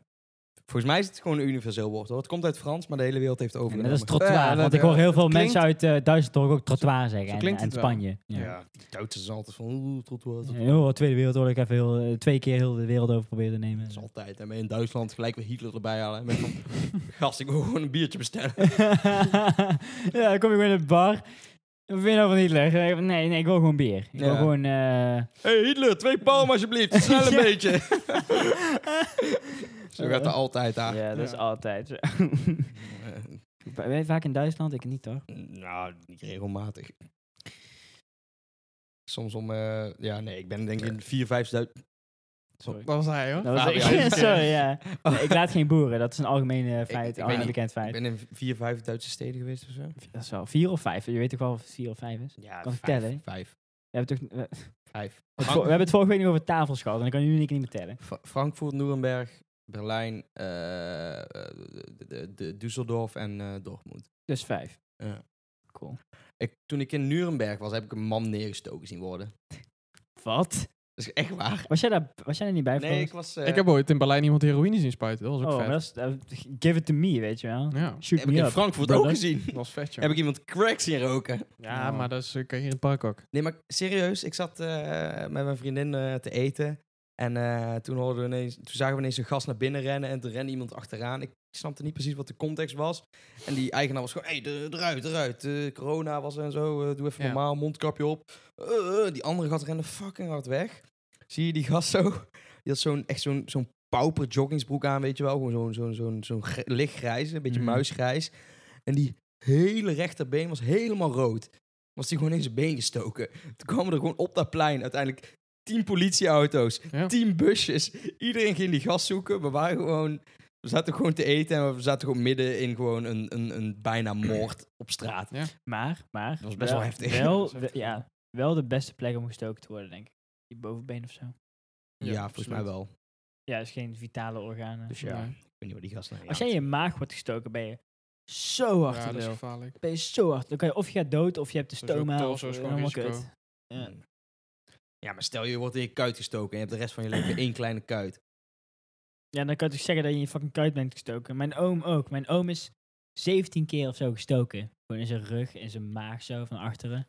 [SPEAKER 3] Volgens mij is het gewoon een universeel woord hoor. Het komt uit Frans, maar de hele wereld heeft het
[SPEAKER 1] En
[SPEAKER 3] overgenomen.
[SPEAKER 1] dat is trottoir,
[SPEAKER 2] Ja, dat-
[SPEAKER 1] want ik hoor heel
[SPEAKER 2] het
[SPEAKER 1] veel
[SPEAKER 2] klinkt-
[SPEAKER 1] mensen uit eh Duitsland ook trottoir zeggen.
[SPEAKER 2] zo
[SPEAKER 1] En,
[SPEAKER 2] klinkt
[SPEAKER 1] en
[SPEAKER 2] het wel.
[SPEAKER 1] Spanje. Ja.
[SPEAKER 3] Ja, die Duitsers zijn altijd van... oeh, Trottoir.
[SPEAKER 1] Ja,
[SPEAKER 3] trottoir.
[SPEAKER 1] heel de Tweede Wereldoorlog even heel, eh, twee keer heel de wereld over proberen te nemen.
[SPEAKER 3] Dat is altijd. En in Duitsland gelijk weer Hitler erbij halen. Met van, gast, ik wil gewoon een biertje bestellen.
[SPEAKER 1] ja, dan kom je gewoon in de bar. Wat vind je nou van Hitler? Nee, nee, ik wil gewoon bier. Ik wil
[SPEAKER 3] Ja.
[SPEAKER 1] gewoon... eh,
[SPEAKER 3] hey, Hitler, twee palmen alsjeblieft. Snel een
[SPEAKER 1] Ja.
[SPEAKER 3] beetje. Zo gaat het altijd daar.
[SPEAKER 1] Ja, dat is
[SPEAKER 2] Ja.
[SPEAKER 1] altijd zo.
[SPEAKER 3] Eh,
[SPEAKER 1] Ben jij vaak in Duitsland? Ik niet, hoor.
[SPEAKER 3] Nou, niet regelmatig. Soms om... eh, ja, nee, ik ben denk ik in vier, vijf... Duit-
[SPEAKER 1] Sorry.
[SPEAKER 2] Dat was hij hoor.
[SPEAKER 1] Dat was
[SPEAKER 3] Fabian.
[SPEAKER 1] ik. Sorry, ja. Nee, ik laat geen boeren. Dat is een algemeen eh,
[SPEAKER 3] Oh. ik
[SPEAKER 1] feit,
[SPEAKER 3] weet
[SPEAKER 1] algemeen
[SPEAKER 3] niet.
[SPEAKER 1] bekend
[SPEAKER 3] Ik
[SPEAKER 1] feit.
[SPEAKER 3] ben in vier, vijf Duitse steden geweest of zo.
[SPEAKER 1] Dat is wel vier of vijf. Je weet toch wel of het vier of vijf is?
[SPEAKER 3] Ja,
[SPEAKER 1] Kan
[SPEAKER 3] vijf,
[SPEAKER 1] ik tellen, hè?
[SPEAKER 3] Vijf.
[SPEAKER 1] We hebben, toch, we, we
[SPEAKER 3] Vijf.
[SPEAKER 1] hebben het
[SPEAKER 3] Frank-
[SPEAKER 1] vorige week nog over tafels gehad. En ik kan nu niet meer tellen.
[SPEAKER 3] Fra- Frankfurt, Nuremberg, Berlijn, eh, eh, de, de, de- Düsseldorf en eh, Dortmund.
[SPEAKER 1] Dus vijf.
[SPEAKER 3] Ja.
[SPEAKER 1] Cool.
[SPEAKER 3] Ik, toen ik in Nuremberg was, heb ik een man neergestoken zien worden.
[SPEAKER 1] Wat?
[SPEAKER 3] Dat is echt waar.
[SPEAKER 1] Was jij daar, was jij daar niet bij?
[SPEAKER 3] Nee, ik
[SPEAKER 1] Floris?
[SPEAKER 3] was... eh,
[SPEAKER 2] Ik heb ooit in Berlijn iemand heroïne zien spuiten. Dat was ook
[SPEAKER 1] Oh, maar
[SPEAKER 2] vet.
[SPEAKER 1] dat is, eh, give it to me, weet je wel.
[SPEAKER 2] Ja,
[SPEAKER 1] Shoot
[SPEAKER 3] heb
[SPEAKER 1] me
[SPEAKER 3] ik in
[SPEAKER 1] up.
[SPEAKER 3] Frankfurt
[SPEAKER 1] brother.
[SPEAKER 3] ook gezien.
[SPEAKER 2] dat was vet joh.
[SPEAKER 3] Heb ik iemand crack zien roken.
[SPEAKER 2] Ja, maar dat is, eh, kan je hier in het park ook.
[SPEAKER 3] Nee, maar serieus, ik zat eh, met mijn vriendin eh, te eten. En eh, toen, hoorden we ineens, toen zagen we ineens een gast naar binnen rennen. En toen rende iemand achteraan. Ik snapte niet precies wat de context was. En die eigenaar was gewoon, hé, hey, eruit, eruit. eh, corona was er en zo, eh, doe even
[SPEAKER 2] Ja.
[SPEAKER 3] normaal, mondkapje op. Eh, eh, die andere gast rende fucking hard weg. Zie je die gast zo? Die had zo'n, echt zo'n, zo'n pauper joggingsbroek aan, weet je wel. Gewoon zo'n, zo'n, zo'n, zo'n gr- lichtgrijs, een beetje
[SPEAKER 1] Mhm.
[SPEAKER 3] muisgrijs. En die hele rechterbeen was helemaal rood. Was die gewoon in zijn been gestoken. Toen kwamen er gewoon op dat plein uiteindelijk tien politieauto's,
[SPEAKER 2] Ja.
[SPEAKER 3] tien busjes. Iedereen ging die gast zoeken. We waren gewoon... We zaten gewoon te eten en we zaten gewoon midden in gewoon een, een, een bijna moord op straat.
[SPEAKER 1] Maar, maar. Dat
[SPEAKER 3] was best wel heftig.
[SPEAKER 1] Wel,
[SPEAKER 2] Dat was heftig.
[SPEAKER 1] we- ja, wel de beste plek om gestoken te worden, denk ik. Je bovenbeen of zo.
[SPEAKER 3] Ja,
[SPEAKER 2] Ja,
[SPEAKER 3] volgens
[SPEAKER 2] absoluut.
[SPEAKER 3] mij wel.
[SPEAKER 1] Ja, is geen vitale organen.
[SPEAKER 3] Dus ja,
[SPEAKER 2] Nee.
[SPEAKER 3] ik weet niet waar die gast naar
[SPEAKER 1] Als jij in je maag wordt gestoken, ben je zo hard
[SPEAKER 2] Ja,
[SPEAKER 1] te
[SPEAKER 2] dat is
[SPEAKER 1] lul.
[SPEAKER 2] gevaarlijk.
[SPEAKER 1] Ben je zo hard. Dan kan je of je gaat dood, of je hebt de
[SPEAKER 2] Dus ook
[SPEAKER 1] stoma. Of
[SPEAKER 2] torso is
[SPEAKER 1] eh,
[SPEAKER 2] gewoon
[SPEAKER 1] helemaal
[SPEAKER 2] risico.
[SPEAKER 1] kut. Ja.
[SPEAKER 3] Hmm. Ja, maar stel je wordt in je kuit gestoken en je hebt de rest van je leven één kleine kuit.
[SPEAKER 1] ja, dan kan je toch zeggen dat je in je fucking kuit bent gestoken. Mijn oom ook. Mijn oom is 17 keer of zo gestoken. Gewoon in zijn rug, in zijn maag zo, van achteren.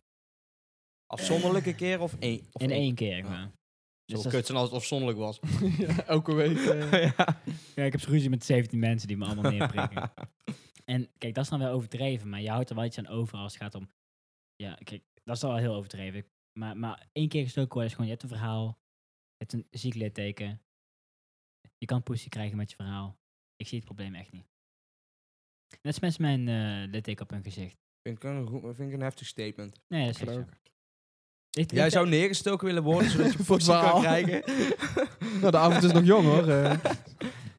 [SPEAKER 3] Afzonderlijke keer of één? Of
[SPEAKER 1] in één keer,
[SPEAKER 3] Ah.
[SPEAKER 1] gewoon.
[SPEAKER 3] Zo
[SPEAKER 1] Dus dat is-
[SPEAKER 3] kut zijn als het afzonderlijk was.
[SPEAKER 2] Ja, elke week. eh.
[SPEAKER 3] ja.
[SPEAKER 1] ja, ik heb zo'n ruzie met 17 mensen die me allemaal neerprikken. en kijk, dat is dan wel overdreven, maar je houdt er wel iets aan over als het gaat om... Ja, kijk, dat is al heel overdreven. Maar, maar één keer gestoken worden is gewoon, je hebt een verhaal, je hebt een ziek litteken. Je kan pussy krijgen met je verhaal. Ik zie het probleem echt niet. Net als mensen met een eh, litteken op hun gezicht.
[SPEAKER 3] Vind ik een, goed- vind ik een heftig statement.
[SPEAKER 1] Nee, dat is
[SPEAKER 2] Kan
[SPEAKER 1] ook.
[SPEAKER 2] ook.
[SPEAKER 3] Jij zou neergestoken willen worden zodat je
[SPEAKER 2] Voor
[SPEAKER 3] pussy kan
[SPEAKER 2] verhaal.
[SPEAKER 3] krijgen.
[SPEAKER 2] Nou, de avond is nog jong hoor. eh.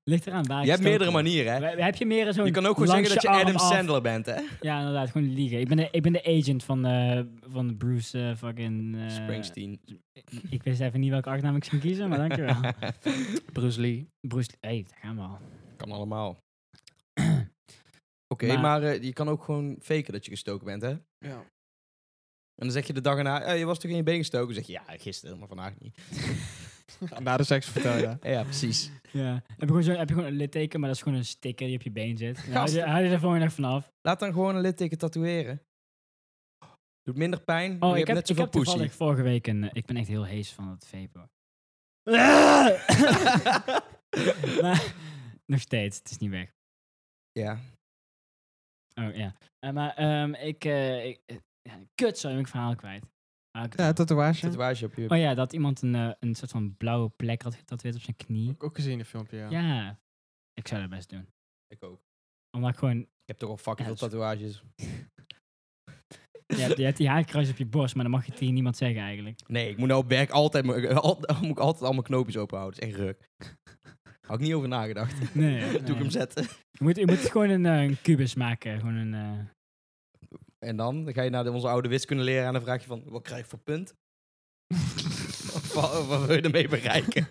[SPEAKER 1] Ligt eraan waar
[SPEAKER 3] je hebt meerdere
[SPEAKER 1] manieren.
[SPEAKER 3] manieren, hè?
[SPEAKER 1] Heb je meer zo'n
[SPEAKER 3] Je kan ook gewoon zeggen dat
[SPEAKER 1] langs
[SPEAKER 3] je
[SPEAKER 1] arm
[SPEAKER 3] Adam
[SPEAKER 1] af-
[SPEAKER 3] Sandler bent, hè?
[SPEAKER 2] Eh,
[SPEAKER 1] Ja, inderdaad, gewoon liegen. Ik ben de, ik ben de agent van, eh, van Bruce eh, fucking... eh,
[SPEAKER 3] Springsteen.
[SPEAKER 1] Ik wist even niet welke achternaam ik zou kiezen, maar dankjewel.
[SPEAKER 2] Bruce Lee.
[SPEAKER 1] Bruce, hé, hey, daar gaan we al.
[SPEAKER 3] Kan allemaal. Oké, maar,
[SPEAKER 1] Maar-
[SPEAKER 3] eh, je kan ook gewoon faken dat je gestoken bent, hè?
[SPEAKER 2] Ja.
[SPEAKER 3] En dan zeg je de dag erna, "Eh, je was toch in je been gestoken? Dan zeg je, ja, gisteren, maar vandaag niet.
[SPEAKER 2] Na de seks vertel je dat.
[SPEAKER 3] Ja, precies.
[SPEAKER 1] Ja. Heb je, gewoon zo, heb je gewoon een litteken, maar dat is gewoon een sticker die op je been zit. Nou, Hou je- hou je er volgende dag vanaf.
[SPEAKER 3] Laat dan gewoon een litteken tatoeëren. Doet minder pijn, maar
[SPEAKER 1] Oh,
[SPEAKER 3] je
[SPEAKER 1] ik heb,
[SPEAKER 3] hebt
[SPEAKER 1] ik
[SPEAKER 3] net zoveel
[SPEAKER 1] heb
[SPEAKER 3] poesie.
[SPEAKER 1] toevallig vorige week een... eh, Ik ben echt heel hees van het vapen. maar, nog steeds, het is niet weg.
[SPEAKER 3] ja.
[SPEAKER 1] Oh, ja. Eh, maar ehm, ik... eh, ik eh, ja, kut, zo heb ik verhaal kwijt. Ah, ik-
[SPEAKER 2] Ja, tatoeage.
[SPEAKER 3] Tatoeage op je...
[SPEAKER 1] Oh ja, dat iemand een, eh, een soort van blauwe plek had getatoeëerd op zijn knie.
[SPEAKER 2] Heb ik ook gezien in een filmpje, ja.
[SPEAKER 1] Ja. Ik zou dat best doen.
[SPEAKER 3] Ik ook.
[SPEAKER 1] Omdat ik gewoon...
[SPEAKER 3] Ik heb toch al fucking
[SPEAKER 1] Ja,
[SPEAKER 3] veel tatoeages.
[SPEAKER 1] Je hebt, je hebt die haarkruis op je borst, maar dan mag je het tegen niemand zeggen eigenlijk.
[SPEAKER 3] Nee, ik moet nou op werk altijd, mijn- al, moet ik altijd al mijn knoopjes openhouden. Dat is echt ruk. Had ik niet over nagedacht.
[SPEAKER 1] Nee. nee.
[SPEAKER 3] Doe ik hem zetten.
[SPEAKER 1] Je moet, je moet gewoon een, eh, een kubus maken. Gewoon een... eh,
[SPEAKER 3] En dan, dan ga je naar de- onze oude wiskundeleraar en dan vraag je van, wat krijg je voor punt? wat, wat wil je ermee bereiken?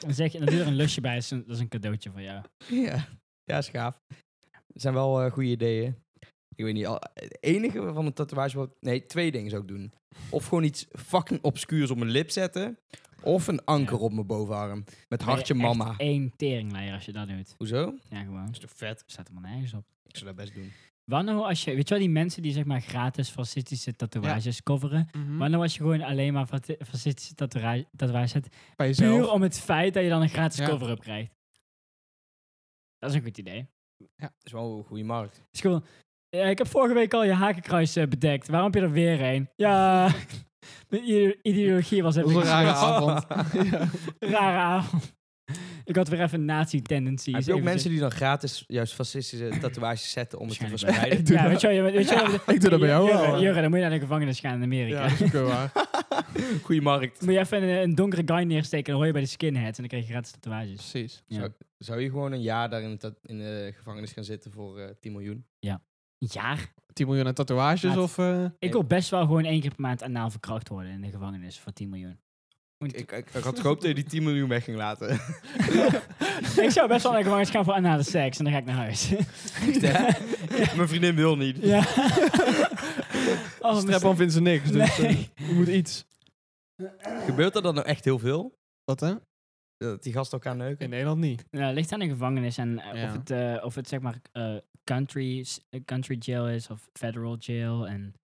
[SPEAKER 1] Dan zeg je, dan doe je er een lusje bij, dat is een, dat is een cadeautje van jou.
[SPEAKER 3] ja, ja, schaaf. Het zijn wel eh, goede ideeën. Ik weet niet, al, het enige van een tatoeage wat... Nee, twee dingen zou ik doen. Of gewoon iets fucking obscuurs op mijn lip zetten. Of een anker op mijn bovenarm. Met hartje
[SPEAKER 1] Ben je echt
[SPEAKER 3] mama.
[SPEAKER 1] één teringleier als je dat doet.
[SPEAKER 3] Hoezo? Dat
[SPEAKER 1] Ja, gewoon.
[SPEAKER 3] is toch vet?
[SPEAKER 1] Staat helemaal nergens op.
[SPEAKER 3] Ik zou dat best doen.
[SPEAKER 1] Wat nou als je, weet je wel, die mensen die zeg maar gratis fascistische tatoeages coveren.
[SPEAKER 2] Mhm.
[SPEAKER 1] Wat nou als je gewoon alleen maar fati- fascistische tatoeage- tatoeages hebt.
[SPEAKER 2] Bij
[SPEAKER 1] Puur
[SPEAKER 2] jezelf.
[SPEAKER 1] om het feit dat je dan een gratis
[SPEAKER 2] Ja.
[SPEAKER 1] cover-up krijgt. Dat is een goed idee.
[SPEAKER 3] Dat is wel een goede markt.
[SPEAKER 1] Dus gewoon, ja, ik heb vorige week al je hakenkruis eh, bedekt. Waarom heb je er weer een? Ja, mijn ide- ideologie was
[SPEAKER 2] Dat
[SPEAKER 1] even...
[SPEAKER 2] was een rare avond. ja.
[SPEAKER 1] Rare avond. Ik had weer even nazi-tendencies.
[SPEAKER 3] Heb je ook
[SPEAKER 1] Even-
[SPEAKER 3] mensen die dan gratis juist fascistische tatoeages zetten om het te
[SPEAKER 1] Waarschijnlijk
[SPEAKER 3] verspreiden?
[SPEAKER 2] Ik doe
[SPEAKER 1] Ja,
[SPEAKER 2] dat.
[SPEAKER 1] weet je, wel, je, weet je wel-
[SPEAKER 2] Ik doe dat bij jou
[SPEAKER 1] Jurre,
[SPEAKER 2] wel.
[SPEAKER 1] Jurre, dan moet je naar de gevangenis gaan in Amerika.
[SPEAKER 2] Ja, dat is ook wel waar.
[SPEAKER 3] Goeie markt.
[SPEAKER 1] Moet je even een, een donkere guy neersteken, dan hoor je bij de skinheads en dan krijg je gratis tatoeages.
[SPEAKER 2] Precies.
[SPEAKER 1] Ja.
[SPEAKER 3] Zou, zou je gewoon een jaar daar in, dat- in de gevangenis gaan zitten voor eh 10 miljoen?
[SPEAKER 1] Ja,
[SPEAKER 2] 10 miljoen aan tatoeages
[SPEAKER 1] Laat-
[SPEAKER 2] of... eh,
[SPEAKER 1] ik wil best wel gewoon één keer per maand anaal verkracht worden in de gevangenis voor 10 miljoen. Moet-
[SPEAKER 3] Ik, ik, ik had gehoopt dat je die 10 miljoen weg ging laten.
[SPEAKER 1] ik zou best wel naar de gevangenis gaan voor anale seks en dan ga ik naar huis.
[SPEAKER 3] hè? Mijn vriendin wil niet.
[SPEAKER 1] ja. Oh,
[SPEAKER 2] Strap-on vindt ze niks, dus eh,
[SPEAKER 1] Nee.
[SPEAKER 2] je moet iets.
[SPEAKER 3] Gebeurt er dan nou echt heel veel?
[SPEAKER 2] Wat hè?
[SPEAKER 3] Dat die gasten elkaar neuken?
[SPEAKER 2] In Nederland niet.
[SPEAKER 1] Ja, het ligt aan de gevangenis en eh,
[SPEAKER 2] Ja.
[SPEAKER 1] of, het, eh, of het zeg maar eh, country, s- eh, country jail is of federal jail. En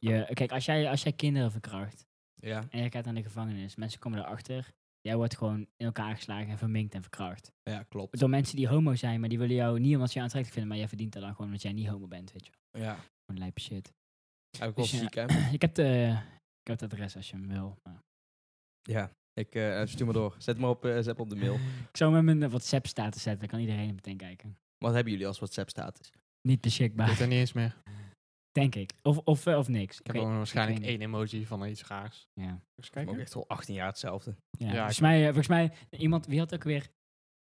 [SPEAKER 1] je, kijk, als jij, als jij kinderen verkracht
[SPEAKER 3] Ja.
[SPEAKER 1] en je gaat naar de gevangenis, mensen komen erachter. Jij wordt gewoon in elkaar geslagen en verminkt en verkracht.
[SPEAKER 3] ja, klopt.
[SPEAKER 1] Door mensen die homo zijn, maar die willen jou niet omdat ze je aantrekkelijk vinden, maar jij verdient dat dan gewoon omdat jij niet homo bent, weet je. wel.
[SPEAKER 3] Ja.
[SPEAKER 1] Gewoon lijpe shit.
[SPEAKER 3] Heb ik wel
[SPEAKER 1] Dus ja.
[SPEAKER 3] ziek, hè?
[SPEAKER 1] ik, heb de, ik heb het adres als je hem wil. maar-
[SPEAKER 3] Ja. Ik eh, stuur maar door. Zet me op, eh, zet me op de mail.
[SPEAKER 1] Ik zou hem in mijn WhatsApp-status zetten, dan kan iedereen hem meteen kijken.
[SPEAKER 3] Wat hebben jullie als WhatsApp-status?
[SPEAKER 1] Niet
[SPEAKER 2] Ik weet
[SPEAKER 1] beschikbaar,
[SPEAKER 2] dat niet eens meer.
[SPEAKER 1] denk ik. Of, of, eh, of niks.
[SPEAKER 2] Ik heb gewoon waarschijnlijk
[SPEAKER 1] ik weet
[SPEAKER 2] één emoji van iets raars.
[SPEAKER 1] Ja.
[SPEAKER 2] Eens
[SPEAKER 3] Ik ben
[SPEAKER 2] kijken.
[SPEAKER 3] ook echt al 18 jaar hetzelfde.
[SPEAKER 1] Ja,
[SPEAKER 2] Ja,
[SPEAKER 1] volgens,
[SPEAKER 2] ik-
[SPEAKER 1] mij, eh, volgens mij, iemand, wie had ook weer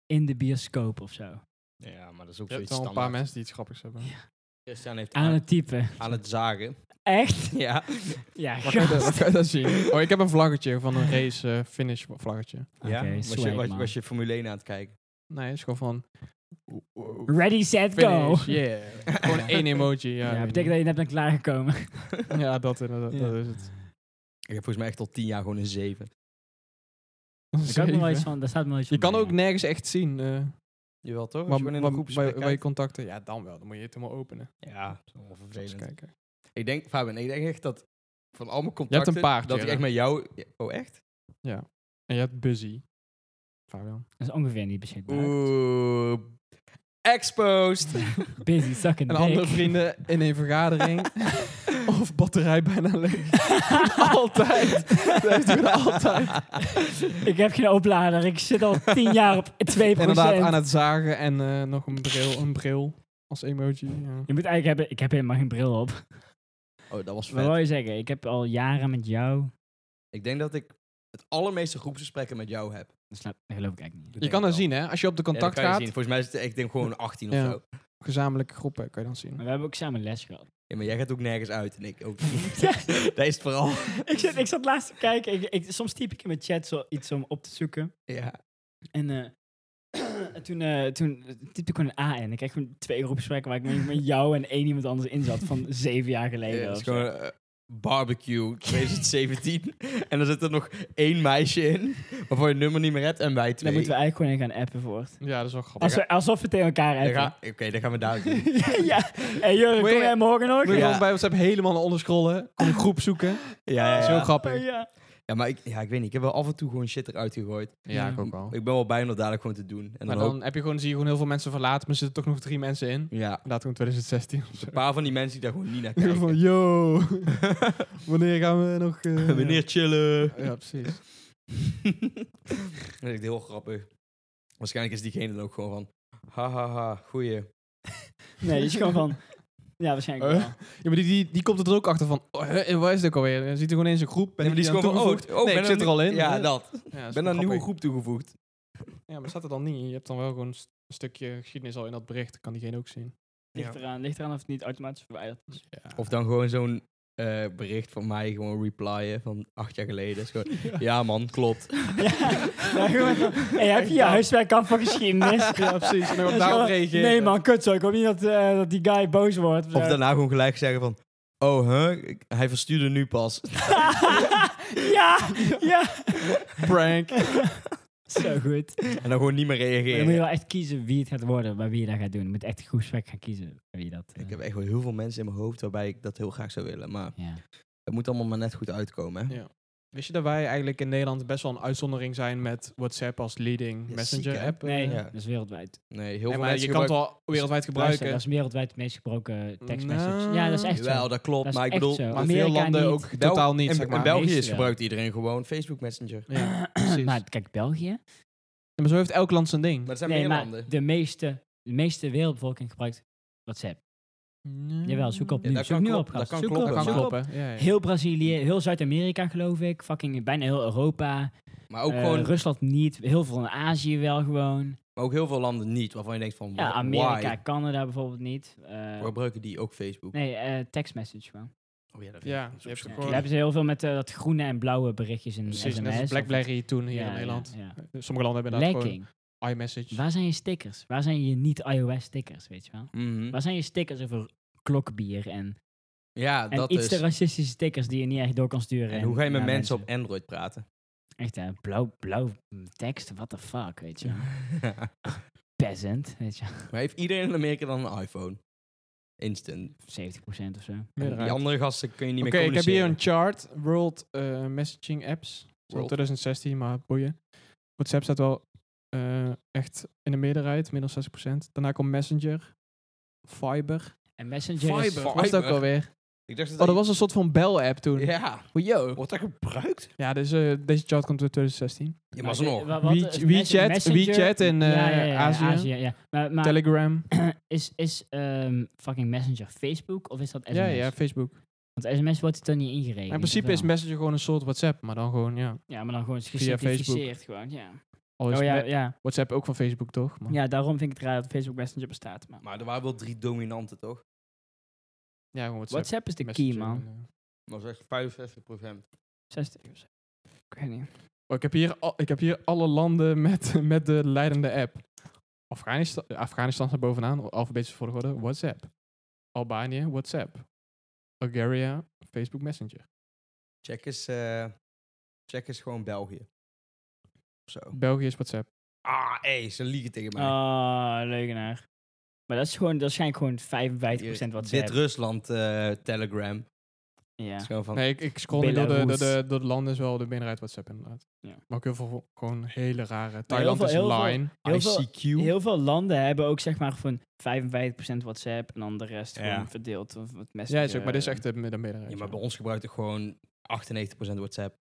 [SPEAKER 1] in de bioscoop of zo?
[SPEAKER 3] Ja, maar dat is ook
[SPEAKER 2] Je hebt wel een paar mensen die iets grappigs hebben.
[SPEAKER 3] Christian heeft
[SPEAKER 1] Aan het typen.
[SPEAKER 3] aan het zagen.
[SPEAKER 1] Echt?
[SPEAKER 3] Ja.
[SPEAKER 1] Ja,
[SPEAKER 2] Waar kan, je dat,
[SPEAKER 1] gast.
[SPEAKER 2] waar kan je dat zien? Oh, ik heb een vlaggetje van een race eh, finish vlaggetje.
[SPEAKER 1] Oké,
[SPEAKER 3] was,
[SPEAKER 1] swag,
[SPEAKER 3] je, was,
[SPEAKER 1] man.
[SPEAKER 3] was je Formule 1 aan het kijken?
[SPEAKER 2] Nee, het is gewoon van...
[SPEAKER 1] Ready, set, go.
[SPEAKER 2] Finish, yeah. gewoon één emoji. Ja,
[SPEAKER 1] Ja, betekent dat je net bent klaargekomen.
[SPEAKER 2] Ja, dat inderdaad.
[SPEAKER 1] Ja.
[SPEAKER 2] Dat is het.
[SPEAKER 3] Ik heb volgens mij echt al 10 jaar gewoon een 7.
[SPEAKER 1] Daar, kan ik me wel
[SPEAKER 2] Zeven.
[SPEAKER 1] iets van, daar staat me wel iets
[SPEAKER 2] Je
[SPEAKER 1] van
[SPEAKER 2] kan
[SPEAKER 1] bij,
[SPEAKER 2] ook
[SPEAKER 1] ja.
[SPEAKER 2] nergens echt zien. eh
[SPEAKER 3] Jawel toch?
[SPEAKER 2] waar,
[SPEAKER 3] Als je
[SPEAKER 2] waar-
[SPEAKER 3] Oh, gewoon in een
[SPEAKER 2] waar-
[SPEAKER 3] groepsgesprek
[SPEAKER 2] waar je
[SPEAKER 3] kijkt.
[SPEAKER 2] contacten... Ja, dan wel. Dan moet je het helemaal openen.
[SPEAKER 3] Ja, dat is allemaal
[SPEAKER 2] Eens
[SPEAKER 3] vervelend.
[SPEAKER 2] kijken.
[SPEAKER 3] Ik denk, Fabian, ik denk echt dat van al mijn
[SPEAKER 2] een
[SPEAKER 3] contacten...
[SPEAKER 2] paard,
[SPEAKER 3] Dat ik
[SPEAKER 2] Jelle.
[SPEAKER 3] echt met jou... Oh, echt?
[SPEAKER 2] En je hebt Buzzy. Fabian.
[SPEAKER 1] Dat is ongeveer niet beschikbaar.
[SPEAKER 3] Oeh. Exposed.
[SPEAKER 1] Busy, sucking
[SPEAKER 2] En
[SPEAKER 1] dick.
[SPEAKER 2] andere vrienden in een vergadering. of batterij bijna leeg. altijd. Dat heeft hij altijd.
[SPEAKER 1] Ik heb geen oplader. Ik zit al tien jaar op 2%.
[SPEAKER 2] Inderdaad, aan het zagen en eh, nog een bril, een bril als emoji. Ja.
[SPEAKER 1] Je moet eigenlijk hebben... Ik heb helemaal geen bril op.
[SPEAKER 3] Oh, dat was
[SPEAKER 1] Wat
[SPEAKER 3] vet.
[SPEAKER 1] wil je zeggen? Ik heb al jaren met jou...
[SPEAKER 3] Ik denk dat ik het allermeeste groepsgesprekken met jou heb.
[SPEAKER 1] Dat, slaat- dat geloof ik eigenlijk niet.
[SPEAKER 3] Dat
[SPEAKER 2] Je
[SPEAKER 3] denk
[SPEAKER 2] kan dat
[SPEAKER 3] ik wel.
[SPEAKER 2] zien, hè? Als je op de
[SPEAKER 3] Ja, dat
[SPEAKER 2] contact
[SPEAKER 3] kan je
[SPEAKER 2] gaat,
[SPEAKER 3] zien. Volgens mij is het, ik denk gewoon 18
[SPEAKER 2] Ja.
[SPEAKER 3] of zo.
[SPEAKER 2] gezamenlijke groepen kan je dan
[SPEAKER 1] Maar
[SPEAKER 2] zien.
[SPEAKER 1] we hebben ook samen les gehad.
[SPEAKER 3] Ja, maar jij gaat ook nergens uit en ik ook niet. dat is het vooral.
[SPEAKER 1] ik, zit, ik zat laatst te kijken. Ik, ik, soms typ ik in mijn chat zo iets om op te zoeken.
[SPEAKER 3] Ja.
[SPEAKER 1] En eh, toen, eh, toen typte ik gewoon een A in. Ik kreeg gewoon twee groepsgesprekken waar ik met, met jou en één iemand anders in zat van zeven jaar
[SPEAKER 3] Ja,
[SPEAKER 1] geleden.
[SPEAKER 3] dat
[SPEAKER 1] of
[SPEAKER 3] is
[SPEAKER 1] zo.
[SPEAKER 3] gewoon eh, barbecue 2017. en dan zit er nog één meisje in, waarvan je het nummer niet meer hebt en wij
[SPEAKER 1] Daar
[SPEAKER 3] twee.
[SPEAKER 1] moeten we eigenlijk gewoon in gaan appen voor. het.
[SPEAKER 2] Ja, dat is wel grappig.
[SPEAKER 1] Als we- alsof we tegen elkaar
[SPEAKER 3] Dan
[SPEAKER 1] appen.
[SPEAKER 3] ga- Oké, dan gaan we daar doen.
[SPEAKER 1] ja. Hey Jurgen,
[SPEAKER 2] Moet
[SPEAKER 1] kom
[SPEAKER 2] je-
[SPEAKER 1] jij morgen nog?
[SPEAKER 2] Moet je
[SPEAKER 3] Ja.
[SPEAKER 2] gewoon bij WhatsApp helemaal naar onder scrollen. Kom een groep zoeken.
[SPEAKER 3] ja,
[SPEAKER 2] Dat
[SPEAKER 3] ja,
[SPEAKER 2] is heel
[SPEAKER 3] ja.
[SPEAKER 2] grappig.
[SPEAKER 1] Oh, ja.
[SPEAKER 3] ja, maar ik, ja, ik weet niet. Ik heb wel af en toe gewoon shit eruit gegooid.
[SPEAKER 2] Ja,
[SPEAKER 1] Ja.
[SPEAKER 2] ik ook wel.
[SPEAKER 3] Ik ben wel bij om dat dadelijk gewoon te doen. En
[SPEAKER 2] Maar
[SPEAKER 3] dan hoop-
[SPEAKER 2] dan heb je gewoon, zie je gewoon heel veel mensen verlaten, maar er zitten toch nog drie mensen in.
[SPEAKER 3] ja,
[SPEAKER 2] Laat gewoon 2016 of zo.
[SPEAKER 3] een paar van die mensen die daar gewoon niet naar
[SPEAKER 2] In ieder geval,
[SPEAKER 3] kijken.
[SPEAKER 2] yo, wanneer gaan we nog... eh,
[SPEAKER 3] Meneer chillen.
[SPEAKER 2] Ja, precies.
[SPEAKER 3] Dat is echt heel grappig. Waarschijnlijk is diegene dan ook gewoon van... Hahaha, goeie.
[SPEAKER 1] Nee, die is gewoon van... Ja, waarschijnlijk
[SPEAKER 2] Eh?
[SPEAKER 1] wel.
[SPEAKER 2] Ja, maar die, die, die komt er ook achter van, oh, hè, waar is dit ook alweer? Dan ziet er gewoon in zijn groep. Ben
[SPEAKER 3] Nee, maar
[SPEAKER 2] ik
[SPEAKER 3] die is gewoon
[SPEAKER 2] aan
[SPEAKER 3] van...
[SPEAKER 2] toegevoegd?
[SPEAKER 3] Oh, oh,
[SPEAKER 2] nee,
[SPEAKER 3] ben
[SPEAKER 2] ik zit er
[SPEAKER 3] een-
[SPEAKER 2] al in.
[SPEAKER 3] Ja,
[SPEAKER 2] hè?
[SPEAKER 3] dat. Ik
[SPEAKER 2] Ja, is wel
[SPEAKER 3] ben aan een nieuwe
[SPEAKER 2] grappig.
[SPEAKER 3] groep toegevoegd.
[SPEAKER 2] Ja, maar staat er dan niet. Je hebt dan wel gewoon st- een stukje geschiedenis al in dat bericht. Dan kan diegene ook zien.
[SPEAKER 1] Ligt, eraan, ligt eraan of het niet automatisch verwijderd is.
[SPEAKER 3] Of dan gewoon zo'n eh, bericht van mij gewoon replyen van acht jaar geleden. Is gewoon, ja man, klopt.
[SPEAKER 1] ja, ja, gewoon van, hey, heb je je huiswerk af van geschiedenis?
[SPEAKER 2] Ja, precies. En dan
[SPEAKER 1] Dat is
[SPEAKER 2] daarop
[SPEAKER 1] gewoon,
[SPEAKER 2] reageren.
[SPEAKER 1] Nee man, kut zo. Ik hoop niet dat, eh, dat die guy boos wordt.
[SPEAKER 3] Of daarna gewoon gelijk zeggen van... Oh, huh? Ik- Hij verstuurde nu pas.
[SPEAKER 1] ja, ja.
[SPEAKER 2] Prank.
[SPEAKER 1] Zo goed.
[SPEAKER 3] En dan gewoon niet meer
[SPEAKER 1] Maar dan moet je
[SPEAKER 3] reageren.
[SPEAKER 1] wel echt kiezen wie het gaat worden, bij wie je dat gaat doen. Je moet echt een goed gesprek gaan kiezen bij wie dat... eh,
[SPEAKER 3] Ik heb echt wel heel veel mensen in mijn hoofd waarbij ik dat heel graag zou willen. Maar
[SPEAKER 1] Ja.
[SPEAKER 3] het moet allemaal maar net goed uitkomen. Hè?
[SPEAKER 2] Ja. Wist je dat wij eigenlijk in Nederland best wel een uitzondering zijn met WhatsApp als leading
[SPEAKER 3] Ja, ziek,
[SPEAKER 2] messenger
[SPEAKER 3] hè?
[SPEAKER 2] app?
[SPEAKER 1] Nee,
[SPEAKER 3] Ja.
[SPEAKER 1] dat is wereldwijd.
[SPEAKER 3] Nee, heel
[SPEAKER 2] Nee,
[SPEAKER 3] veel
[SPEAKER 2] maar je
[SPEAKER 3] mensen
[SPEAKER 2] kan het
[SPEAKER 3] gebruiken...
[SPEAKER 2] wel wereldwijd
[SPEAKER 1] Luister, dat
[SPEAKER 2] gebruiken.
[SPEAKER 1] is wereldwijd het meest gebroken tekstmessage.
[SPEAKER 2] Nou,
[SPEAKER 1] ja, dat is echt zo.
[SPEAKER 3] Wel, dat klopt.
[SPEAKER 1] Dat is
[SPEAKER 3] maar ik
[SPEAKER 1] echt
[SPEAKER 3] bedoel...
[SPEAKER 1] zo.
[SPEAKER 3] in
[SPEAKER 2] Maar veel
[SPEAKER 1] Amerika
[SPEAKER 2] landen
[SPEAKER 1] niet.
[SPEAKER 2] ook
[SPEAKER 3] Bel-
[SPEAKER 2] totaal niet,
[SPEAKER 3] in-
[SPEAKER 2] zeg
[SPEAKER 3] In
[SPEAKER 2] maar.
[SPEAKER 3] België
[SPEAKER 1] Meestal
[SPEAKER 3] is
[SPEAKER 1] wel.
[SPEAKER 3] gebruikt iedereen gewoon Facebook Messenger.
[SPEAKER 2] Ja, precies.
[SPEAKER 1] Maar kijk, België.
[SPEAKER 2] Maar zo heeft elk land zijn ding.
[SPEAKER 3] Maar er zijn
[SPEAKER 1] Nee,
[SPEAKER 3] meer
[SPEAKER 1] maar
[SPEAKER 3] landen.
[SPEAKER 1] de meeste, de meeste wereldbevolking gebruikt WhatsApp. Jawel, zoek op
[SPEAKER 3] Ja,
[SPEAKER 1] nu.
[SPEAKER 3] dat
[SPEAKER 1] zoek
[SPEAKER 3] kan
[SPEAKER 1] nu op,
[SPEAKER 3] kloppen,
[SPEAKER 1] gast.
[SPEAKER 3] dat kan
[SPEAKER 1] Zoek
[SPEAKER 3] kloppen,
[SPEAKER 1] op,
[SPEAKER 2] Dat kan
[SPEAKER 1] zoek op.
[SPEAKER 2] kloppen. Ja, ja.
[SPEAKER 1] Heel Brazilië, heel Zuid-Amerika geloof ik. Fucking bijna heel Europa.
[SPEAKER 3] Maar ook
[SPEAKER 1] Eh,
[SPEAKER 3] gewoon...
[SPEAKER 1] Rusland niet. Heel veel in Azië wel gewoon.
[SPEAKER 3] Maar ook heel veel landen niet, waarvan je denkt van...
[SPEAKER 1] Ja,
[SPEAKER 3] wh-
[SPEAKER 1] Amerika,
[SPEAKER 3] why?
[SPEAKER 1] Canada bijvoorbeeld niet. Eh,
[SPEAKER 3] Waar gebruiken die ook Facebook?
[SPEAKER 1] nee, eh textmessage gewoon.
[SPEAKER 3] Oh ja, dat
[SPEAKER 2] Ja,
[SPEAKER 3] vind ik-
[SPEAKER 2] je hebt
[SPEAKER 1] Ja,
[SPEAKER 2] Gewoon-
[SPEAKER 1] daar hebben ze heel veel met eh, dat groene en blauwe berichtjes in
[SPEAKER 2] Precies,
[SPEAKER 1] sms.
[SPEAKER 2] net als
[SPEAKER 1] of-
[SPEAKER 2] Blackberry toen hier
[SPEAKER 1] Ja,
[SPEAKER 2] in
[SPEAKER 1] ja,
[SPEAKER 2] Nederland.
[SPEAKER 1] ja.
[SPEAKER 2] Sommige landen hebben inderdaad
[SPEAKER 1] Lekking.
[SPEAKER 2] gewoon iMessage.
[SPEAKER 1] Waar zijn je stickers? Waar zijn je niet-iOS stickers, weet je wel?
[SPEAKER 3] Mhm.
[SPEAKER 1] Waar zijn je stickers over klokbier en,
[SPEAKER 3] Ja,
[SPEAKER 1] en
[SPEAKER 3] dat
[SPEAKER 1] iets
[SPEAKER 3] is...
[SPEAKER 1] te racistische stickers die je niet echt door kan sturen?
[SPEAKER 3] En hoe ga je met
[SPEAKER 1] naar
[SPEAKER 3] mensen op Android praten?
[SPEAKER 1] Echt, hè? Blauw, blauw tekst, what the fuck, weet je wel? Peasant, weet je wel?
[SPEAKER 3] maar heeft iedereen in Amerika dan een iPhone? Instant.
[SPEAKER 1] 70% of zo.
[SPEAKER 3] En
[SPEAKER 2] Meerderheid.
[SPEAKER 3] die andere gasten kun je niet
[SPEAKER 2] Oké,
[SPEAKER 3] meer
[SPEAKER 2] ik heb hier
[SPEAKER 3] communiceren.
[SPEAKER 2] een chart. World eh, Messaging Apps. Zo
[SPEAKER 3] World.
[SPEAKER 2] 2016, maar boeien. WhatsApp staat wel eh, echt in de meerderheid, minder dan 60%. Daarna komt Messenger. Fiber.
[SPEAKER 1] En Messenger is...
[SPEAKER 3] Fiber.
[SPEAKER 2] Wat was dat ook alweer?
[SPEAKER 3] Ik dacht
[SPEAKER 2] Oh, dat was een soort van bel-app toen.
[SPEAKER 3] Ja.
[SPEAKER 2] Oh, yo.
[SPEAKER 3] Wordt dat gebruikt?
[SPEAKER 2] Ja, dus, eh, deze chart komt uit 2016.
[SPEAKER 3] Ja, maar alsnog.
[SPEAKER 1] wa- wat-
[SPEAKER 2] WeChat,
[SPEAKER 1] is Mes-
[SPEAKER 2] WeChat,
[SPEAKER 1] Messenger-
[SPEAKER 2] WeChat in eh,
[SPEAKER 1] Ja, ja, ja, ja,
[SPEAKER 2] Azië.
[SPEAKER 1] ja. Maar, maar
[SPEAKER 2] Telegram.
[SPEAKER 1] is, is ehm, fucking Messenger Facebook of is dat SMS?
[SPEAKER 2] Ja, ja, Facebook.
[SPEAKER 1] Want SMS wordt het dan niet ingerekend.
[SPEAKER 2] Maar in principe
[SPEAKER 1] of
[SPEAKER 2] is
[SPEAKER 1] wel?
[SPEAKER 2] Messenger gewoon een soort WhatsApp, maar dan gewoon, ja.
[SPEAKER 1] Ja, maar dan gewoon
[SPEAKER 2] via Facebook.
[SPEAKER 1] gecertificeerd gewoon, ja.
[SPEAKER 2] Al is
[SPEAKER 1] Oh ja,
[SPEAKER 2] Me-
[SPEAKER 1] ja.
[SPEAKER 2] WhatsApp ook van Facebook, toch? Maar-
[SPEAKER 1] Ja, daarom vind ik het raar dat Facebook Messenger bestaat. Maar
[SPEAKER 3] Maar er waren wel drie dominanten, toch?
[SPEAKER 2] ja, gewoon WhatsApp.
[SPEAKER 1] WhatsApp is de key,
[SPEAKER 2] Messenger
[SPEAKER 1] man.
[SPEAKER 2] en, eh,
[SPEAKER 3] Dat was echt 65 procent.
[SPEAKER 1] 60 of zo. Ik weet niet.
[SPEAKER 2] Oh, ik, heb hier al- ik heb hier alle landen met, met de leidende app. Afghanistan, Afghanistan staat bovenaan, alfabetische volgorde, WhatsApp. Albanië, WhatsApp. Bulgaria, Facebook Messenger.
[SPEAKER 3] Check is, eh, check is gewoon België. Of Zo.
[SPEAKER 2] België is WhatsApp.
[SPEAKER 3] Ah, hé, ze liegen tegen mij.
[SPEAKER 1] Ah, leugenaar. Maar dat is gewoon, dat is waarschijnlijk gewoon 55% wat ze
[SPEAKER 3] Dit
[SPEAKER 1] hebben.
[SPEAKER 3] Rusland eh, Telegram. Het
[SPEAKER 1] Ja.
[SPEAKER 3] is gewoon van,
[SPEAKER 2] Nee, ik, ik scroll nu door de, door,
[SPEAKER 1] Belarus.
[SPEAKER 2] de, door de landen, is wel de meerderheid WhatsApp inderdaad.
[SPEAKER 1] Ja.
[SPEAKER 2] Maar ook heel veel gewoon hele rare. Thailand
[SPEAKER 1] veel- heel veel-
[SPEAKER 2] is Line.
[SPEAKER 1] Heel veel,
[SPEAKER 3] ICQ.
[SPEAKER 1] heel veel landen hebben ook zeg maar van 55% WhatsApp en dan de rest
[SPEAKER 3] Ja.
[SPEAKER 1] gewoon verdeeld. Of wat
[SPEAKER 2] Ja,
[SPEAKER 1] Messenger.
[SPEAKER 2] is ook, maar dit is echt de, de meerderheid.
[SPEAKER 3] ja, maar
[SPEAKER 2] ja.
[SPEAKER 3] bij ons gebruikt het gewoon 98% WhatsApp.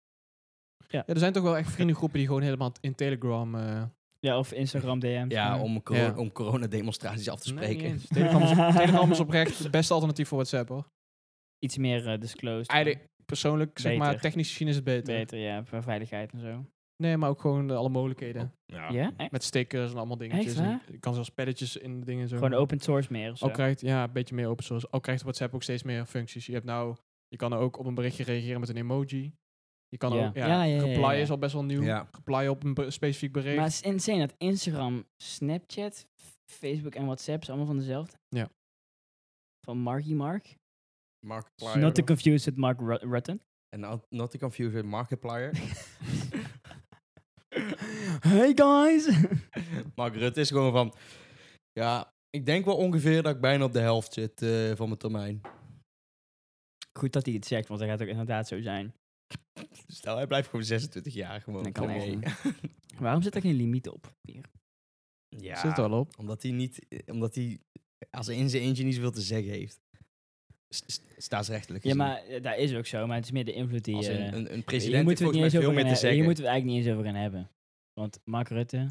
[SPEAKER 2] Ja, er zijn toch wel echt vriendengroepen die gewoon helemaal in Telegram... eh
[SPEAKER 1] Ja, of Instagram DM.
[SPEAKER 3] Ja,
[SPEAKER 2] Ja.
[SPEAKER 3] om, coro-
[SPEAKER 2] Ja.
[SPEAKER 3] om coronademonstraties af te
[SPEAKER 2] nee, niet
[SPEAKER 3] spreken.
[SPEAKER 2] eens. Telegram, is, Telegram is oprecht het beste alternatief voor WhatsApp, hoor.
[SPEAKER 1] Iets meer eh, disclosed.
[SPEAKER 2] Eigenlijk persoonlijk, zeg
[SPEAKER 1] Beter.
[SPEAKER 2] maar, technisch gezien is het beter.
[SPEAKER 1] Beter, ja, voor veiligheid en zo.
[SPEAKER 2] Nee, maar ook gewoon eh, alle mogelijkheden.
[SPEAKER 3] ja.
[SPEAKER 1] Ja? Echt?
[SPEAKER 2] Met stickers en allemaal dingetjes.
[SPEAKER 1] Oh, Echt,
[SPEAKER 2] en
[SPEAKER 1] waar?
[SPEAKER 2] je kan zelfs spelletjes in dingen en zo.
[SPEAKER 1] Gewoon open source meer of zo.
[SPEAKER 2] Al krijgt, ja, een beetje meer open source. Al krijgt WhatsApp ook steeds meer functies. Je hebt nou, je kan ook op een berichtje reageren met een emoji. Je kan
[SPEAKER 1] Ja.
[SPEAKER 2] ook, ja,
[SPEAKER 1] Ja, ja, ja,
[SPEAKER 2] reply
[SPEAKER 1] ja, ja.
[SPEAKER 2] is al best wel nieuw.
[SPEAKER 3] Ja.
[SPEAKER 2] Reply op een be- specifiek bericht.
[SPEAKER 1] Maar het is insane dat Instagram, Snapchat, F- Facebook en WhatsApp zijn allemaal van dezelfde.
[SPEAKER 2] Ja.
[SPEAKER 1] Van Marky Mark.
[SPEAKER 3] Markiplier.
[SPEAKER 1] Not to confuse with Mark Ru- Rutten.
[SPEAKER 3] En not, not to confuse with Markiplier.
[SPEAKER 1] hey guys!
[SPEAKER 3] Mark Rutte is gewoon van... Ja, ik denk wel ongeveer dat ik bijna op de helft zit eh, van mijn termijn.
[SPEAKER 1] Goed dat hij het zegt, want dat gaat ook inderdaad zo zijn.
[SPEAKER 3] Stel, hij blijft gewoon 26 jaar gewoon.
[SPEAKER 1] Dat kan
[SPEAKER 3] Oké.
[SPEAKER 1] echt Waarom zit er geen limiet op? Hier.
[SPEAKER 3] Ja,
[SPEAKER 2] Zit er al op.
[SPEAKER 3] omdat hij niet... eh, Omdat hij als hij in zijn eentje niet zoveel te zeggen heeft. S- s- Staatsrechtelijk
[SPEAKER 1] Ja,
[SPEAKER 3] gezien.
[SPEAKER 1] maar eh, dat is ook zo, maar het is meer de invloed die...
[SPEAKER 3] Als
[SPEAKER 1] eh,
[SPEAKER 3] een, een, een
[SPEAKER 1] hier
[SPEAKER 3] president heeft
[SPEAKER 1] moeten we het niet eens
[SPEAKER 3] volgens mij veel
[SPEAKER 1] over
[SPEAKER 3] meer
[SPEAKER 1] gaan
[SPEAKER 3] te
[SPEAKER 1] he- Hier
[SPEAKER 3] zeggen.
[SPEAKER 1] moeten we het eigenlijk niet eens over gaan hebben. Want Mark Rutte...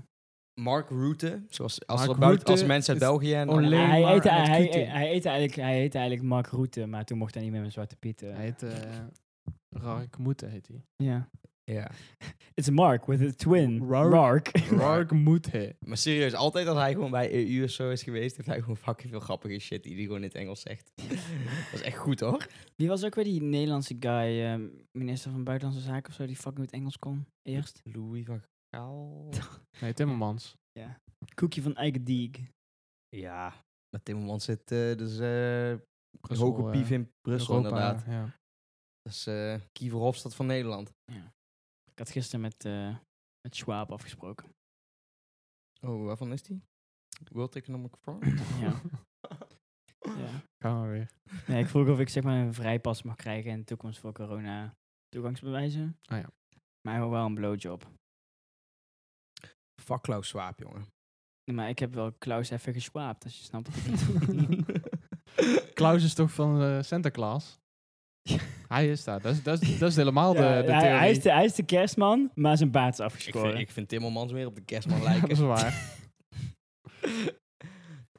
[SPEAKER 3] Mark Rutte, zoals als,
[SPEAKER 2] Mark
[SPEAKER 3] er buiten-
[SPEAKER 2] Rutte
[SPEAKER 3] als mensen uit
[SPEAKER 2] is
[SPEAKER 3] België en
[SPEAKER 2] onle- Alleen
[SPEAKER 1] hij,
[SPEAKER 2] maar
[SPEAKER 1] heette,
[SPEAKER 2] aan het
[SPEAKER 1] hij, hij,
[SPEAKER 2] kieten.
[SPEAKER 1] heette eigenlijk, hij heette eigenlijk Mark Rutte, maar toen mocht hij niet meer met Zwarte Piet. eh.
[SPEAKER 2] Hij heet eh Rark Moete, heet hij.
[SPEAKER 1] Ja.
[SPEAKER 3] Ja.
[SPEAKER 1] It's Mark with a twin.
[SPEAKER 2] Rark.
[SPEAKER 1] Mark.
[SPEAKER 2] Rark Moete.
[SPEAKER 3] Maar serieus, altijd als hij gewoon bij EU of zo is geweest, heeft hij gewoon fucking veel grappige shit die hij gewoon in het Engels zegt. dat is echt goed hoor.
[SPEAKER 1] Wie was ook weer die Nederlandse guy, ehm, minister van Buitenlandse Zaken of zo, die fucking met Engels kon? Eerst.
[SPEAKER 3] Louis van Gaal.
[SPEAKER 2] Nee, Timmermans.
[SPEAKER 1] Koekje van Eikendiek.
[SPEAKER 3] ja, met Timmermans zit eh, dus eh
[SPEAKER 2] Brussel,
[SPEAKER 3] hoge pief
[SPEAKER 2] eh,
[SPEAKER 3] in Brussel
[SPEAKER 2] Europa,
[SPEAKER 3] inderdaad.
[SPEAKER 2] Ja.
[SPEAKER 3] Dat is eh Kiever Hofstad van Nederland.
[SPEAKER 1] Ik had gisteren met, eh met Schwab afgesproken.
[SPEAKER 3] Oh, waarvan is die? World Economic Forum?
[SPEAKER 1] Ja. ja.
[SPEAKER 2] Gaan we weer.
[SPEAKER 1] Nee, ik vroeg of ik zeg maar een vrijpas mag krijgen in de toekomst voor corona toegangsbewijzen.
[SPEAKER 2] Ah ja.
[SPEAKER 1] Maar hij wil wel een blowjob.
[SPEAKER 3] Fuck Klaus Schwab, jongen.
[SPEAKER 1] Nee, Maar ik heb wel Klaus even geswaapt, als je snapt wat ik bedoel.
[SPEAKER 2] Klaus is toch van eh, Santa Claus? Hij is daar. Dat is, dat is, dat is helemaal de,
[SPEAKER 1] Ja,
[SPEAKER 2] de
[SPEAKER 1] hij-
[SPEAKER 2] theorie.
[SPEAKER 1] hij, is de, hij is de kerstman, maar zijn baard is
[SPEAKER 3] ik, vind,
[SPEAKER 1] afgeschoren.
[SPEAKER 3] ik vind Timmermans weer op de kerstman
[SPEAKER 2] Ja, dat
[SPEAKER 3] lijken.
[SPEAKER 2] is waar.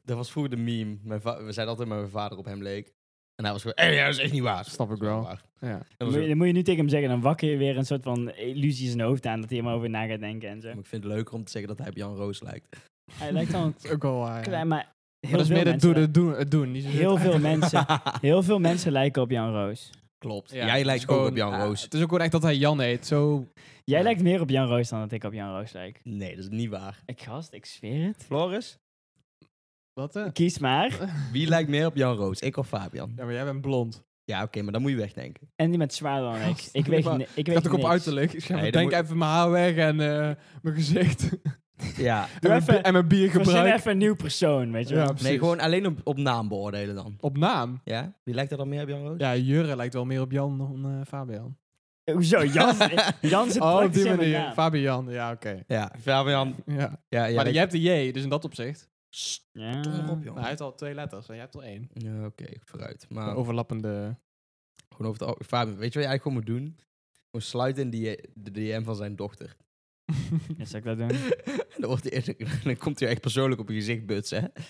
[SPEAKER 3] dat was vroeger de meme. Mijn va- we zeiden altijd maar mijn vader op hem leek. En hij was gewoon, hé, dat is echt niet waar.
[SPEAKER 2] Snap ik
[SPEAKER 3] Dat is
[SPEAKER 2] wel.
[SPEAKER 3] waar.
[SPEAKER 2] Ja.
[SPEAKER 3] Dat
[SPEAKER 1] Moet
[SPEAKER 3] was
[SPEAKER 1] je-
[SPEAKER 3] ook-
[SPEAKER 1] dan moet je nu tegen hem zeggen, dan wakker je weer een soort van illusie in zijn hoofd aan dat hij er maar over na gaat denken en zo.
[SPEAKER 3] maar ik vind het leuker om te zeggen dat hij op Jan Roos lijkt.
[SPEAKER 1] Hij lijkt al een
[SPEAKER 2] Dat is ook wel waar. ja.
[SPEAKER 1] klein, maar
[SPEAKER 2] Maar
[SPEAKER 1] heel
[SPEAKER 2] dat is
[SPEAKER 1] veel
[SPEAKER 2] meer het
[SPEAKER 1] mensen
[SPEAKER 2] doen, het doen. Het doen niet zo
[SPEAKER 1] Heel veel mensen. Heel veel mensen lijken op Jan Roos.
[SPEAKER 3] Klopt.
[SPEAKER 2] Ja,
[SPEAKER 3] Jij
[SPEAKER 2] het
[SPEAKER 3] lijkt
[SPEAKER 2] is
[SPEAKER 3] ook
[SPEAKER 2] gewoon-
[SPEAKER 3] op Jan
[SPEAKER 2] ah,
[SPEAKER 3] Roos.
[SPEAKER 2] het is ook gewoon echt dat hij Jan heet. Zo,
[SPEAKER 1] Jij
[SPEAKER 2] Ja.
[SPEAKER 1] lijkt meer op Jan Roos dan dat ik op Jan Roos lijk.
[SPEAKER 3] Nee, dat is niet waar.
[SPEAKER 1] Ik gast, ik zweer het.
[SPEAKER 3] Floris?
[SPEAKER 2] wat hè?
[SPEAKER 1] Kies maar.
[SPEAKER 3] Wie lijkt meer op Jan Roos? Ik of Fabian?
[SPEAKER 2] Ja, maar jij bent blond.
[SPEAKER 3] Ja, oké, maar dan moet je wegdenken.
[SPEAKER 1] En die met zwaarder dan ik.
[SPEAKER 2] Gast,
[SPEAKER 1] Ik weet
[SPEAKER 2] maar
[SPEAKER 1] ni- ik
[SPEAKER 2] Ik
[SPEAKER 1] weet
[SPEAKER 2] had ook op
[SPEAKER 1] niks.
[SPEAKER 2] uiterlijk. Ik zeg,
[SPEAKER 3] Nee, dan
[SPEAKER 2] denk even mijn haar weg en eh, mijn gezicht.
[SPEAKER 3] Ja.
[SPEAKER 2] en, mijn,
[SPEAKER 1] even-
[SPEAKER 2] bi- en mijn
[SPEAKER 1] Verzin
[SPEAKER 2] biergebruik.
[SPEAKER 1] even een nieuw persoon, weet je
[SPEAKER 2] Ja,
[SPEAKER 1] wel.
[SPEAKER 2] precies.
[SPEAKER 3] Nee, gewoon alleen op, op naam beoordelen dan.
[SPEAKER 2] Op naam.
[SPEAKER 3] Ja? Wie lijkt er dan meer op Jan Roos?
[SPEAKER 2] Ja, Jurre lijkt wel meer op Jan dan eh, Fabian.
[SPEAKER 1] Hoezo, Jan, Jan zit
[SPEAKER 2] Oh, op
[SPEAKER 1] praktisch
[SPEAKER 2] die
[SPEAKER 1] in mijn
[SPEAKER 2] manier.
[SPEAKER 1] naam.
[SPEAKER 2] Fabian, ja, oké.
[SPEAKER 3] Ja, Fabian.
[SPEAKER 2] Ja.
[SPEAKER 3] Ja, ja,
[SPEAKER 2] maar jij hebt de J, dus in dat opzicht.
[SPEAKER 1] Ja.
[SPEAKER 3] Stom op,
[SPEAKER 2] Maar hij
[SPEAKER 3] jongen.
[SPEAKER 2] heeft al twee letters en jij hebt al één.
[SPEAKER 3] Ja, oké, vooruit. Maar
[SPEAKER 2] Overlappende.
[SPEAKER 3] Gewoon over het al- Fabian, weet je wat je eigenlijk gewoon moet doen? Gewoon sluiten in die, de DM van zijn dochter.
[SPEAKER 1] Ja, Zal ik dat doen?
[SPEAKER 3] dan, wordt hij echt- dan komt hij echt persoonlijk op je gezicht butsen, hè?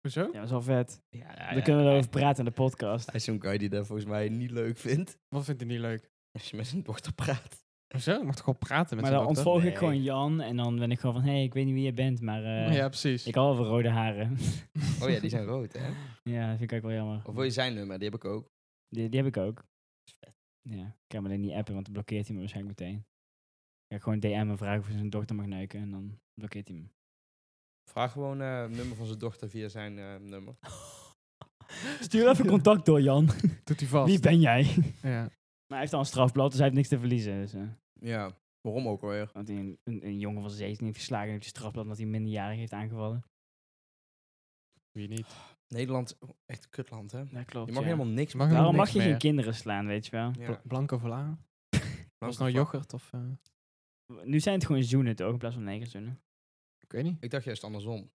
[SPEAKER 2] Hoezo?
[SPEAKER 1] Ja, dat is wel vet.
[SPEAKER 3] Ja,
[SPEAKER 1] Dan kunnen we erover praten in de podcast.
[SPEAKER 3] Hij is zo'n guy die dat volgens mij niet leuk vindt.
[SPEAKER 2] Wat vindt hij niet leuk?
[SPEAKER 3] Als je met zijn dochter praat.
[SPEAKER 2] Hoezo? Ik mag toch gewoon praten met
[SPEAKER 1] Maar
[SPEAKER 2] zijn
[SPEAKER 1] dan
[SPEAKER 2] dochter?
[SPEAKER 1] ontvolg
[SPEAKER 3] Nee.
[SPEAKER 1] ik gewoon Jan en dan ben ik gewoon van... Hé, hey, ik weet niet wie je bent, maar eh,
[SPEAKER 2] Ja, precies.
[SPEAKER 1] ik hou wel van rode haren.
[SPEAKER 3] Oh ja, die zijn rood, hè?
[SPEAKER 1] ja, dat vind ik ook wel jammer.
[SPEAKER 3] Of wil je zijn nummer? Die heb ik ook.
[SPEAKER 1] Die, die heb ik ook. Ja, ik kan hem alleen niet appen, want dan blokkeert hij me waarschijnlijk meteen. Ik ga gewoon DM en vragen of hij zijn dochter mag neuken en dan blokkeert hij me.
[SPEAKER 3] Vraag gewoon eh, het nummer van zijn dochter via zijn eh, nummer.
[SPEAKER 1] Stuur even contact door, Jan.
[SPEAKER 2] Doet hij vast.
[SPEAKER 1] Wie ben jij?
[SPEAKER 2] Ja.
[SPEAKER 1] maar hij heeft al een strafblad, dus hij heeft niks te verliezen. Dus, eh,
[SPEAKER 3] Ja, waarom ook alweer?
[SPEAKER 1] want hij een, een, een jongen van 17 heeft geslagen en heeft een strafblad omdat hij een minderjarige heeft aangevallen.
[SPEAKER 2] Wie niet?
[SPEAKER 3] Nederland, oh, echt een kutland, hè?
[SPEAKER 1] Dat klopt,
[SPEAKER 3] Je mag
[SPEAKER 1] ja.
[SPEAKER 3] helemaal niks
[SPEAKER 2] mag
[SPEAKER 3] meer.
[SPEAKER 1] Waarom
[SPEAKER 2] niks
[SPEAKER 1] mag je
[SPEAKER 2] meer.
[SPEAKER 1] geen kinderen slaan, weet je wel?
[SPEAKER 3] Ja,
[SPEAKER 2] Blanco Vla? Was het nou
[SPEAKER 3] fuck.
[SPEAKER 2] yoghurt of... eh,
[SPEAKER 1] Nu zijn het gewoon zoenen toch, in plaats van negen zoenen.
[SPEAKER 2] ik weet niet.
[SPEAKER 3] Ik dacht juist andersom.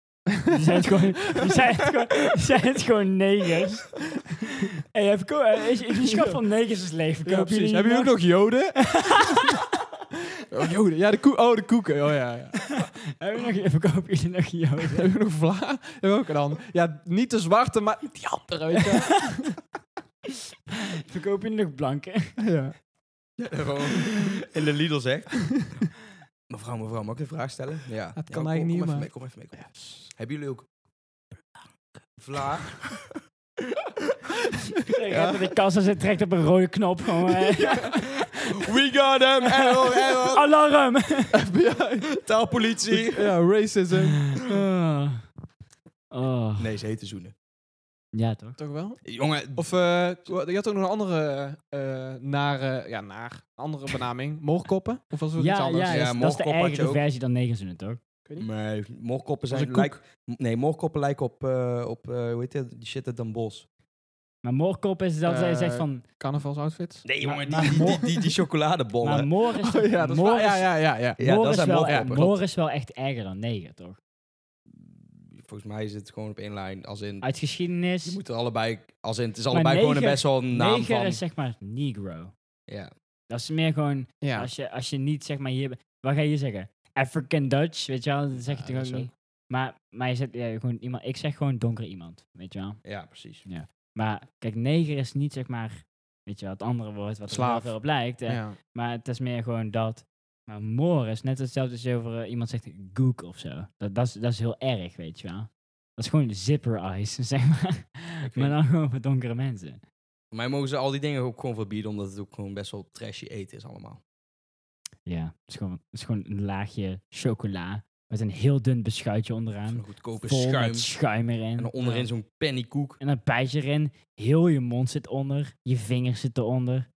[SPEAKER 1] Die zijn het gewoon, die zijn het gewoon, die zijn het gewoon negers. Hé, hey, even ko- eh, is, is een schat van negers is leeg.
[SPEAKER 2] Ja,
[SPEAKER 1] Verkoop
[SPEAKER 2] precies.
[SPEAKER 1] jullie
[SPEAKER 2] Hebben jullie ook nog joden?
[SPEAKER 1] nog?
[SPEAKER 2] Oh, joden. Ja, de koe oh, de koeken. Oh ja. ja.
[SPEAKER 1] Hebben jullie nog? Verkoop jullie nog joden?
[SPEAKER 2] Hebben we nog Vla? Hebben we ook dan? Ja, niet de zwarte, maar die andere. Weet je. wel.
[SPEAKER 1] Verkoop jullie nog blanken?
[SPEAKER 2] ja.
[SPEAKER 3] Gewoon in de Lidl zegt. Mevrouw, mevrouw, mag ik een vraag stellen? Ja.
[SPEAKER 2] Het
[SPEAKER 3] Ja,
[SPEAKER 2] kan
[SPEAKER 3] kom-
[SPEAKER 2] eigenlijk niet,
[SPEAKER 3] kom even
[SPEAKER 2] maar-
[SPEAKER 3] mee, kom even mee. kom even. Hebben jullie ook... Vla.
[SPEAKER 1] Hij gaat naar de kassa ze trekt op een rode knop. Gewoon, eh.
[SPEAKER 3] We got him! Error, error!
[SPEAKER 1] Alarm!
[SPEAKER 2] FBI.
[SPEAKER 3] Taalpolitie!
[SPEAKER 2] Ja, racism.
[SPEAKER 1] Oh. Oh.
[SPEAKER 3] Nee, ze heten zoenen.
[SPEAKER 1] Ja, toch?
[SPEAKER 2] Toch wel?
[SPEAKER 3] Jongen,
[SPEAKER 2] Of eh, je had ook nog een andere eh nare, ja, naar, een andere benaming. Moorkoppen? Of was het iets
[SPEAKER 1] Ja,
[SPEAKER 2] anders?
[SPEAKER 1] ja,
[SPEAKER 3] Ja,
[SPEAKER 1] is- dat is de
[SPEAKER 3] morgenkop had je
[SPEAKER 1] ergere
[SPEAKER 3] ook.
[SPEAKER 1] versie dan negenzoenen, toch?
[SPEAKER 3] nee, moorkoppen
[SPEAKER 2] Dat is
[SPEAKER 3] zijn
[SPEAKER 2] een koek.
[SPEAKER 3] lijken... Nee, moorkoppen lijken op, eh, op eh, hoe heet dat, die shit uit Den Bosch.
[SPEAKER 1] Maar moorkop is dat zij
[SPEAKER 2] Eh,
[SPEAKER 1] zegt van...
[SPEAKER 2] Carnavalsoutfits?
[SPEAKER 3] Nee,
[SPEAKER 1] Maar-
[SPEAKER 3] jongen,
[SPEAKER 1] maar
[SPEAKER 3] die, die,
[SPEAKER 1] moor-
[SPEAKER 3] die, die, die Oh, chocoladebollen.
[SPEAKER 1] Maar moor is, toch-
[SPEAKER 2] ja, dat is
[SPEAKER 1] moor
[SPEAKER 2] waar. Ah, ja,
[SPEAKER 1] is-
[SPEAKER 2] ja, ja, ja.
[SPEAKER 3] ja,
[SPEAKER 1] moor
[SPEAKER 3] dat zijn
[SPEAKER 1] wel,
[SPEAKER 3] moorkoppen.
[SPEAKER 1] moor
[SPEAKER 3] klopt.
[SPEAKER 1] is wel echt erger dan negen, toch?
[SPEAKER 3] Volgens mij is het gewoon op één lijn. Als in,
[SPEAKER 1] Uit
[SPEAKER 3] je
[SPEAKER 1] geschiedenis,
[SPEAKER 3] moet er allebei... Als in, het is
[SPEAKER 1] Ah, Maar
[SPEAKER 3] allebei gewoon een
[SPEAKER 1] neger-
[SPEAKER 3] best wel een naam
[SPEAKER 1] neger
[SPEAKER 3] van...
[SPEAKER 1] is zeg maar negro.
[SPEAKER 3] Ja.
[SPEAKER 1] Dat is meer gewoon...
[SPEAKER 2] Ja.
[SPEAKER 1] Als, je, als je niet zeg maar hier... Wat ga je hier zeggen? African Dutch, weet je wel? Dat zeg je
[SPEAKER 2] Ja,
[SPEAKER 1] toch
[SPEAKER 2] dat
[SPEAKER 1] ook
[SPEAKER 2] is
[SPEAKER 1] niet? Maar, maar je zegt, ja, gewoon iemand, ik zeg gewoon donker iemand, weet je wel?
[SPEAKER 3] ja, precies.
[SPEAKER 1] Maar kijk, neger is niet zeg maar... Weet je wel, het andere woord wat er wel
[SPEAKER 2] Slaaf.
[SPEAKER 1] veel op lijkt. hè.
[SPEAKER 2] ja.
[SPEAKER 1] Maar het is meer gewoon dat. Maar moor is net hetzelfde als je over eh, iemand zegt goek of zo. Dat, dat, is, dat is heel erg, weet je wel. Dat is gewoon zipper eyes, zeg maar. Maar dan gewoon voor donkere mensen.
[SPEAKER 3] Mij mogen ze al die dingen ook gewoon verbieden, omdat het ook gewoon best wel trashy eten is allemaal.
[SPEAKER 1] Ja, het is gewoon, het is gewoon een laagje chocola met een heel dun beschuitje
[SPEAKER 3] Van
[SPEAKER 1] onderaan.
[SPEAKER 3] een goedkope
[SPEAKER 1] vol
[SPEAKER 3] schuim.
[SPEAKER 1] met schuim erin.
[SPEAKER 3] En dan onderin
[SPEAKER 1] Ja.
[SPEAKER 3] zo'n pennykoek.
[SPEAKER 1] En een bijtje erin. Heel je mond zit onder. Je vingers zitten onder.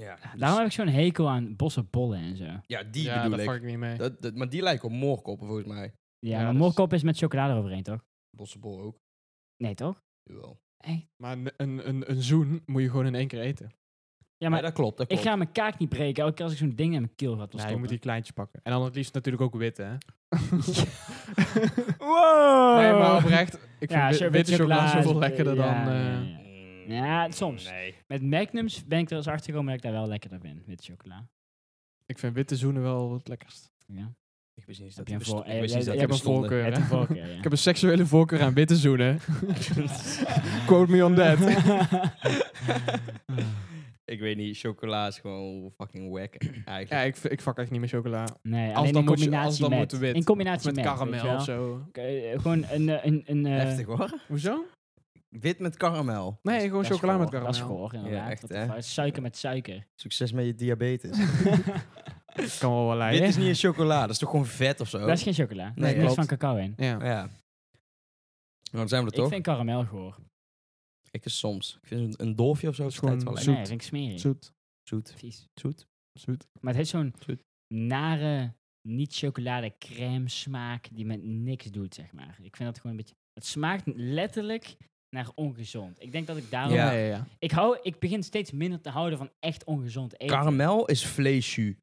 [SPEAKER 3] Ja, dus-
[SPEAKER 1] Daarom heb ik zo'n hekel aan bossen bollen en zo.
[SPEAKER 3] ja die
[SPEAKER 2] ja,
[SPEAKER 3] bedoel
[SPEAKER 2] daar
[SPEAKER 3] ik.
[SPEAKER 2] pak ik niet mee.
[SPEAKER 3] Dat, dat, maar die lijken op moorkoppen volgens mij.
[SPEAKER 1] Ja,
[SPEAKER 2] Ja,
[SPEAKER 1] maar
[SPEAKER 2] dus-
[SPEAKER 1] moorkop is met chocolade eroverheen, toch?
[SPEAKER 3] Bossebol ook.
[SPEAKER 1] Nee, toch?
[SPEAKER 3] Jawel.
[SPEAKER 1] Echt?
[SPEAKER 2] Maar een, een, een, een zoen moet je gewoon in één keer eten.
[SPEAKER 1] Ja,
[SPEAKER 3] Ja,
[SPEAKER 1] maar
[SPEAKER 3] dat klopt, dat
[SPEAKER 1] Ik
[SPEAKER 3] klopt.
[SPEAKER 1] ga mijn kaak niet breken elke keer als ik zo'n ding in mijn keel had.
[SPEAKER 2] Nee, je moet die kleintjes pakken. En dan het liefst natuurlijk ook witte, hè?
[SPEAKER 1] Oh. Wow!
[SPEAKER 2] Nee, maar oprecht, ik vind
[SPEAKER 1] Ja,
[SPEAKER 2] wi-
[SPEAKER 1] zo
[SPEAKER 2] witte
[SPEAKER 1] met
[SPEAKER 2] chocola
[SPEAKER 1] chocola is-
[SPEAKER 2] zoveel lekkerder
[SPEAKER 1] ja,
[SPEAKER 2] dan... eh,
[SPEAKER 1] ja, ja.
[SPEAKER 3] Mm,
[SPEAKER 1] Ja, soms.
[SPEAKER 3] Nee.
[SPEAKER 1] Met magnums ben ik er eens achter gekomen dat ik daar wel lekkerder vind, witte chocola.
[SPEAKER 2] Ik vind witte zoenen wel het lekkerst.
[SPEAKER 1] Ja.
[SPEAKER 3] Ik wist
[SPEAKER 1] Heb
[SPEAKER 3] niet dat
[SPEAKER 1] je
[SPEAKER 3] die
[SPEAKER 1] een voor-
[SPEAKER 3] besto-
[SPEAKER 1] eh,
[SPEAKER 3] ik wist
[SPEAKER 1] jij-
[SPEAKER 3] niet dat
[SPEAKER 1] jij
[SPEAKER 3] die
[SPEAKER 1] hebt een
[SPEAKER 3] bestonden.
[SPEAKER 2] voorkeur. Ja.
[SPEAKER 1] Met de voorkeur, ja.
[SPEAKER 2] Ik heb een seksuele voorkeur aan witte zoenen. Quote me on that.
[SPEAKER 3] Ik weet niet, chocola is gewoon fucking wack eigenlijk.
[SPEAKER 2] Ja, ik, v- ik vak echt niet meer chocola.
[SPEAKER 1] nee,
[SPEAKER 2] Als
[SPEAKER 1] alleen
[SPEAKER 2] dan,
[SPEAKER 1] in
[SPEAKER 2] moet je,
[SPEAKER 1] combinatie
[SPEAKER 2] als dan
[SPEAKER 1] met.
[SPEAKER 2] moet wit.
[SPEAKER 1] In combinatie
[SPEAKER 2] Of met
[SPEAKER 1] met, weet je
[SPEAKER 2] karamel
[SPEAKER 1] wel.
[SPEAKER 2] of zo.
[SPEAKER 1] Ik, eh, gewoon een... eh, een, een eh,
[SPEAKER 3] Heftig hoor.
[SPEAKER 2] Hoezo?
[SPEAKER 3] Wit met karamel.
[SPEAKER 1] dat
[SPEAKER 2] Nee,
[SPEAKER 1] is-
[SPEAKER 2] gewoon
[SPEAKER 1] dat is
[SPEAKER 2] chocola met
[SPEAKER 1] goor.
[SPEAKER 2] karamel.
[SPEAKER 1] Dat is goor, inderdaad.
[SPEAKER 3] echt,
[SPEAKER 1] What the
[SPEAKER 3] hè?
[SPEAKER 1] fuck, Suiker met suiker.
[SPEAKER 3] Succes met je diabetes.
[SPEAKER 2] Kan wel wel
[SPEAKER 3] Wit
[SPEAKER 2] lijden.
[SPEAKER 3] is niet een chocola, dat is toch gewoon vet of zo?
[SPEAKER 1] Dat is geen chocola. Er
[SPEAKER 3] Nee,
[SPEAKER 1] is niks
[SPEAKER 2] klopt.
[SPEAKER 1] van cacao in.
[SPEAKER 2] Ja.
[SPEAKER 3] Ja. Nou, dan zijn we er
[SPEAKER 1] Ik
[SPEAKER 3] toch?
[SPEAKER 1] vind karamel goor.
[SPEAKER 3] Ik is soms. Ik vind een, een dolfje of zo.
[SPEAKER 2] Dat is
[SPEAKER 3] is gewoon
[SPEAKER 2] gewoon
[SPEAKER 1] Nee,
[SPEAKER 3] wel
[SPEAKER 2] Zoet.
[SPEAKER 1] dat vind ik smerig.
[SPEAKER 2] Zoet.
[SPEAKER 3] zoet.
[SPEAKER 1] Vies.
[SPEAKER 3] Zoet.
[SPEAKER 2] Zoet.
[SPEAKER 1] Maar het heeft zo'n
[SPEAKER 3] Zoet.
[SPEAKER 1] nare, niet chocolade crème smaak die met niks doet, zeg maar. Ik vind dat gewoon een beetje... Het smaakt letterlijk naar ongezond. Ik denk dat ik daarom...
[SPEAKER 3] Ja.
[SPEAKER 2] Ja, ja, ja.
[SPEAKER 1] Ik, hou, ik begin steeds minder te houden van echt ongezond eten.
[SPEAKER 3] Karamel is vleesjus.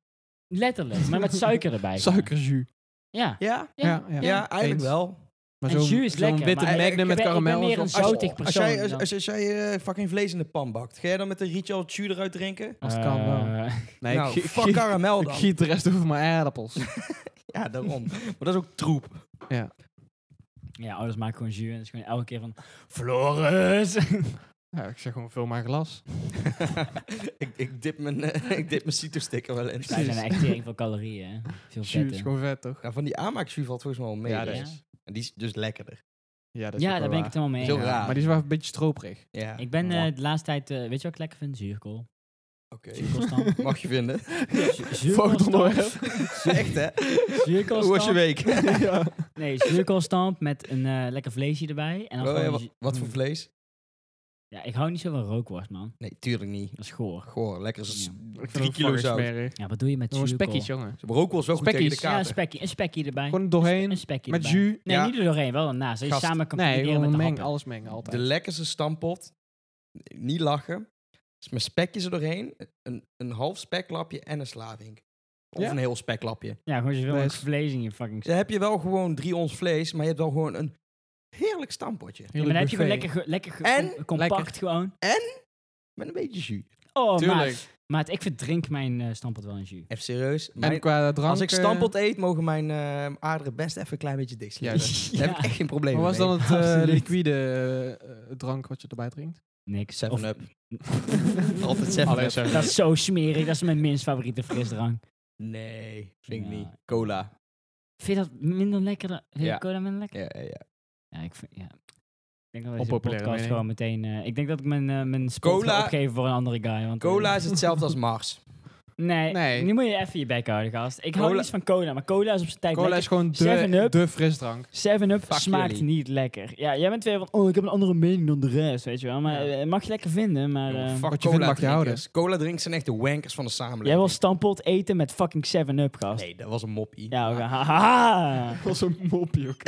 [SPEAKER 1] letterlijk, maar met suiker erbij.
[SPEAKER 2] Suikerjus.
[SPEAKER 1] Ja.
[SPEAKER 3] Ja?
[SPEAKER 1] Ja.
[SPEAKER 2] Ja, ja.
[SPEAKER 3] Ja, eigenlijk
[SPEAKER 2] Eens.
[SPEAKER 3] wel.
[SPEAKER 2] Maar
[SPEAKER 1] En
[SPEAKER 2] zo'n-
[SPEAKER 1] jus is
[SPEAKER 2] zo'n
[SPEAKER 1] lekker,
[SPEAKER 2] witte
[SPEAKER 1] maar eh,
[SPEAKER 2] magnum
[SPEAKER 1] ik
[SPEAKER 2] met
[SPEAKER 1] ben- ik ben
[SPEAKER 2] karamel.
[SPEAKER 1] meer een
[SPEAKER 2] is wel-
[SPEAKER 1] zoutig
[SPEAKER 2] Oh,
[SPEAKER 3] Als
[SPEAKER 1] persoon
[SPEAKER 3] jij, als,
[SPEAKER 1] dan.
[SPEAKER 3] als, als jij eh, fucking vlees in de pan bakt, ga jij dan met een rietje al het jus eruit drinken?
[SPEAKER 2] Als het kan
[SPEAKER 1] Eh,
[SPEAKER 2] wel. Nee,
[SPEAKER 3] nou,
[SPEAKER 2] ik,
[SPEAKER 3] fuck
[SPEAKER 2] giet,
[SPEAKER 3] karamel
[SPEAKER 2] ik
[SPEAKER 3] dan.
[SPEAKER 2] giet de rest over mijn aardappels.
[SPEAKER 3] Ja, daarom. maar dat is ook troep.
[SPEAKER 1] ja, ouders maken gewoon jus en het is gewoon elke keer van... Floris!
[SPEAKER 2] ja, ik zeg gewoon, vul maar een glas.
[SPEAKER 3] ik, ik dip mijn, eh, ik dip mijn cito-stick er wel in.
[SPEAKER 1] Wij zijn echt heel veel calorieën, hè. Veel
[SPEAKER 2] Jus
[SPEAKER 1] vetten.
[SPEAKER 2] is gewoon vet, toch?
[SPEAKER 3] Ja, van die aanmaakjus valt volgens mij wel mee.
[SPEAKER 2] Ja,
[SPEAKER 3] dus.
[SPEAKER 2] dat
[SPEAKER 1] Ja.
[SPEAKER 2] is.
[SPEAKER 3] En die is dus lekkerder.
[SPEAKER 2] Ja, dat is
[SPEAKER 1] Ja,
[SPEAKER 2] ook
[SPEAKER 1] daar ben
[SPEAKER 2] wel
[SPEAKER 1] ik het helemaal mee.
[SPEAKER 3] Zo
[SPEAKER 1] eens.
[SPEAKER 3] raar.
[SPEAKER 2] Maar die is wel een beetje stroperig.
[SPEAKER 3] Ja.
[SPEAKER 1] Ik ben eh,
[SPEAKER 3] Mwah.
[SPEAKER 1] de laatste tijd, eh, weet je wat ik lekker vind? Zuurkool.
[SPEAKER 3] Oké.
[SPEAKER 1] Zuurkoolstamp.
[SPEAKER 3] Dus Mag je vinden.
[SPEAKER 2] Volgend
[SPEAKER 1] Zuurkoolstamp.
[SPEAKER 2] onderwerp.
[SPEAKER 3] Echt, hè?
[SPEAKER 1] Zuurkoolstamp.
[SPEAKER 3] Hoe was je week?
[SPEAKER 2] ja.
[SPEAKER 1] Nee, zuurkoolstamp met een eh, lekker vleesje erbij. En dan
[SPEAKER 3] Oh, ja,
[SPEAKER 1] gewoon
[SPEAKER 3] wa-
[SPEAKER 1] zu-
[SPEAKER 3] wat voor vlees?
[SPEAKER 1] Ja, ik hou niet zo van rookworst, man.
[SPEAKER 3] Nee, tuurlijk niet.
[SPEAKER 1] Dat is goor.
[SPEAKER 3] Goor, lekker
[SPEAKER 1] Ja.
[SPEAKER 3] als
[SPEAKER 2] Ik vind
[SPEAKER 3] drie
[SPEAKER 2] het
[SPEAKER 3] kilo
[SPEAKER 2] fucking
[SPEAKER 3] zout.
[SPEAKER 2] smerig.
[SPEAKER 1] Ja, wat doe je met
[SPEAKER 2] Jongens,
[SPEAKER 1] zuurkool?
[SPEAKER 2] spekkies, jongen.
[SPEAKER 3] Ze roken wel zo goed
[SPEAKER 2] Spekkies.
[SPEAKER 3] tegen de
[SPEAKER 1] Ja, een
[SPEAKER 3] kater.
[SPEAKER 1] spekkie. Een spekkie erbij.
[SPEAKER 2] Gewoon
[SPEAKER 1] een
[SPEAKER 2] doorheen,
[SPEAKER 1] spekkie
[SPEAKER 2] met
[SPEAKER 1] erbij.
[SPEAKER 2] jus.
[SPEAKER 1] Nee,
[SPEAKER 3] Ja.
[SPEAKER 1] niet er doorheen, wel daarnaast. Dat je
[SPEAKER 3] Gast.
[SPEAKER 1] samen kan
[SPEAKER 2] Nee,
[SPEAKER 1] combineren met
[SPEAKER 2] gewoon
[SPEAKER 1] de
[SPEAKER 2] meng,
[SPEAKER 1] happen.
[SPEAKER 2] alles mengen, altijd.
[SPEAKER 3] de lekkerste stampot. Niet lachen. Dus mijn spekje er doorheen. Een, een half speklapje en een slavink. Of
[SPEAKER 2] Ja?
[SPEAKER 3] een heel speklapje.
[SPEAKER 1] Ja, gewoon zoveel mogelijk
[SPEAKER 2] Best.
[SPEAKER 1] vlees in je fucking...
[SPEAKER 3] Dus dan heb je wel gewoon drie ons vlees, maar je hebt wel gewoon een heerlijk stampotje.
[SPEAKER 1] Ja, maar dan heb je gewoon lekker, ge- lekker ge-
[SPEAKER 3] En?
[SPEAKER 1] com- compact
[SPEAKER 2] Lekker.
[SPEAKER 1] gewoon.
[SPEAKER 3] Met een beetje jus.
[SPEAKER 1] Oh,
[SPEAKER 2] Tuurlijk.
[SPEAKER 1] maat. Maat, ik verdrink mijn eh stamppot wel in jus.
[SPEAKER 3] Even serieus. mijn-
[SPEAKER 2] En qua drank...
[SPEAKER 3] als ik
[SPEAKER 2] eh,
[SPEAKER 3] stampot eet, mogen mijn eh, aarderen best even een klein beetje dicht
[SPEAKER 2] Ja,
[SPEAKER 3] slaan. Daar heb ik echt geen probleem
[SPEAKER 2] Wat was dan het eh,
[SPEAKER 1] Absoluut.
[SPEAKER 2] liquide eh, eh, drank wat je erbij drinkt?
[SPEAKER 1] Niks. Of-
[SPEAKER 3] 7-up. Altijd 7-up.
[SPEAKER 2] Alleen 7-Up.
[SPEAKER 1] Dat is zo smerig. Dat is mijn minst favoriete frisdrank.
[SPEAKER 3] Nee, vind ik
[SPEAKER 1] Ja.
[SPEAKER 3] niet. Cola.
[SPEAKER 1] Vind je dat minder lekker dan... Vind je
[SPEAKER 3] Ja.
[SPEAKER 1] cola minder lekker?
[SPEAKER 3] Ja, ja, ja.
[SPEAKER 1] Ja, ik vind, ja. Ik denk dat deze
[SPEAKER 2] Onpopulaire mening.
[SPEAKER 1] podcast gewoon meteen... eh, ik denk dat ik mijn, eh, mijn spot
[SPEAKER 3] Cola-
[SPEAKER 1] ga opgeven voor een andere guy. Want, eh,
[SPEAKER 3] Cola is hetzelfde als Mars.
[SPEAKER 1] Nee,
[SPEAKER 2] Nee.
[SPEAKER 1] nu moet je even je bek houden, gast. Ik hou
[SPEAKER 2] Cola-
[SPEAKER 1] niet van cola, maar cola is op zijn tijd
[SPEAKER 2] Cola is
[SPEAKER 1] lekker.
[SPEAKER 2] gewoon
[SPEAKER 1] Seven
[SPEAKER 2] de,
[SPEAKER 1] Up.
[SPEAKER 2] de frisdrank.
[SPEAKER 1] 7-Up
[SPEAKER 3] Fuck
[SPEAKER 1] smaakt
[SPEAKER 3] jullie.
[SPEAKER 1] niet lekker. Ja, jij bent weer van, oh, ik heb een andere mening dan de rest, weet je wel. Maar
[SPEAKER 2] Ja.
[SPEAKER 1] eh, mag je lekker vinden, maar...
[SPEAKER 3] Jongen,
[SPEAKER 1] eh,
[SPEAKER 3] fuck
[SPEAKER 2] Wat je vindt, mag je houden.
[SPEAKER 3] drinkers. Dus Cola drinkers zijn echt de wankers van de samenleving.
[SPEAKER 1] jij wil stampot eten met fucking 7-Up, gast.
[SPEAKER 3] Nee, dat was een moppie.
[SPEAKER 1] Ja, oké. Ha, ha, ha.
[SPEAKER 2] Dat was een mopje ook.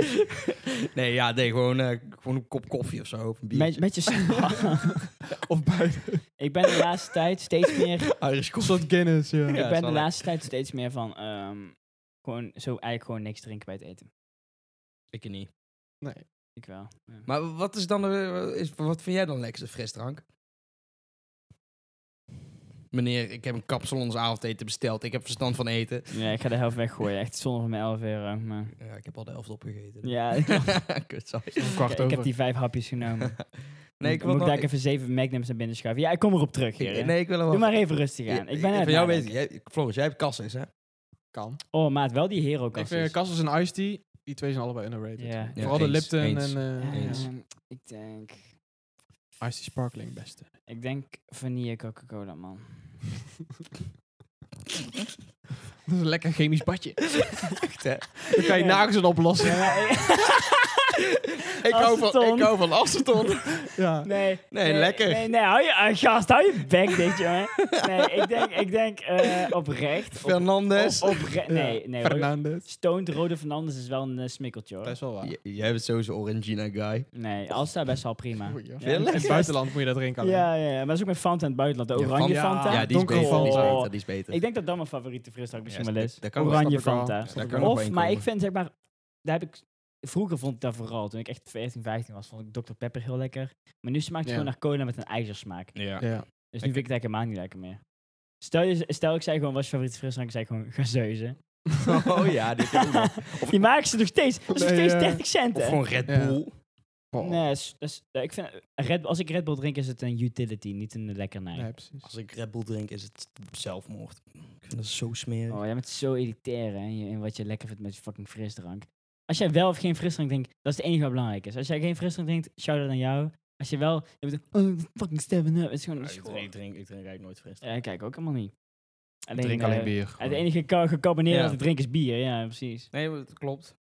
[SPEAKER 3] Nee, ja, nee, gewoon, eh, gewoon een kop koffie of zo. Of een biertje.
[SPEAKER 1] Met, met je...
[SPEAKER 2] Of bij
[SPEAKER 1] ik ben de laatste tijd steeds meer
[SPEAKER 3] Irish
[SPEAKER 2] een
[SPEAKER 3] coffee.
[SPEAKER 2] soort Guinness, ja.
[SPEAKER 3] Ja.
[SPEAKER 1] ik ben de
[SPEAKER 3] zal
[SPEAKER 1] laatste tijd steeds meer van ehm, gewoon zo eigenlijk gewoon niks drinken bij het eten.
[SPEAKER 3] Ik niet.
[SPEAKER 1] Ik wel. ja.
[SPEAKER 3] Maar wat is dan, de- is, wat vind jij dan lekkerste frisdrank? Meneer, ik heb een kapsalons avondeten besteld. Ik heb verstand van eten.
[SPEAKER 1] Ja, ik ga de helft weggooien. Echt zonde van mijn 11 euro. eh, Maar
[SPEAKER 3] Ja, ik heb al de helft opgegeten.
[SPEAKER 1] ja,
[SPEAKER 3] Kut, sorry.
[SPEAKER 2] Een kwart
[SPEAKER 1] ik,
[SPEAKER 2] over.
[SPEAKER 1] ik heb die vijf hapjes genomen.
[SPEAKER 3] Nee, ik wil
[SPEAKER 1] Moet ik
[SPEAKER 3] nog-
[SPEAKER 1] daar even zeven magnums naar binnen schuiven? Ja, ik kom erop terug hier. hè.
[SPEAKER 3] Nee, ik wil hem
[SPEAKER 1] Doe maar even rustig aan. Ik ben net
[SPEAKER 3] van jou
[SPEAKER 1] nadenken.
[SPEAKER 3] bezig. Jij, Floris, jij hebt kassis, hè?
[SPEAKER 2] Kan.
[SPEAKER 1] Oh, maat, wel die hero
[SPEAKER 2] Ik vind Castles en Ice Tea, die twee zijn allebei underrated.
[SPEAKER 1] Ja.
[SPEAKER 3] Ja,
[SPEAKER 2] Vooral de
[SPEAKER 3] eens,
[SPEAKER 2] Lipton
[SPEAKER 3] eens.
[SPEAKER 2] en eh
[SPEAKER 3] eens.
[SPEAKER 2] Ice
[SPEAKER 1] Ehm, ik denk...
[SPEAKER 2] Tea Sparkling beste.
[SPEAKER 1] Ik denk vanille Coca-Cola, man.
[SPEAKER 2] Dat is een lekker chemisch badje.
[SPEAKER 3] Echt, hè?
[SPEAKER 2] Dan kan je
[SPEAKER 1] Ja.
[SPEAKER 2] nergens een oplossen.
[SPEAKER 1] Ja, maar-
[SPEAKER 3] ik, hou van,
[SPEAKER 1] Aceton.
[SPEAKER 3] ik hou van aceton.
[SPEAKER 2] Ja.
[SPEAKER 1] Nee.
[SPEAKER 3] Nee, lekker.
[SPEAKER 1] Nee, nee, hou je, eh, gast, hou je bek dit, jongen. Nee, ik denk, ik denk eh, oprecht. Op,
[SPEAKER 3] Fernandes.
[SPEAKER 1] op, opre- nee,
[SPEAKER 2] Ja.
[SPEAKER 1] nee. hoor.
[SPEAKER 2] Fernandez.
[SPEAKER 1] Stoned Rode Fernandes is wel een eh, smikkeltje,
[SPEAKER 2] Dat
[SPEAKER 1] hoor.
[SPEAKER 2] is wel waar.
[SPEAKER 3] J- Jij bent sowieso Orangina guy.
[SPEAKER 1] Nee, Alsta best wel prima.
[SPEAKER 2] Oei, ja.
[SPEAKER 1] Ja.
[SPEAKER 3] Veel
[SPEAKER 2] In het buitenland moet je dat drinken. alleen.
[SPEAKER 1] Ja, ja, ja, maar dat is ook met Fanta in het buitenland. De
[SPEAKER 3] Ja,
[SPEAKER 1] oranje
[SPEAKER 2] Fanta.
[SPEAKER 1] Fanta.
[SPEAKER 3] ja, die is,
[SPEAKER 2] donkere
[SPEAKER 3] beter, die is
[SPEAKER 1] Fanta.
[SPEAKER 3] beter. Die is beter.
[SPEAKER 1] Ah, Ik denk dat dat mijn favoriete frisdrank misschien
[SPEAKER 3] Ja,
[SPEAKER 1] wel
[SPEAKER 3] dat-
[SPEAKER 1] is.
[SPEAKER 3] dat kan wel.
[SPEAKER 2] Snap
[SPEAKER 1] Oranje
[SPEAKER 2] ik wel.
[SPEAKER 1] Fanta.
[SPEAKER 3] Daar kan nog
[SPEAKER 1] Of,
[SPEAKER 3] één
[SPEAKER 1] maar ik
[SPEAKER 3] komen.
[SPEAKER 1] vind zeg maar, daar heb ik, vroeger vond ik dat vooral, toen ik echt 14, 15 was, vond ik Dr. Pepper heel lekker. Maar nu smaakt het
[SPEAKER 2] Ja.
[SPEAKER 1] gewoon naar cola met een ijzersmaak.
[SPEAKER 3] Ja.
[SPEAKER 2] Ja.
[SPEAKER 1] Dus nu vind ik het eigenlijk helemaal niet lekker meer. Stel, je, stel ik zei gewoon, wat is je favoriete frisdrank? Ik zei gewoon gazeuzen.
[SPEAKER 3] Oh ja, dit kan wel. Of-
[SPEAKER 1] die maken ze nog steeds. Dat is nog
[SPEAKER 2] Nee,
[SPEAKER 1] steeds
[SPEAKER 2] eh,
[SPEAKER 1] 30 cent,
[SPEAKER 3] Of
[SPEAKER 1] hè?
[SPEAKER 3] gewoon Red
[SPEAKER 2] Ja.
[SPEAKER 3] Bull.
[SPEAKER 2] Oh.
[SPEAKER 1] Nee, dat is- dat is- ik vind, Red, als ik Red Bull drink, is het een utility, niet een lekkernij.
[SPEAKER 2] Nee, precies.
[SPEAKER 3] Als ik Red Bull drink, is het zelfmoord. Ik vind dat zo smerig.
[SPEAKER 1] Oh, jij bent zo elitair, hè? in je- In wat je lekker vindt met je fucking frisdrank. Als jij wel of geen frisdrank drinkt, dat is het enige wat belangrijk is. Als jij geen frisdrank drinkt, shout-out aan jou. Als je wel, je bent een oh, fucking steven up. Het is gewoon een school.
[SPEAKER 3] ik, drink, ik drink eigenlijk nooit fris.
[SPEAKER 1] Ja, kijk, ook allemaal niet. Alleen,
[SPEAKER 2] Ik drink
[SPEAKER 1] eh,
[SPEAKER 2] alleen bier.
[SPEAKER 1] Het enige ka- gecarboneerde
[SPEAKER 3] Ja.
[SPEAKER 1] wat ik drink is bier, ja, precies.
[SPEAKER 3] Nee, maar dat klopt.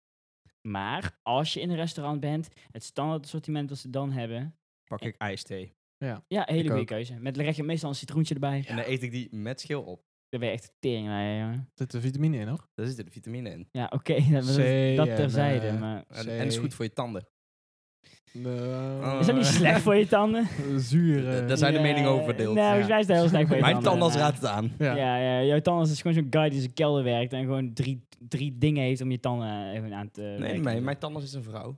[SPEAKER 1] Maar als je in een restaurant bent, het standaard assortiment dat ze dan hebben,
[SPEAKER 3] Pak ik ijsthee.
[SPEAKER 1] ja, een hele
[SPEAKER 2] Ik
[SPEAKER 1] goede
[SPEAKER 2] ook.
[SPEAKER 1] keuze. Met leg je meestal een citroentje erbij.
[SPEAKER 3] En dan eet ik die met schil op.
[SPEAKER 1] Dan ben je echt tering bij, jongen.
[SPEAKER 2] Er zit er vitamine in, hoor.
[SPEAKER 3] Daar zitten de vitamine in.
[SPEAKER 1] Ja, oké, dat, dat-
[SPEAKER 2] Zee
[SPEAKER 1] dat
[SPEAKER 2] en,
[SPEAKER 1] terzijde,
[SPEAKER 2] eh,
[SPEAKER 1] maar...
[SPEAKER 3] En, en is goed voor je tanden.
[SPEAKER 1] Is dat niet slecht voor je tanden?
[SPEAKER 2] Zuur. eh.
[SPEAKER 3] Eh, dat Daar is- zijn de
[SPEAKER 1] Ja,
[SPEAKER 3] meningen over verdeeld.
[SPEAKER 1] Nee, volgens mij is dat heel slecht voor je
[SPEAKER 3] Mijn tandarts
[SPEAKER 1] maar-
[SPEAKER 3] raadt het aan.
[SPEAKER 1] Ja.
[SPEAKER 2] Ja.
[SPEAKER 1] Ja, jouw tandarts is gewoon zo'n guy die in zijn kelder werkt en gewoon drie, drie dingen heeft om je tanden even aan te...
[SPEAKER 3] Nee,
[SPEAKER 1] werken.
[SPEAKER 3] mijn, mijn tandarts is een vrouw.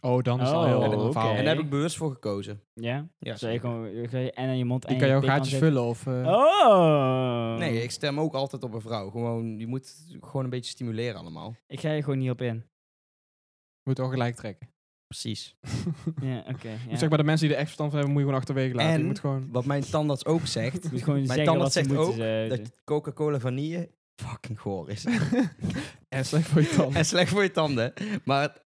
[SPEAKER 2] Oh, dan is het al
[SPEAKER 1] Oh,
[SPEAKER 2] heel
[SPEAKER 1] oké.
[SPEAKER 2] een verhaal.
[SPEAKER 3] En daar heb ik bewust voor gekozen.
[SPEAKER 1] Ja?
[SPEAKER 3] Ja,
[SPEAKER 1] Zou je gewoon... zou je En aan je mond en
[SPEAKER 2] Die kan
[SPEAKER 1] je
[SPEAKER 2] jouw
[SPEAKER 1] pik aan
[SPEAKER 2] gaatjes
[SPEAKER 1] zetten?
[SPEAKER 2] vullen of... eh,
[SPEAKER 1] Oh!
[SPEAKER 2] Ehm.
[SPEAKER 3] Nee, ik stem ook altijd op een vrouw. Gewoon, je moet gewoon een beetje stimuleren allemaal.
[SPEAKER 1] Ik ga je gewoon niet op in.
[SPEAKER 2] Moet al gelijk trekken.
[SPEAKER 3] Precies.
[SPEAKER 1] Ja, oké. ja.
[SPEAKER 2] Dus zeg maar, de mensen die er echt verstand van hebben, moet je gewoon achterwege laten.
[SPEAKER 3] En-
[SPEAKER 2] Je moet gewoon...
[SPEAKER 3] Wat mijn tandarts ook zegt,
[SPEAKER 1] Je moet gewoon
[SPEAKER 3] Mijn
[SPEAKER 1] zeggen
[SPEAKER 3] tandarts
[SPEAKER 1] wat ze
[SPEAKER 3] zegt
[SPEAKER 1] moeten. eh,
[SPEAKER 3] ook
[SPEAKER 1] ze-
[SPEAKER 3] dat Coca-Cola vanille fucking goor is.
[SPEAKER 2] En slecht voor je tanden.
[SPEAKER 3] en slecht voor je tanden. Maar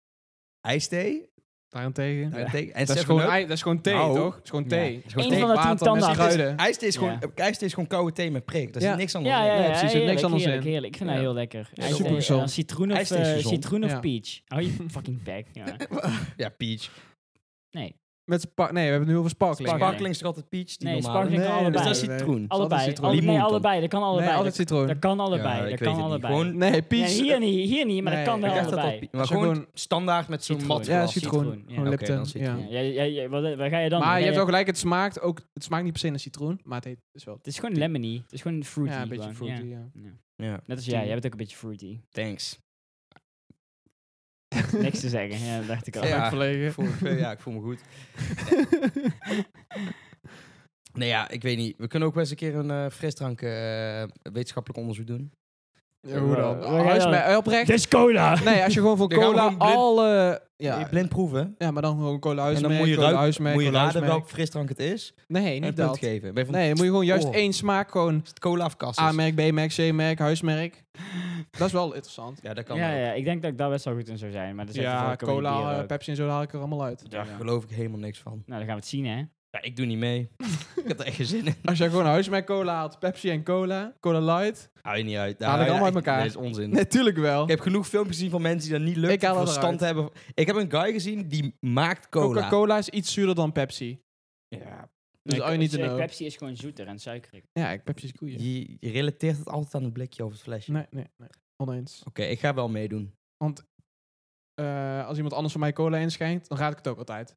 [SPEAKER 3] ijsthee,
[SPEAKER 2] Daarentegen.
[SPEAKER 3] daarentegen- en
[SPEAKER 2] Dat is,
[SPEAKER 3] 7-Up,
[SPEAKER 2] gewoon, ei- dat is gewoon thee,
[SPEAKER 3] Nou.
[SPEAKER 2] toch? Dat is gewoon
[SPEAKER 1] Ja.
[SPEAKER 2] thee. Dat is gewoon
[SPEAKER 1] Een
[SPEAKER 2] thee,
[SPEAKER 1] van de tien
[SPEAKER 2] water met
[SPEAKER 1] tandarts.
[SPEAKER 2] kruiden.
[SPEAKER 3] ijsthee is, gewoon, ijsthee is gewoon koude thee met prik. Daar zit
[SPEAKER 2] Ja.
[SPEAKER 3] niks anders
[SPEAKER 1] Ja, ja,
[SPEAKER 3] in.
[SPEAKER 1] ja,
[SPEAKER 2] precies, er zit
[SPEAKER 1] heerlijk,
[SPEAKER 2] niks anders in.
[SPEAKER 1] heerlijk, heerlijk. Ik vind dat
[SPEAKER 3] Ja.
[SPEAKER 1] heel lekker.
[SPEAKER 3] Ja,
[SPEAKER 1] Ijsthee,
[SPEAKER 2] supergezond.
[SPEAKER 1] eh, Citroen of,
[SPEAKER 3] Ijsthee is
[SPEAKER 1] eh,
[SPEAKER 3] gezond.
[SPEAKER 1] citroen of
[SPEAKER 2] Ja.
[SPEAKER 1] peach. Hou je fucking bek, jongen.
[SPEAKER 3] Ja, peach.
[SPEAKER 1] Nee,
[SPEAKER 2] Met spa- nee, we hebben het nu over sparkling.
[SPEAKER 1] Sparkling.
[SPEAKER 3] Sparkling is er altijd peach, die
[SPEAKER 1] Nee,
[SPEAKER 3] normale.
[SPEAKER 1] sparkling
[SPEAKER 2] Nee,
[SPEAKER 1] kan
[SPEAKER 3] Dus
[SPEAKER 1] allebei.
[SPEAKER 3] dat is
[SPEAKER 2] Nee, nee.
[SPEAKER 3] citroen.
[SPEAKER 1] allebei.
[SPEAKER 2] citroen.
[SPEAKER 1] Alle-
[SPEAKER 3] Limoen
[SPEAKER 1] nee,
[SPEAKER 3] dan.
[SPEAKER 1] allebei. Dat kan allebei.
[SPEAKER 2] Nee, altijd
[SPEAKER 1] Dat-
[SPEAKER 2] citroen.
[SPEAKER 1] Dat kan allebei.
[SPEAKER 3] Ja, ik
[SPEAKER 1] dat
[SPEAKER 3] weet
[SPEAKER 1] kan
[SPEAKER 3] het niet.
[SPEAKER 1] allebei.
[SPEAKER 3] Gewoon,
[SPEAKER 2] Nee,
[SPEAKER 1] Ja,
[SPEAKER 2] peach.
[SPEAKER 1] hier niet, hier niet, maar
[SPEAKER 2] Nee,
[SPEAKER 1] dat kan
[SPEAKER 2] ik dacht
[SPEAKER 1] wel
[SPEAKER 3] ik dacht dat
[SPEAKER 1] allebei.
[SPEAKER 3] dat maar
[SPEAKER 2] Als je
[SPEAKER 3] gewoon,
[SPEAKER 2] gewoon-
[SPEAKER 3] standaard met zo'n
[SPEAKER 1] Citroen.
[SPEAKER 3] mat
[SPEAKER 2] Ja,
[SPEAKER 3] glas.
[SPEAKER 2] citroen.
[SPEAKER 1] Citroen, ja.
[SPEAKER 2] Gewoon
[SPEAKER 3] Oké,
[SPEAKER 2] Lipton.
[SPEAKER 3] dan citroen.
[SPEAKER 2] ja.
[SPEAKER 1] Ja, jij- jij- jij- wat- waar ga je dan? Dan
[SPEAKER 2] Maar
[SPEAKER 1] ga
[SPEAKER 2] je hebt wel gelijk, het smaakt ook... Het smaakt niet per se naar citroen, maar het, heet, het is wel...
[SPEAKER 1] Het is gewoon lemony. Het is gewoon fruity.
[SPEAKER 2] ja, een beetje
[SPEAKER 1] gewoon, ja.
[SPEAKER 2] fruity, ja.
[SPEAKER 3] Ja,
[SPEAKER 1] Net als jij, jij bent ook een beetje fruity.
[SPEAKER 3] thanks.
[SPEAKER 1] Niks te zeggen, ja, dat dacht ik al.
[SPEAKER 3] Ja.
[SPEAKER 2] Ja,
[SPEAKER 3] Ik
[SPEAKER 2] verlegen.
[SPEAKER 3] voel me- ja, ik voel me goed. Nee, ja, ik weet niet. We kunnen ook wel eens een keer een eh, frisdrank eh, wetenschappelijk onderzoek doen.
[SPEAKER 2] Ja, hoe dan?
[SPEAKER 1] Waar
[SPEAKER 2] Als je
[SPEAKER 1] ga je Eh, dan?
[SPEAKER 2] mij- oprecht.
[SPEAKER 1] Dit is cola!
[SPEAKER 2] Nee, als je gewoon voor
[SPEAKER 3] Dan gaan we
[SPEAKER 2] cola
[SPEAKER 3] gewoon blind-
[SPEAKER 2] alle...
[SPEAKER 3] Nee,
[SPEAKER 2] Ja,
[SPEAKER 3] blind proeven.
[SPEAKER 2] ja, maar dan gewoon cola
[SPEAKER 3] En
[SPEAKER 2] huismerk,
[SPEAKER 3] dan moet je,
[SPEAKER 2] cola
[SPEAKER 3] ruik-
[SPEAKER 2] huismerk,
[SPEAKER 3] moet je
[SPEAKER 2] cola
[SPEAKER 3] raden
[SPEAKER 2] huismerk.
[SPEAKER 3] welke frisdrank het is.
[SPEAKER 2] Nee,
[SPEAKER 3] en
[SPEAKER 2] niet
[SPEAKER 3] punt
[SPEAKER 2] dat.
[SPEAKER 3] geven. Ben je van,
[SPEAKER 2] Nee, dan moet je gewoon juist
[SPEAKER 3] Oh.
[SPEAKER 2] één smaak gewoon...
[SPEAKER 3] is dus- het cola of kassis?
[SPEAKER 2] A-merk, B-merk, C-merk, huismerk. Dat is wel interessant.
[SPEAKER 3] ja, dat kan
[SPEAKER 1] Ja,
[SPEAKER 3] ook.
[SPEAKER 1] ja, ik denk dat ik daar best wel goed in zou zijn. Maar dat is echt
[SPEAKER 2] Ja,
[SPEAKER 1] voorkomen in
[SPEAKER 2] cola,
[SPEAKER 1] bier
[SPEAKER 2] eh,
[SPEAKER 1] ook.
[SPEAKER 2] Pepsi en zo, daar haal ik er allemaal uit.
[SPEAKER 3] Daar geloof ik helemaal niks van.
[SPEAKER 1] Nou, dan gaan we het zien, hè?
[SPEAKER 3] Ja, ik doe niet mee. ik heb er echt geen zin in.
[SPEAKER 2] Als jij gewoon huis met cola haalt, Pepsi en cola, cola light.
[SPEAKER 3] Hou je niet uit. Nou,
[SPEAKER 2] Haal het
[SPEAKER 3] hou je
[SPEAKER 2] allemaal
[SPEAKER 3] echt-
[SPEAKER 2] uit elkaar.
[SPEAKER 3] Nee, Dat is onzin.
[SPEAKER 2] Natuurlijk wel.
[SPEAKER 3] Ik heb genoeg filmpjes gezien van mensen die dat niet lukt.
[SPEAKER 2] Ik haal het
[SPEAKER 3] verstand hebben. Ik heb een guy gezien die maakt cola.
[SPEAKER 2] Coca-Cola is iets zuurder dan Pepsi.
[SPEAKER 3] Ja,
[SPEAKER 2] Dus al je niet te know.
[SPEAKER 1] Pepsi is gewoon zoeter en suikerig.
[SPEAKER 2] Ja, ik- Pepsi is koeien.
[SPEAKER 3] je, je relateert het altijd aan het blikje of het flesje.
[SPEAKER 2] Nee, nee, nee. Oneens.
[SPEAKER 3] Oké, ik ga wel meedoen.
[SPEAKER 2] Eh, als iemand anders voor mij cola inschenkt, dan raad ik het ook altijd.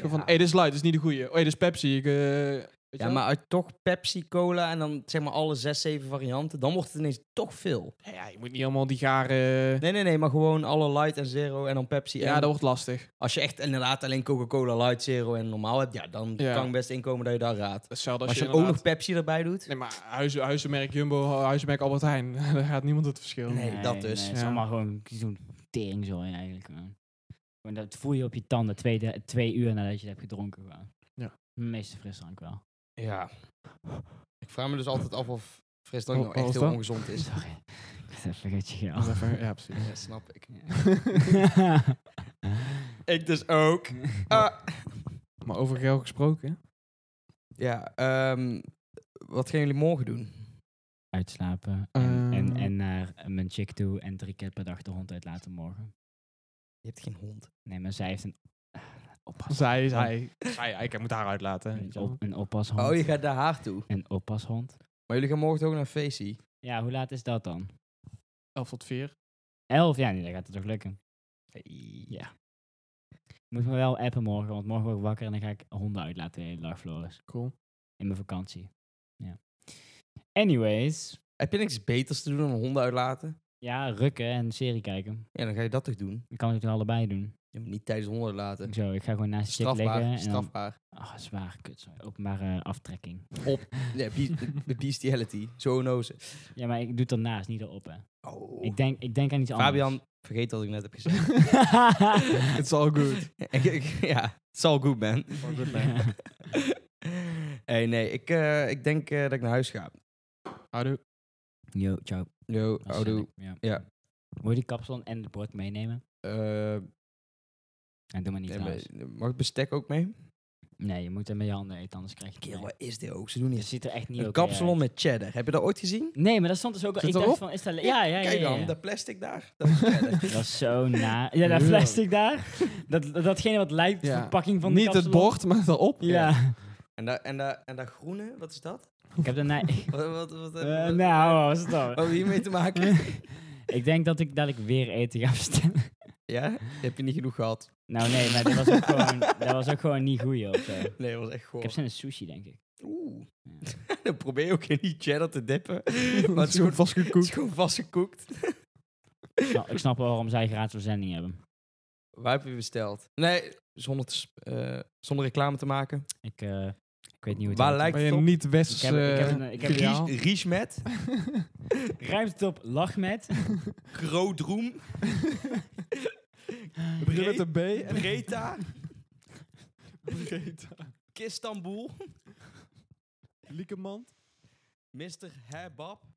[SPEAKER 2] Zo van,
[SPEAKER 3] Ja.
[SPEAKER 2] hé, dit is light, dit is niet de goeie. Oh, hey, dit is Pepsi. Ik, eh, weet je
[SPEAKER 3] Ja,
[SPEAKER 2] wel?
[SPEAKER 3] maar uit toch Pepsi, cola en dan zeg maar alle zes, zeven varianten. Dan wordt het ineens toch veel.
[SPEAKER 2] Ja, ja, je moet niet allemaal die garen...
[SPEAKER 3] Nee, nee, nee, maar gewoon alle light en zero en dan Pepsi.
[SPEAKER 2] ja,
[SPEAKER 3] en
[SPEAKER 2] dat wordt lastig.
[SPEAKER 3] Als je echt inderdaad alleen Coca-Cola, light, zero en normaal hebt, ja, dan
[SPEAKER 2] Ja.
[SPEAKER 3] kan ik best inkomen dat je daar raadt.
[SPEAKER 2] Hetzelfde
[SPEAKER 3] Maar
[SPEAKER 2] als
[SPEAKER 3] als
[SPEAKER 2] je,
[SPEAKER 3] je ook nog
[SPEAKER 2] inderdaad-
[SPEAKER 3] Pepsi erbij doet.
[SPEAKER 2] Nee, maar huizen, huizenmerk Jumbo, huizenmerk Albert Heijn. Daar gaat niemand het verschil.
[SPEAKER 3] Nee, dat dus.
[SPEAKER 1] het is
[SPEAKER 2] Ja.
[SPEAKER 1] allemaal gewoon zo'n tering zo eigenlijk. Man. Gewoon Dat voel je op je tanden twee, de- twee uur nadat je het hebt gedronken. Gewoon.
[SPEAKER 2] Ja.
[SPEAKER 1] De meeste frisdrank wel.
[SPEAKER 3] Ja. Ik vraag me dus altijd af of frisdrank
[SPEAKER 2] Oh,
[SPEAKER 3] nou
[SPEAKER 2] wat
[SPEAKER 3] echt
[SPEAKER 2] was
[SPEAKER 3] heel
[SPEAKER 2] dat?
[SPEAKER 3] ongezond is.
[SPEAKER 1] Sorry. Ik was even vergeet je
[SPEAKER 2] Dat is even- Ja, precies.
[SPEAKER 3] Ja, snap ik.
[SPEAKER 1] Ja.
[SPEAKER 3] Ik dus ook.
[SPEAKER 2] Maar over geld gesproken.
[SPEAKER 3] Ja, ehm, wat gaan jullie morgen doen?
[SPEAKER 1] Uitslapen en,
[SPEAKER 3] Ehm.
[SPEAKER 1] en,
[SPEAKER 2] Eh.
[SPEAKER 1] en naar eh, mijn chick toe en drie keer per dag de hond uitlaten morgen.
[SPEAKER 3] Je hebt geen hond.
[SPEAKER 1] Nee, maar zij heeft een... Oppas,
[SPEAKER 2] Zij, zij, zij, ik moet haar uitlaten. weet
[SPEAKER 1] een,
[SPEAKER 2] je wel.
[SPEAKER 1] op- een oppashond.
[SPEAKER 3] Oh, je gaat naar haar toe.
[SPEAKER 1] Een oppashond.
[SPEAKER 3] Maar jullie gaan morgen toch ook naar Facey?
[SPEAKER 1] Ja, hoe laat is dat dan?
[SPEAKER 2] 11 tot 4.
[SPEAKER 1] Elf? Ja, nee, dan gaat het toch lukken. Ja. Moet me wel appen morgen, want morgen word ik wakker en dan ga ik honden uitlaten de hele dag, Floris.
[SPEAKER 2] Cool.
[SPEAKER 1] In mijn vakantie. Ja. Anyways.
[SPEAKER 3] Heb je niks beters te doen dan honden uitlaten?
[SPEAKER 1] Ja, rukken en serie kijken.
[SPEAKER 3] Ja, dan ga je dat toch doen?
[SPEAKER 1] Ik kan het natuurlijk allebei doen.
[SPEAKER 3] Je moet niet tijdens honden uitlaten.
[SPEAKER 1] Zo, ik ga gewoon naast de chick liggen.
[SPEAKER 3] Eh,
[SPEAKER 1] En
[SPEAKER 3] Strafbaar,
[SPEAKER 1] dan,
[SPEAKER 3] strafbaar.
[SPEAKER 1] oh, zwaar, kut. sorry. Openbare eh, aftrekking.
[SPEAKER 3] Op. Nee, be- de bestiality. Zo nozen.
[SPEAKER 1] Ja, maar ik doe het ernaast, niet erop, hè.
[SPEAKER 3] Oh.
[SPEAKER 1] Ik denk, ik denk aan iets anders.
[SPEAKER 3] Fabian, vergeet wat ik net heb gezegd.
[SPEAKER 1] Fabian.
[SPEAKER 2] It's all good.
[SPEAKER 3] Ik- ik- ja, it's all good, man.
[SPEAKER 2] It's all good, man.
[SPEAKER 3] hey, nee, ik, eh, ik denk eh, dat ik naar huis ga.
[SPEAKER 2] Houdoe.
[SPEAKER 1] Yo, ciao.
[SPEAKER 3] Yo,
[SPEAKER 1] Dat is
[SPEAKER 3] oudoe.
[SPEAKER 1] Sonic, Ja.
[SPEAKER 3] Ja.
[SPEAKER 1] Moet je die kapsalon en het bord meenemen?
[SPEAKER 3] Eh,
[SPEAKER 1] En doe maar niet
[SPEAKER 3] nee,
[SPEAKER 1] thuis.
[SPEAKER 3] maar- mag ik bestek ook mee?
[SPEAKER 1] Nee, je moet er met je handen eten, anders krijg je
[SPEAKER 3] Kerel,
[SPEAKER 1] het.
[SPEAKER 3] wat is dit ook? Ze doen
[SPEAKER 1] Het
[SPEAKER 3] niet.
[SPEAKER 1] ziet er echt niet
[SPEAKER 3] Een
[SPEAKER 1] oké
[SPEAKER 3] kapsalon
[SPEAKER 1] uit.
[SPEAKER 3] met cheddar. Heb je dat ooit gezien?
[SPEAKER 1] Nee, maar dat stond dus ook al.
[SPEAKER 2] Zit
[SPEAKER 1] Ik dacht
[SPEAKER 2] erop?
[SPEAKER 1] van, is dat... Ja, ja, ja.
[SPEAKER 3] Kijk
[SPEAKER 1] ja,
[SPEAKER 3] dan,
[SPEAKER 1] ja.
[SPEAKER 3] dat plastic daar. Dat is cheddar.
[SPEAKER 1] Dat is zo na. Ja, dat
[SPEAKER 2] Ja.
[SPEAKER 1] plastic daar. Dat, datgene wat lijkt op de
[SPEAKER 2] Ja.
[SPEAKER 1] verpakking van de
[SPEAKER 2] Niet het
[SPEAKER 1] kapsalon.
[SPEAKER 2] bord, maar erop.
[SPEAKER 1] Ja.
[SPEAKER 3] en, dat, en, dat, en dat groene, wat is dat?
[SPEAKER 1] ik heb daarna...
[SPEAKER 3] Wat, wat, wat,
[SPEAKER 1] Eh,
[SPEAKER 3] wat-
[SPEAKER 1] nou, wat was het dan?
[SPEAKER 3] Wat we hiermee te maken?
[SPEAKER 1] ik denk dat ik, dat ik weer eten ga bestellen.
[SPEAKER 3] ja? Heb je niet genoeg gehad?
[SPEAKER 1] Nou nee, maar dat was ook gewoon, dat was ook gewoon niet goed, joh. of zo. Ik
[SPEAKER 3] Nee, dat was echt goor.
[SPEAKER 1] heb zin in sushi, denk ik.
[SPEAKER 3] Oeh.
[SPEAKER 1] Ja.
[SPEAKER 3] Dan probeer je ook in die cheddar te dippen. maar
[SPEAKER 2] Maar
[SPEAKER 3] het is gewoon, het is
[SPEAKER 2] vastgekoekt.
[SPEAKER 3] gewoon vastgekoekt.
[SPEAKER 1] Nou, ik snap wel waarom zij gratis verzending hebben.
[SPEAKER 3] Waar heb je besteld? Nee, zonder, te sp- eh, zonder reclame te maken.
[SPEAKER 1] Ik, eh, ik weet niet hoe het
[SPEAKER 3] Waar
[SPEAKER 1] heet.
[SPEAKER 3] lijkt
[SPEAKER 2] Ben
[SPEAKER 3] het
[SPEAKER 2] je
[SPEAKER 3] op?
[SPEAKER 2] niet
[SPEAKER 1] Ik
[SPEAKER 2] West?
[SPEAKER 1] heb, ik heb, een, ik heb
[SPEAKER 2] filiaal?
[SPEAKER 3] Ries- Ries met,
[SPEAKER 1] Ruimt het op lach met.
[SPEAKER 3] Kroodroem,
[SPEAKER 2] Begin met een B. en-
[SPEAKER 3] Breta, Kistanboel,
[SPEAKER 2] Liekemand.
[SPEAKER 3] Mr. Hebab.